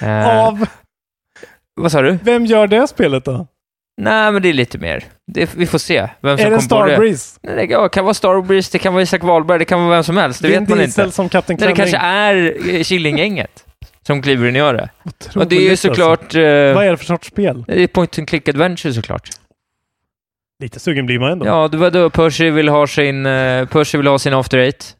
eh, Av, vad sa du? vem gör det spelet då? Nej, men det är lite mer. Det, vi får se vem som Är det kom på det. Starbreeze? Nej, det ja, kan vara Starbreeze, det kan vara Isak Wahlberg, det kan vara vem som helst. Det Vin vet man Diesel inte. som Kapten Nej, det Klänning? kanske är eh, Killinggänget som kliver in och gör det. Otroligt, Och det är ju alltså. såklart... eh, Vad är det för sorts spel? Det är Point and Click Adventure såklart. Lite sugen blir man ändå. Ja, det var då Percy vill ha sin, eh, Percy vill ha sin After Eight.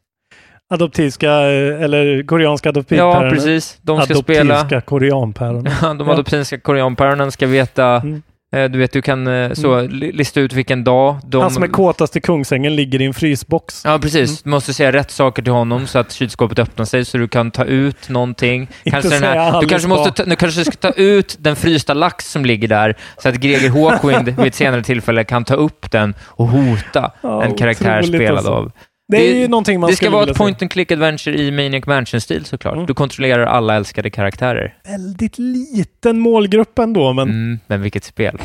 Adoptivska, eh, eller koreanska adoptivpäron. Ja, precis. De ska adoptivska spela. koreanpäron. Ja, de Ja. adoptivska koreanpäronen ska veta, Mm. eh, du vet, du kan eh, så li- lista ut vilken dag de... Han som är Mm. kåtast i Kungsängen ligger i en frysbox. Ja, precis. Du måste säga rätt saker till honom så att kylskåpet öppnar sig så du kan ta ut någonting. Kanske den säga här, du, Alice kanske Bah. måste ta, du kanske ska ta ut den frysta lax som ligger där så att Greger Hawkwind vid ett senare tillfälle kan ta upp den och hota Ja, en karaktär otroligt spelad alltså. av Det är det- ju någonting man det ska skulle vara vilja ett se. point and click adventure i Maniac Mansion-stil såklart. Mm. Du kontrollerar alla älskade karaktärer. Väldigt liten målgrupp ändå, men Mm, men vilket spel.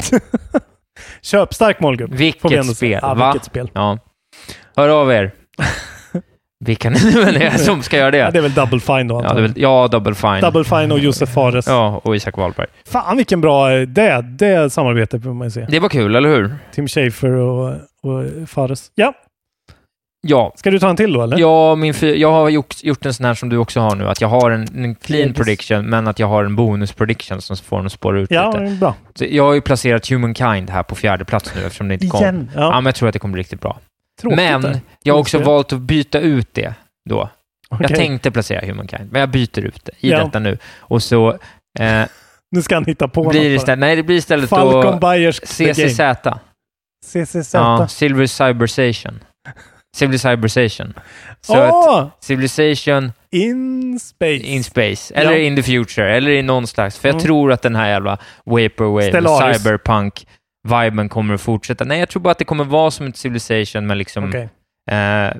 köpstark målgrupp. får vi ändå Vilket säga. spel, Ja, va? vilket spel. Ja. Hör av er. Vilka ni nu än är som ska göra det. Ja, det är väl Double Fine då, Ja, det är antagligen. väl, ja Double Fine. Double Fine och Josef Fares. Ja, och Isak Wahlberg. Fan vilken bra... eh, Det, det samarbetet får man ju se. Det var kul, eller hur? Tim Schafer och, och Fares. Ja, Ja. ska du ta en till då eller? Ja, min fy- jag har gjort, gjort en sån här som du också har nu, att jag har en, en clean Yes. prediction, men att jag har en bonus prediction som får den att spåra ut Ja, lite. bra. Så jag har ju placerat Humankind här på fjärde plats nu eftersom det inte kom. Igen. Ja, Ja, men jag tror att det kommer bli riktigt bra. tråkigt men där. jag har också Okej. valt att byta ut det då. Jag Okej. tänkte placera Humankind, men jag byter ut det i Ja. detta nu. Och så eh, Nu ska han hitta på blir det något. bara. istället, nej det blir istället Falcon då Buyers The CCZ. Game. CCZ. Ja, Silver Cybersation. Silver Cybersation. Så att Åh! Civilization in Space. in space, eller Ja. in the future, eller i någon slags, för jag Mm. tror att den här jävla vaporwave, Stellaris. cyberpunk viben kommer att fortsätta. Nej, jag tror bara att det kommer vara som ett Civilization, men liksom... Okej. Eh,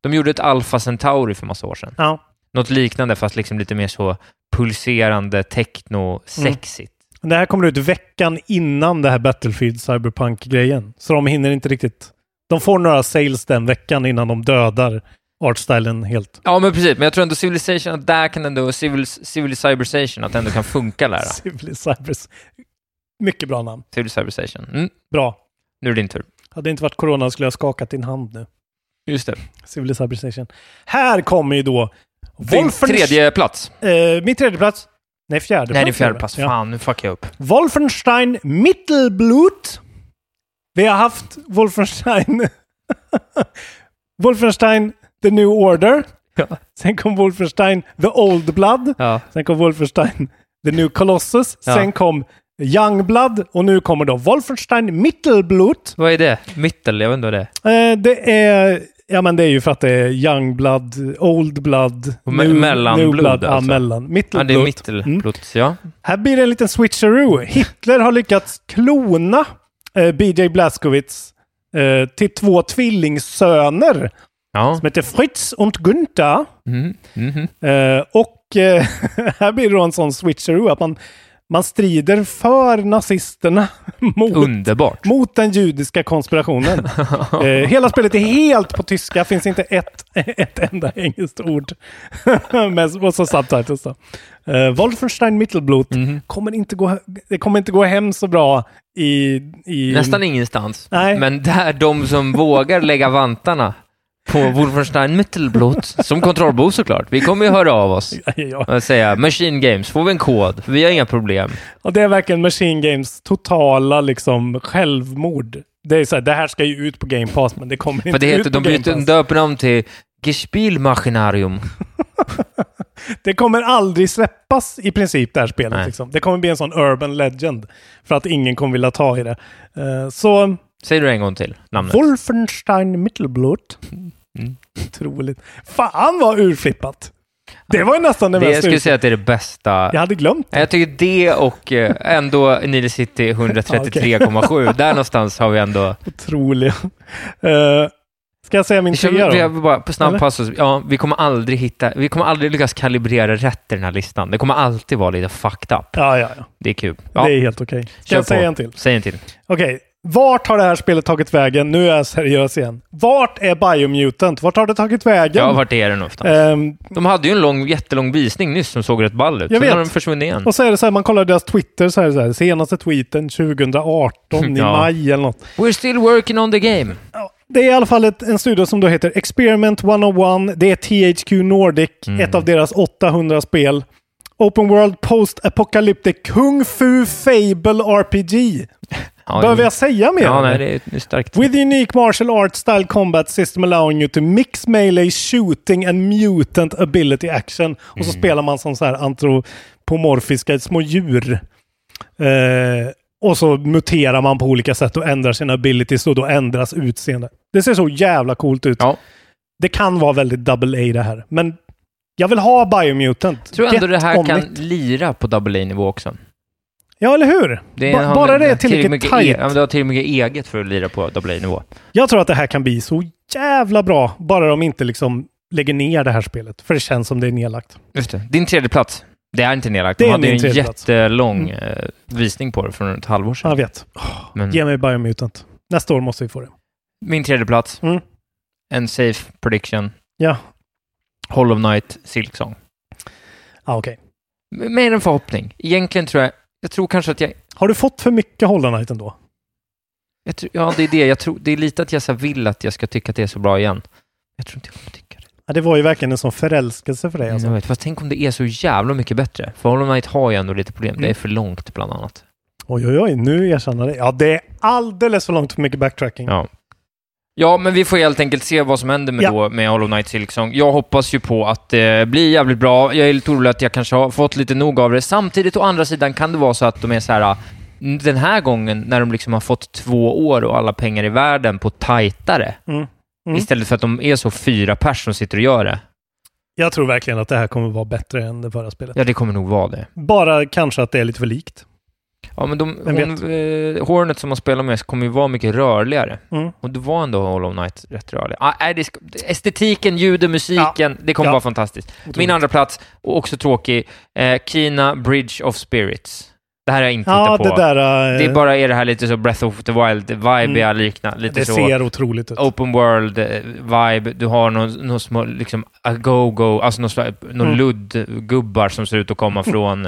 de gjorde ett Alpha Centauri för massa år sedan. Ja. Något liknande, fast liksom lite mer så pulserande, techno-sexigt. Det här kommer ut veckan innan det här Battlefield Cyberpunk-grejen. Så de hinner inte riktigt... De får några sales den veckan innan de dödar artstylen helt. Ja, men precis. Men jag tror ändå Civilization, att där kan ändå, Civil, Civil Cybersation, att det ändå kan funka där. Civil Cybers. Mycket bra namn. Civil Cyberstation. Mm, Bra. nu är det din tur. Hade det inte varit corona skulle jag ha skakat din hand nu. Just det. Civil Cyberstation. Här kommer ju då... Din Wolfenstein- tredje plats. Eh, min tredje plats. Nej, fjärde plats Nej, din är fjärde det. plats. Ja. Fan, nu fuckar jag upp. Wolfenstein Mittelblut. Vi har haft Wolfenstein... Wolfenstein The New Order. Sen kom Wolfenstein The Old Blood. Ja. Sen kom Wolfenstein The New Colossus. Ja. Sen kom Young Blood. Och nu kommer då Wolfenstein Mittelblut. Vad är det? Mittel? Jag vet inte vad det är. Eh, det är... Ja men det är ju för att det är Young Blood, Old Blood, Och me- mellanblod Ja, alltså. mellan. Ja, Mittelblut. det är Mm. mittelblot. Ja. Här blir det en liten switcheroo. Hitler har lyckats klona eh, BJ Blazkowicz eh, till två tvillingsöner Ja. som heter Fritz och Gunther. Mm. Mhm. Eh, och eh, här blir det då en sån switcheroo att man, man strider för nazisterna mot, Underbart. mot den judiska konspirationen. eh, hela spelet är helt på tyska, finns inte ett, ett enda engelskt ord. Men, och så subtitles då. Eh, Wolfenstein Mittelblut Mhm. kommer inte gå, det kommer inte gå hem så bra i... i Nästan ingenstans. Mm. Nej. Men där de som vågar lägga vantarna på Wolfenstein Mittelblot, som kontrollbov såklart. Vi kommer ju höra av oss ja, och säga Machine Games, får vi en kod? Vi har inga problem. och det är verkligen Machine Games totala liksom självmord. Det är så här, det här ska ju ut på Game Pass, men det kommer För inte det heter, ut alltså. på de Game byter, Pass. döper namn till Gespielmaskinarium. Det kommer aldrig släppas i princip det här spelet. Nej. Liksom. Det kommer bli en sån urban legend för att ingen kommer vilja ta i det. Eh, så Säger du det en gång till namnet? Mm. Wolfenstein Mittelblut. Otroligt. Fan vad urflippat! Det var ju nästan det, Det mest jag skulle usla. säga att det är det bästa. Jag hade glömt det. Jag tycker det och eh, ändå Nile City 133,7. Där någonstans har vi ändå... Otroliga. Eh, ska jag säga min Vi kör- trea vi har då? bara på snabb Eller? passus. Ja, vi kommer aldrig hitta... Vi kommer aldrig lyckas kalibrera rätt i den här listan. Det kommer alltid vara lite fucked up. Ja, ja, ja. Det är kul. Ja, Det är helt okej. Ska kör jag säga på. en till? Säg en till. Okej. Vart har det här spelet tagit vägen? Nu är jag seriös igen. Vart är Biomutant? Vart har det tagit vägen? Ja, vart Mm. är den någonstans? Ehm, De hade ju en lång, jättelång visning nyss som såg rätt ball ut. Jag Sen har vet. den försvunnit igen. och så är det så här, man kollar deras Twitter så här, så här senaste tweeten 2018 i Ja. maj eller något. We're still working on the game. Det är i alla fall ett, en studio som då heter Experiment 101. Det är THQ Nordic, Mm. ett av deras 800 spel. Open World Post Apocalyptic Kung Fu Fable RPG. Ja, Behöver jag säga mer? Ja, nej, det är- det är starkt. With unique martial arts style combat system allowing you to mix melee shooting and mutant ability action. Och så Mm. spelar man som så här antropomorfiska små djur. Eh, och så muterar man på olika sätt och ändrar sina abilities och då ändras utseende. Det ser så jävla coolt ut. Ja. Det kan vara väldigt double A det här, men jag vill ha Biomutant. Jag tror ändå Get det här on kan it. lira på double A-nivå också. Ja, eller hur? Det Ba- har- bara det är mycket tillräckligt e- tight. ja, men du har tillräckligt mycket eget för att lira på double A-nivå. Jag tror att det här kan bli så jävla bra, bara de inte liksom lägger ner det här spelet. För det känns som det är nedlagt. Just det. Din tredje plats. Det är inte nedlagt. Det De är hade ju min en tredje plats. Mm. jättelång eh, visning på det från ett halvår sedan. Jag vet. Men Ge mig Biomutant. Nästa år måste vi få det. Min tredje plats. Mm. En safe prediction. Ja, Hollow Knight, Silksong. ah, okej. M- Mer en förhoppning. Egentligen tror jag... Jag tror kanske att jag... Har du fått för mycket Hollow Knight ändå? jag tror, ja, det är det. Jag tror, det är lite att jag så här vill att jag ska tycka att det är så bra igen. Jag tror inte jag kommer tycka det. Ja, det var ju verkligen en sån förälskelse för dig. Alltså. Jag vet, fast tänk om det är så jävla mycket bättre. För Hollow Knight har ju ändå lite problem. Mm. Det är för långt, bland annat. Oj, oj, oj. Nu erkänner jag det. Ja, det är alldeles för långt för mycket backtracking. Ja. Ja, men vi får helt enkelt se vad som händer med, Mm. Ja. då, med Hollow Knight Silksong. Jag hoppas ju på att det blir jävligt bra. Jag är lite orolig att jag kanske har fått lite nog av det. Samtidigt, å andra sidan, kan det vara så att de är så här... ah, Den här gången, när de liksom har fått två år och alla pengar i världen på tajtare, Mm. Mm. istället för att de är så fyra pers som sitter och gör det. Jag tror verkligen att det här kommer vara bättre än det förra spelet. Ja, det kommer nog vara det. Bara kanske att det är lite för likt. Ja, men de, Vem hon, eh, Hornet som man spelar med kommer ju vara mycket rörligare. Mm. Och det var ändå Hollow Knight rätt rörlig. Ah, nej, det ska, estetiken, ljudet, musiken, det kommer Ja. vara fantastiskt. Min andra plats, och också tråkig, eh, Kina Bridge of Spirits. Det här har jag inte Ja, hittat på. det där... eh, Mm. Det är bara är det här lite så Breath of the Wild-vibiga, likna, eh, lite det så ser otroligt ut. open world-vibe. Du har någon, någon små, liksom, a go-go, alltså någon, slags- någon Mm. luddgubbar som ser ut att komma från,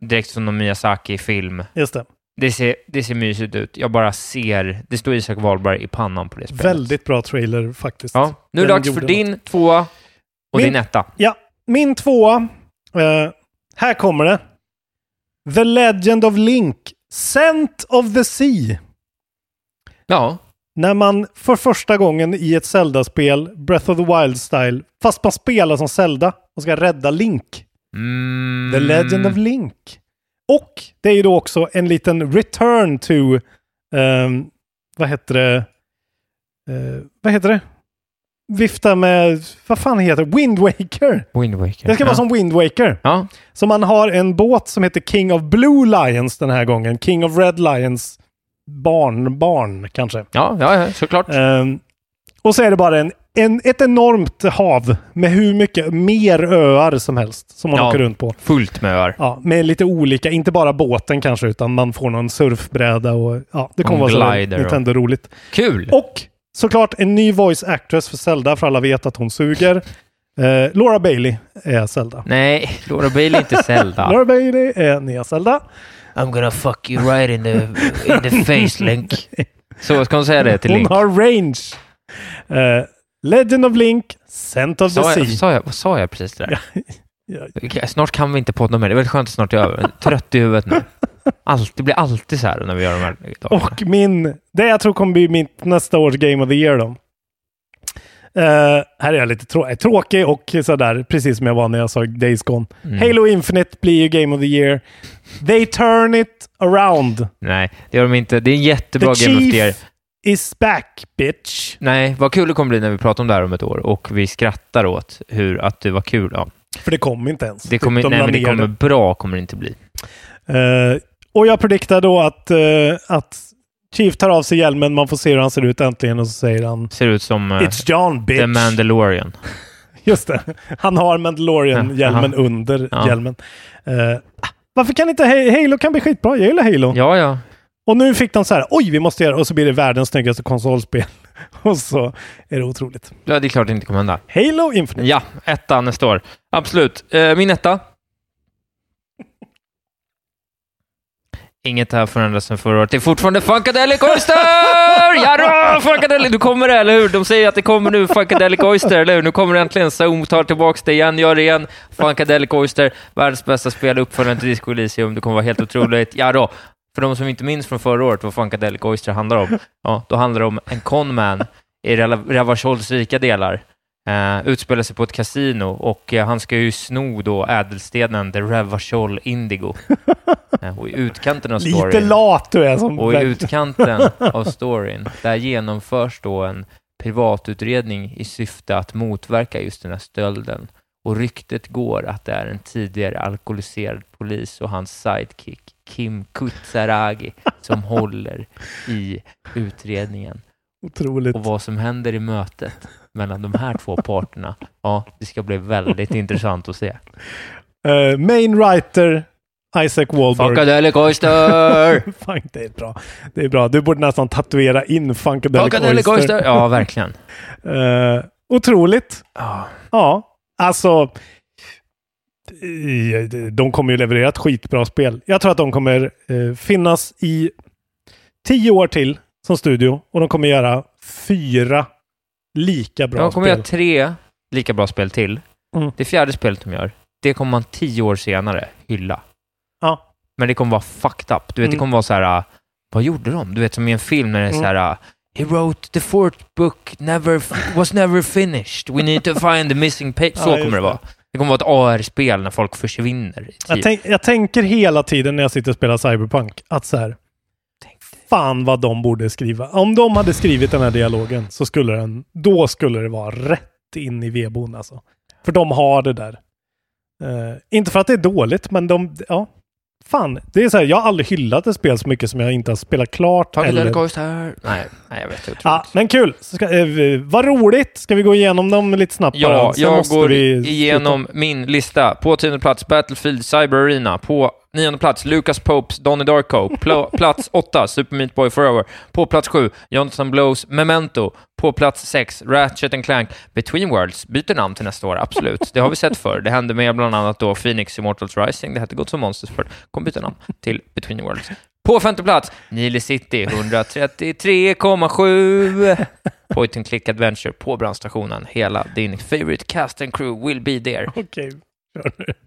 direkt från någon Miyazaki-film. Just det. Det ser, det ser mysigt ut. Jag bara ser, det står Isak Wahlberg i pannan på det spelet. Väldigt bra trailer faktiskt. Ja, nu är det Den dags för gjorde din tvåa och Min- din etta. Ja, min tvåa. Eh, här kommer det. The Legend of Link. Scent of the Sea. Ja, När man för första gången i ett Zelda-spel, Breath of the Wild-style, fast man spelar som Zelda och ska rädda Link. mm, The Legend of Link. Och det är ju då också en liten return to, ehm, vad heter det, Eh, vad heter det? Vifta med, vad fan heter det? Wind Waker. Wind Waker. Det ska ja. vara som Wind Waker. Ja, Så man har en båt som heter King of Blue Lions den här gången. King of Red Lions barnbarn kanske. ja, ja, ja såklart. Ehm, och så är det bara en, en, ett enormt hav med hur mycket mer öar som helst som man Ja. åker runt på. Fullt med öar. Ja, med lite olika, inte bara båten kanske, utan man får någon surfbräda och ja, det kommer Och vara så glider och- Nintendo-roligt. Kul! Och såklart en ny voice actress för Zelda, för alla vet att hon suger. Eh, Laura Bailey är Zelda. Nej, Laura Bailey är inte Zelda. Laura Bailey är nya Zelda. I'm gonna fuck you right in the, in the face, Link. Så ska hon säga det till Hon Link? har range. Eh, Legend of Link, Scent of the Sa jag, Sea. sa jag, vad sa jag precis där? ja. Okej, Snart kan vi inte podda mer. Det är väldigt skönt att snart är över. Trött i huvudet nu. Allt, det blir alltid så här när vi gör de här dagarna. Och min, det jag tror kommer bli mitt nästa års Game of the Year då. Eh, här är jag lite trå- tråkig och sådär, precis som jag var när jag sa Days Gone. Mm. Halo Infinite blir ju Game of the Year. They turn it around. Nej, det gör de inte. Det är en jättebra the Game of the Year. Chief is back, bitch. Nej, vad kul det kommer bli när vi pratar om det här om ett år och vi skrattar åt hur att det var kul. Ja, För det kom inte ens. Det kommer, De nej, la men det ner kommer bra kommer det inte bli. Eh, och jag prediktar då att, eh, att Chief tar av sig hjälmen, man får se hur han ser ut äntligen och så säger han Ser ut som eh, It's John bitch! The Mandalorian. Just det. Han har Mandalorian-hjälmen Ja, under Ja. hjälmen. Eh, varför kan inte Ha- Halo kan bli skitbra? Jag gillar Halo. Ja, ja. Och nu fick de så här, oj, vi måste göra, och så blir det världens snyggaste konsolspel. och så är det otroligt. Ja, det är klart det inte kommer hända. Halo Infinite. Ja, etta nästa år. Absolut. Eh, min etta. Inget här förändras sen förra året. Det är fortfarande Funkadelic Oyster! Jadå, Funkadelic! Du kommer det, eller hur? De säger att det kommer nu, Funkadelic Oyster, eller hur? Nu kommer det äntligen. Zoom tar tillbaka det igen, gör det igen. Funkadelic Oyster, världens bästa spel, uppföljaren till Disco Elysium. Det kommer vara helt otroligt. Jadå! För de som inte minns från förra året vad Funkadelic Oyster handlar om, ja, då handlar det om en conman i rela- Ravashols rika delar. Uh, utspelar sig på ett kasino och eh, han ska ju sno då ädelstenen The Revachol Indigo. Eh, och i utkanten av storyn... Lite lat du är som... Och i utkanten av storyn, där genomförs då en privatutredning i syfte att motverka just den här stölden. Och ryktet går att det är en tidigare alkoholiserad polis och hans sidekick Kim Kutsaragi som håller i utredningen. Otroligt. Och vad som händer i mötet mellan de här två parterna, ja, det ska bli väldigt intressant att se. Eh, main writer, Isaac Wahlberg. Funkadelic Oyster! Fan, det är bra. Det är bra. Du borde nästan tatuera in Funkadelic Funkadelic Oyster. Oyster! Ja, verkligen. Eh, otroligt. Ja. Ja, alltså. eh, De kommer ju leverera ett skitbra spel. Jag tror att de kommer eh, finnas i tio år till som studio och de kommer göra fyra lika bra de kommer spel. göra tre lika bra spel till. Mm. Det fjärde spelet de gör, det kommer man tio år senare hylla. Ja. Men det kommer vara fucked up. Du vet, det Mm. kommer vara så här, äh, vad gjorde de? Du vet, som i en film när det är så här, äh, He wrote the fourth book, never, was never finished. We need to find the missing page. Så Ja, just kommer det det. vara. Det kommer vara ett AR-spel när folk försvinner. i Jag, tid. tänk, jag tänker hela tiden när jag sitter och spelar Cyberpunk att så här, fan vad de borde skriva. Om de hade skrivit den här dialogen så skulle den, då skulle det vara rätt in i vedboden alltså. För de har det där. Eh, inte för att det är dåligt, men de, ja. Fan, det är så här, jag har aldrig hyllat ett spel så mycket som jag inte har spelat klart. Taget eller- eller Ghost här. Nej, nej, jag vet inte. Ja, men kul! Så Ska, eh, vad roligt! Ska vi gå igenom dem lite snabbt? bara? Ja, Sen jag måste går vi sluta. igenom min lista. På tionde plats Battlefield Cyber Arena. På nionde plats Lucas Popes Donnie Darko. Pla- plats åtta Super Meat Boy Forever. På plats sju Jonathan Blows Memento. På plats sex Ratchet and Clank Between Worlds. Byter namn till nästa år, absolut. Det har vi sett förr. Det hände med bland annat då Phoenix Immortals Rising. Det hette Gott som Monsters förr. Kommer byta namn till Between Worlds. På femte plats, Nile City 133,7. Point and click adventure på brandstationen. Hela din favorite cast and crew will be there. Okej, kör nu.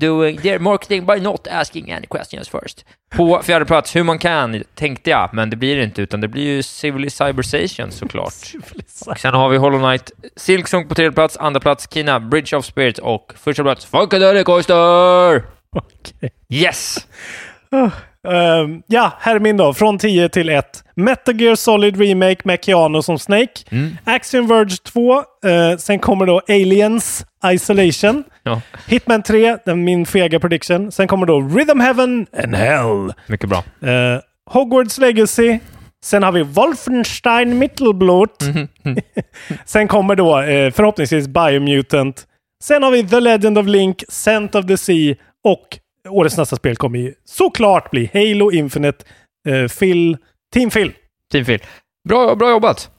Doing their marketing by not asking any questions first. På fjärde plats, hur man kan, tänkte jag, men det blir det inte, utan det blir ju Civilization såklart. Och sen har vi Hollow Knight, Silksong på tredje plats, andra plats Kina, Bridge of Spirits och första plats Funkadelic Oyster! Okej. Yes! Ehm, ja, här är min då. Från 10 till 1. Metal Gear Solid Remake med Keanu som Snake. Action Verge 2. eh, sen kommer då Aliens Isolation. Ja, Hitman 3, den min fega prediction. Sen kommer då Rhythm Heaven and Hell. mycket bra. Eh, Hogwarts Legacy. Sen har vi Wolfenstein Mittelblot. Mhm, Sen kommer då eh, förhoppningsvis Biomutant. Sen har vi The Legend of Link, Scent of the Sea och årets nästa spel kommer ju såklart bli Halo Infinite, eh, Phil, Team Phil. Team Phil. Bra, bra jobbat.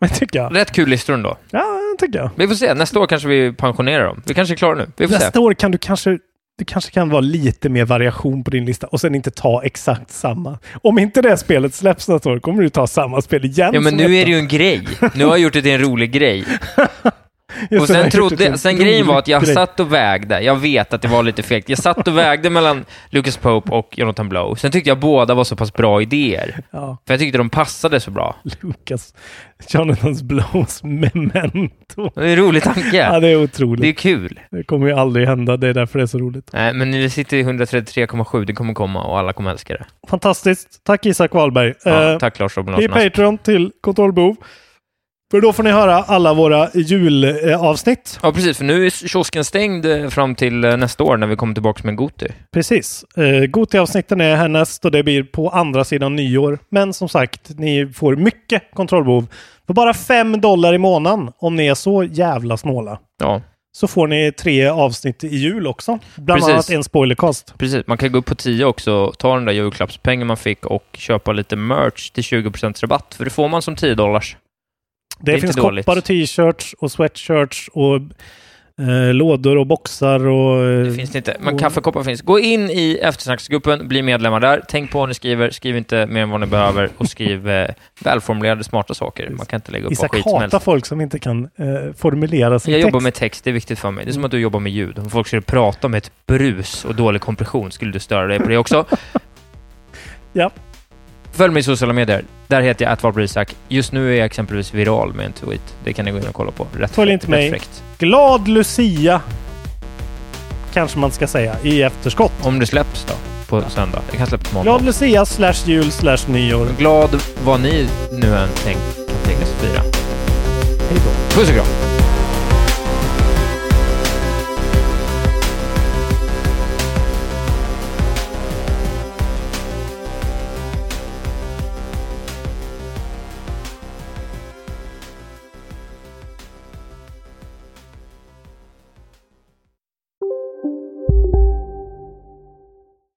Det tycker jag. Rätt kul listor ändå. Ja, det tycker jag. Vi får se. Nästa år kanske vi pensionerar dem. Vi kanske är klara nu. Vi får se. Nästa år kan du kanske det kanske kan vara lite mer variation på din lista och sen inte ta exakt samma. Om inte det spelet släpps nästa år kommer du ta samma spel igen. Ja, men som nu detta. är det ju en grej. Nu har jag gjort det till en rolig grej. Just Och det, jag sen, har gjort det till trodde, en sen grejen var att jag rolig grej. satt och vägde. Jag vet att det var lite fegt. Jag satt och vägde mellan Lucas Pope och Jonathan Blow. Sen tyckte jag båda var så pass bra idéer. Ja. För jag tyckte de passade så bra. Lucas Jonathans Blows memento. Det är en rolig Ja, tanke. det är Det är otroligt. kul. Det kommer ju aldrig hända. Det är därför det är så roligt. Nej, men det sitter i 133,7. Det kommer komma och alla kommer älska det. Fantastiskt. Tack Isak Wahlberg. Ja, Eh, tack Lars Robin Bli Larsson. Patreon till Kontrollbehov. För då får ni höra alla våra julavsnitt. Ja, precis. För nu är kiosken stängd eh, fram till nästa år när vi kommer tillbaka med Goti. Precis. Eh, Goti-avsnitten är härnäst och det blir på andra sidan nyår. Men som sagt, ni får mycket kontrollbehov för bara 5 dollar i månaden om ni är så jävla snåla. Ja. Så får ni tre avsnitt i jul också. Bland Precis. annat en spoilercast. Precis. Man kan gå upp på 10 också, ta den där julklappspengen man fick och köpa lite merch till 20% rabatt. För det får man som 10 dollars. Det, Det är finns inte dåligt. koppar och t-shirts och sweatshirts och eh, lådor och boxar och... eh, Det finns det inte. Men kaffekoppar finns. Gå in i eftersnacksgruppen, bli medlemmar där. Tänk på vad ni skriver, skriv inte mer än vad ni behöver och skriv eh, välformulerade, smarta saker. Man kan inte lägga upp vad Isak skit som helst. hatar folk som inte kan eh, formulera sin Jag text. Mm. jobbar med text, det är viktigt för mig. Det är som att du jobbar med ljud. Om folk skulle prata med ett brus och dålig kompression, skulle du störa dig på det också? Ja. Följ mig i sociala medier. Där heter jag atvalbrisak. Just nu är jag exempelvis viral med en tweet. Det kan ni gå in och kolla på. Rätt Följ inte rätt mig. fräckt. Glad Lucia! Kanske man ska säga i efterskott. Om det släpps då, på söndag. Det kan släppas på måndag. Glad Lucia slash jul slash nyår. Glad vad ni nu än tänk, kan tänkas fira. Hej då. Puss och kram.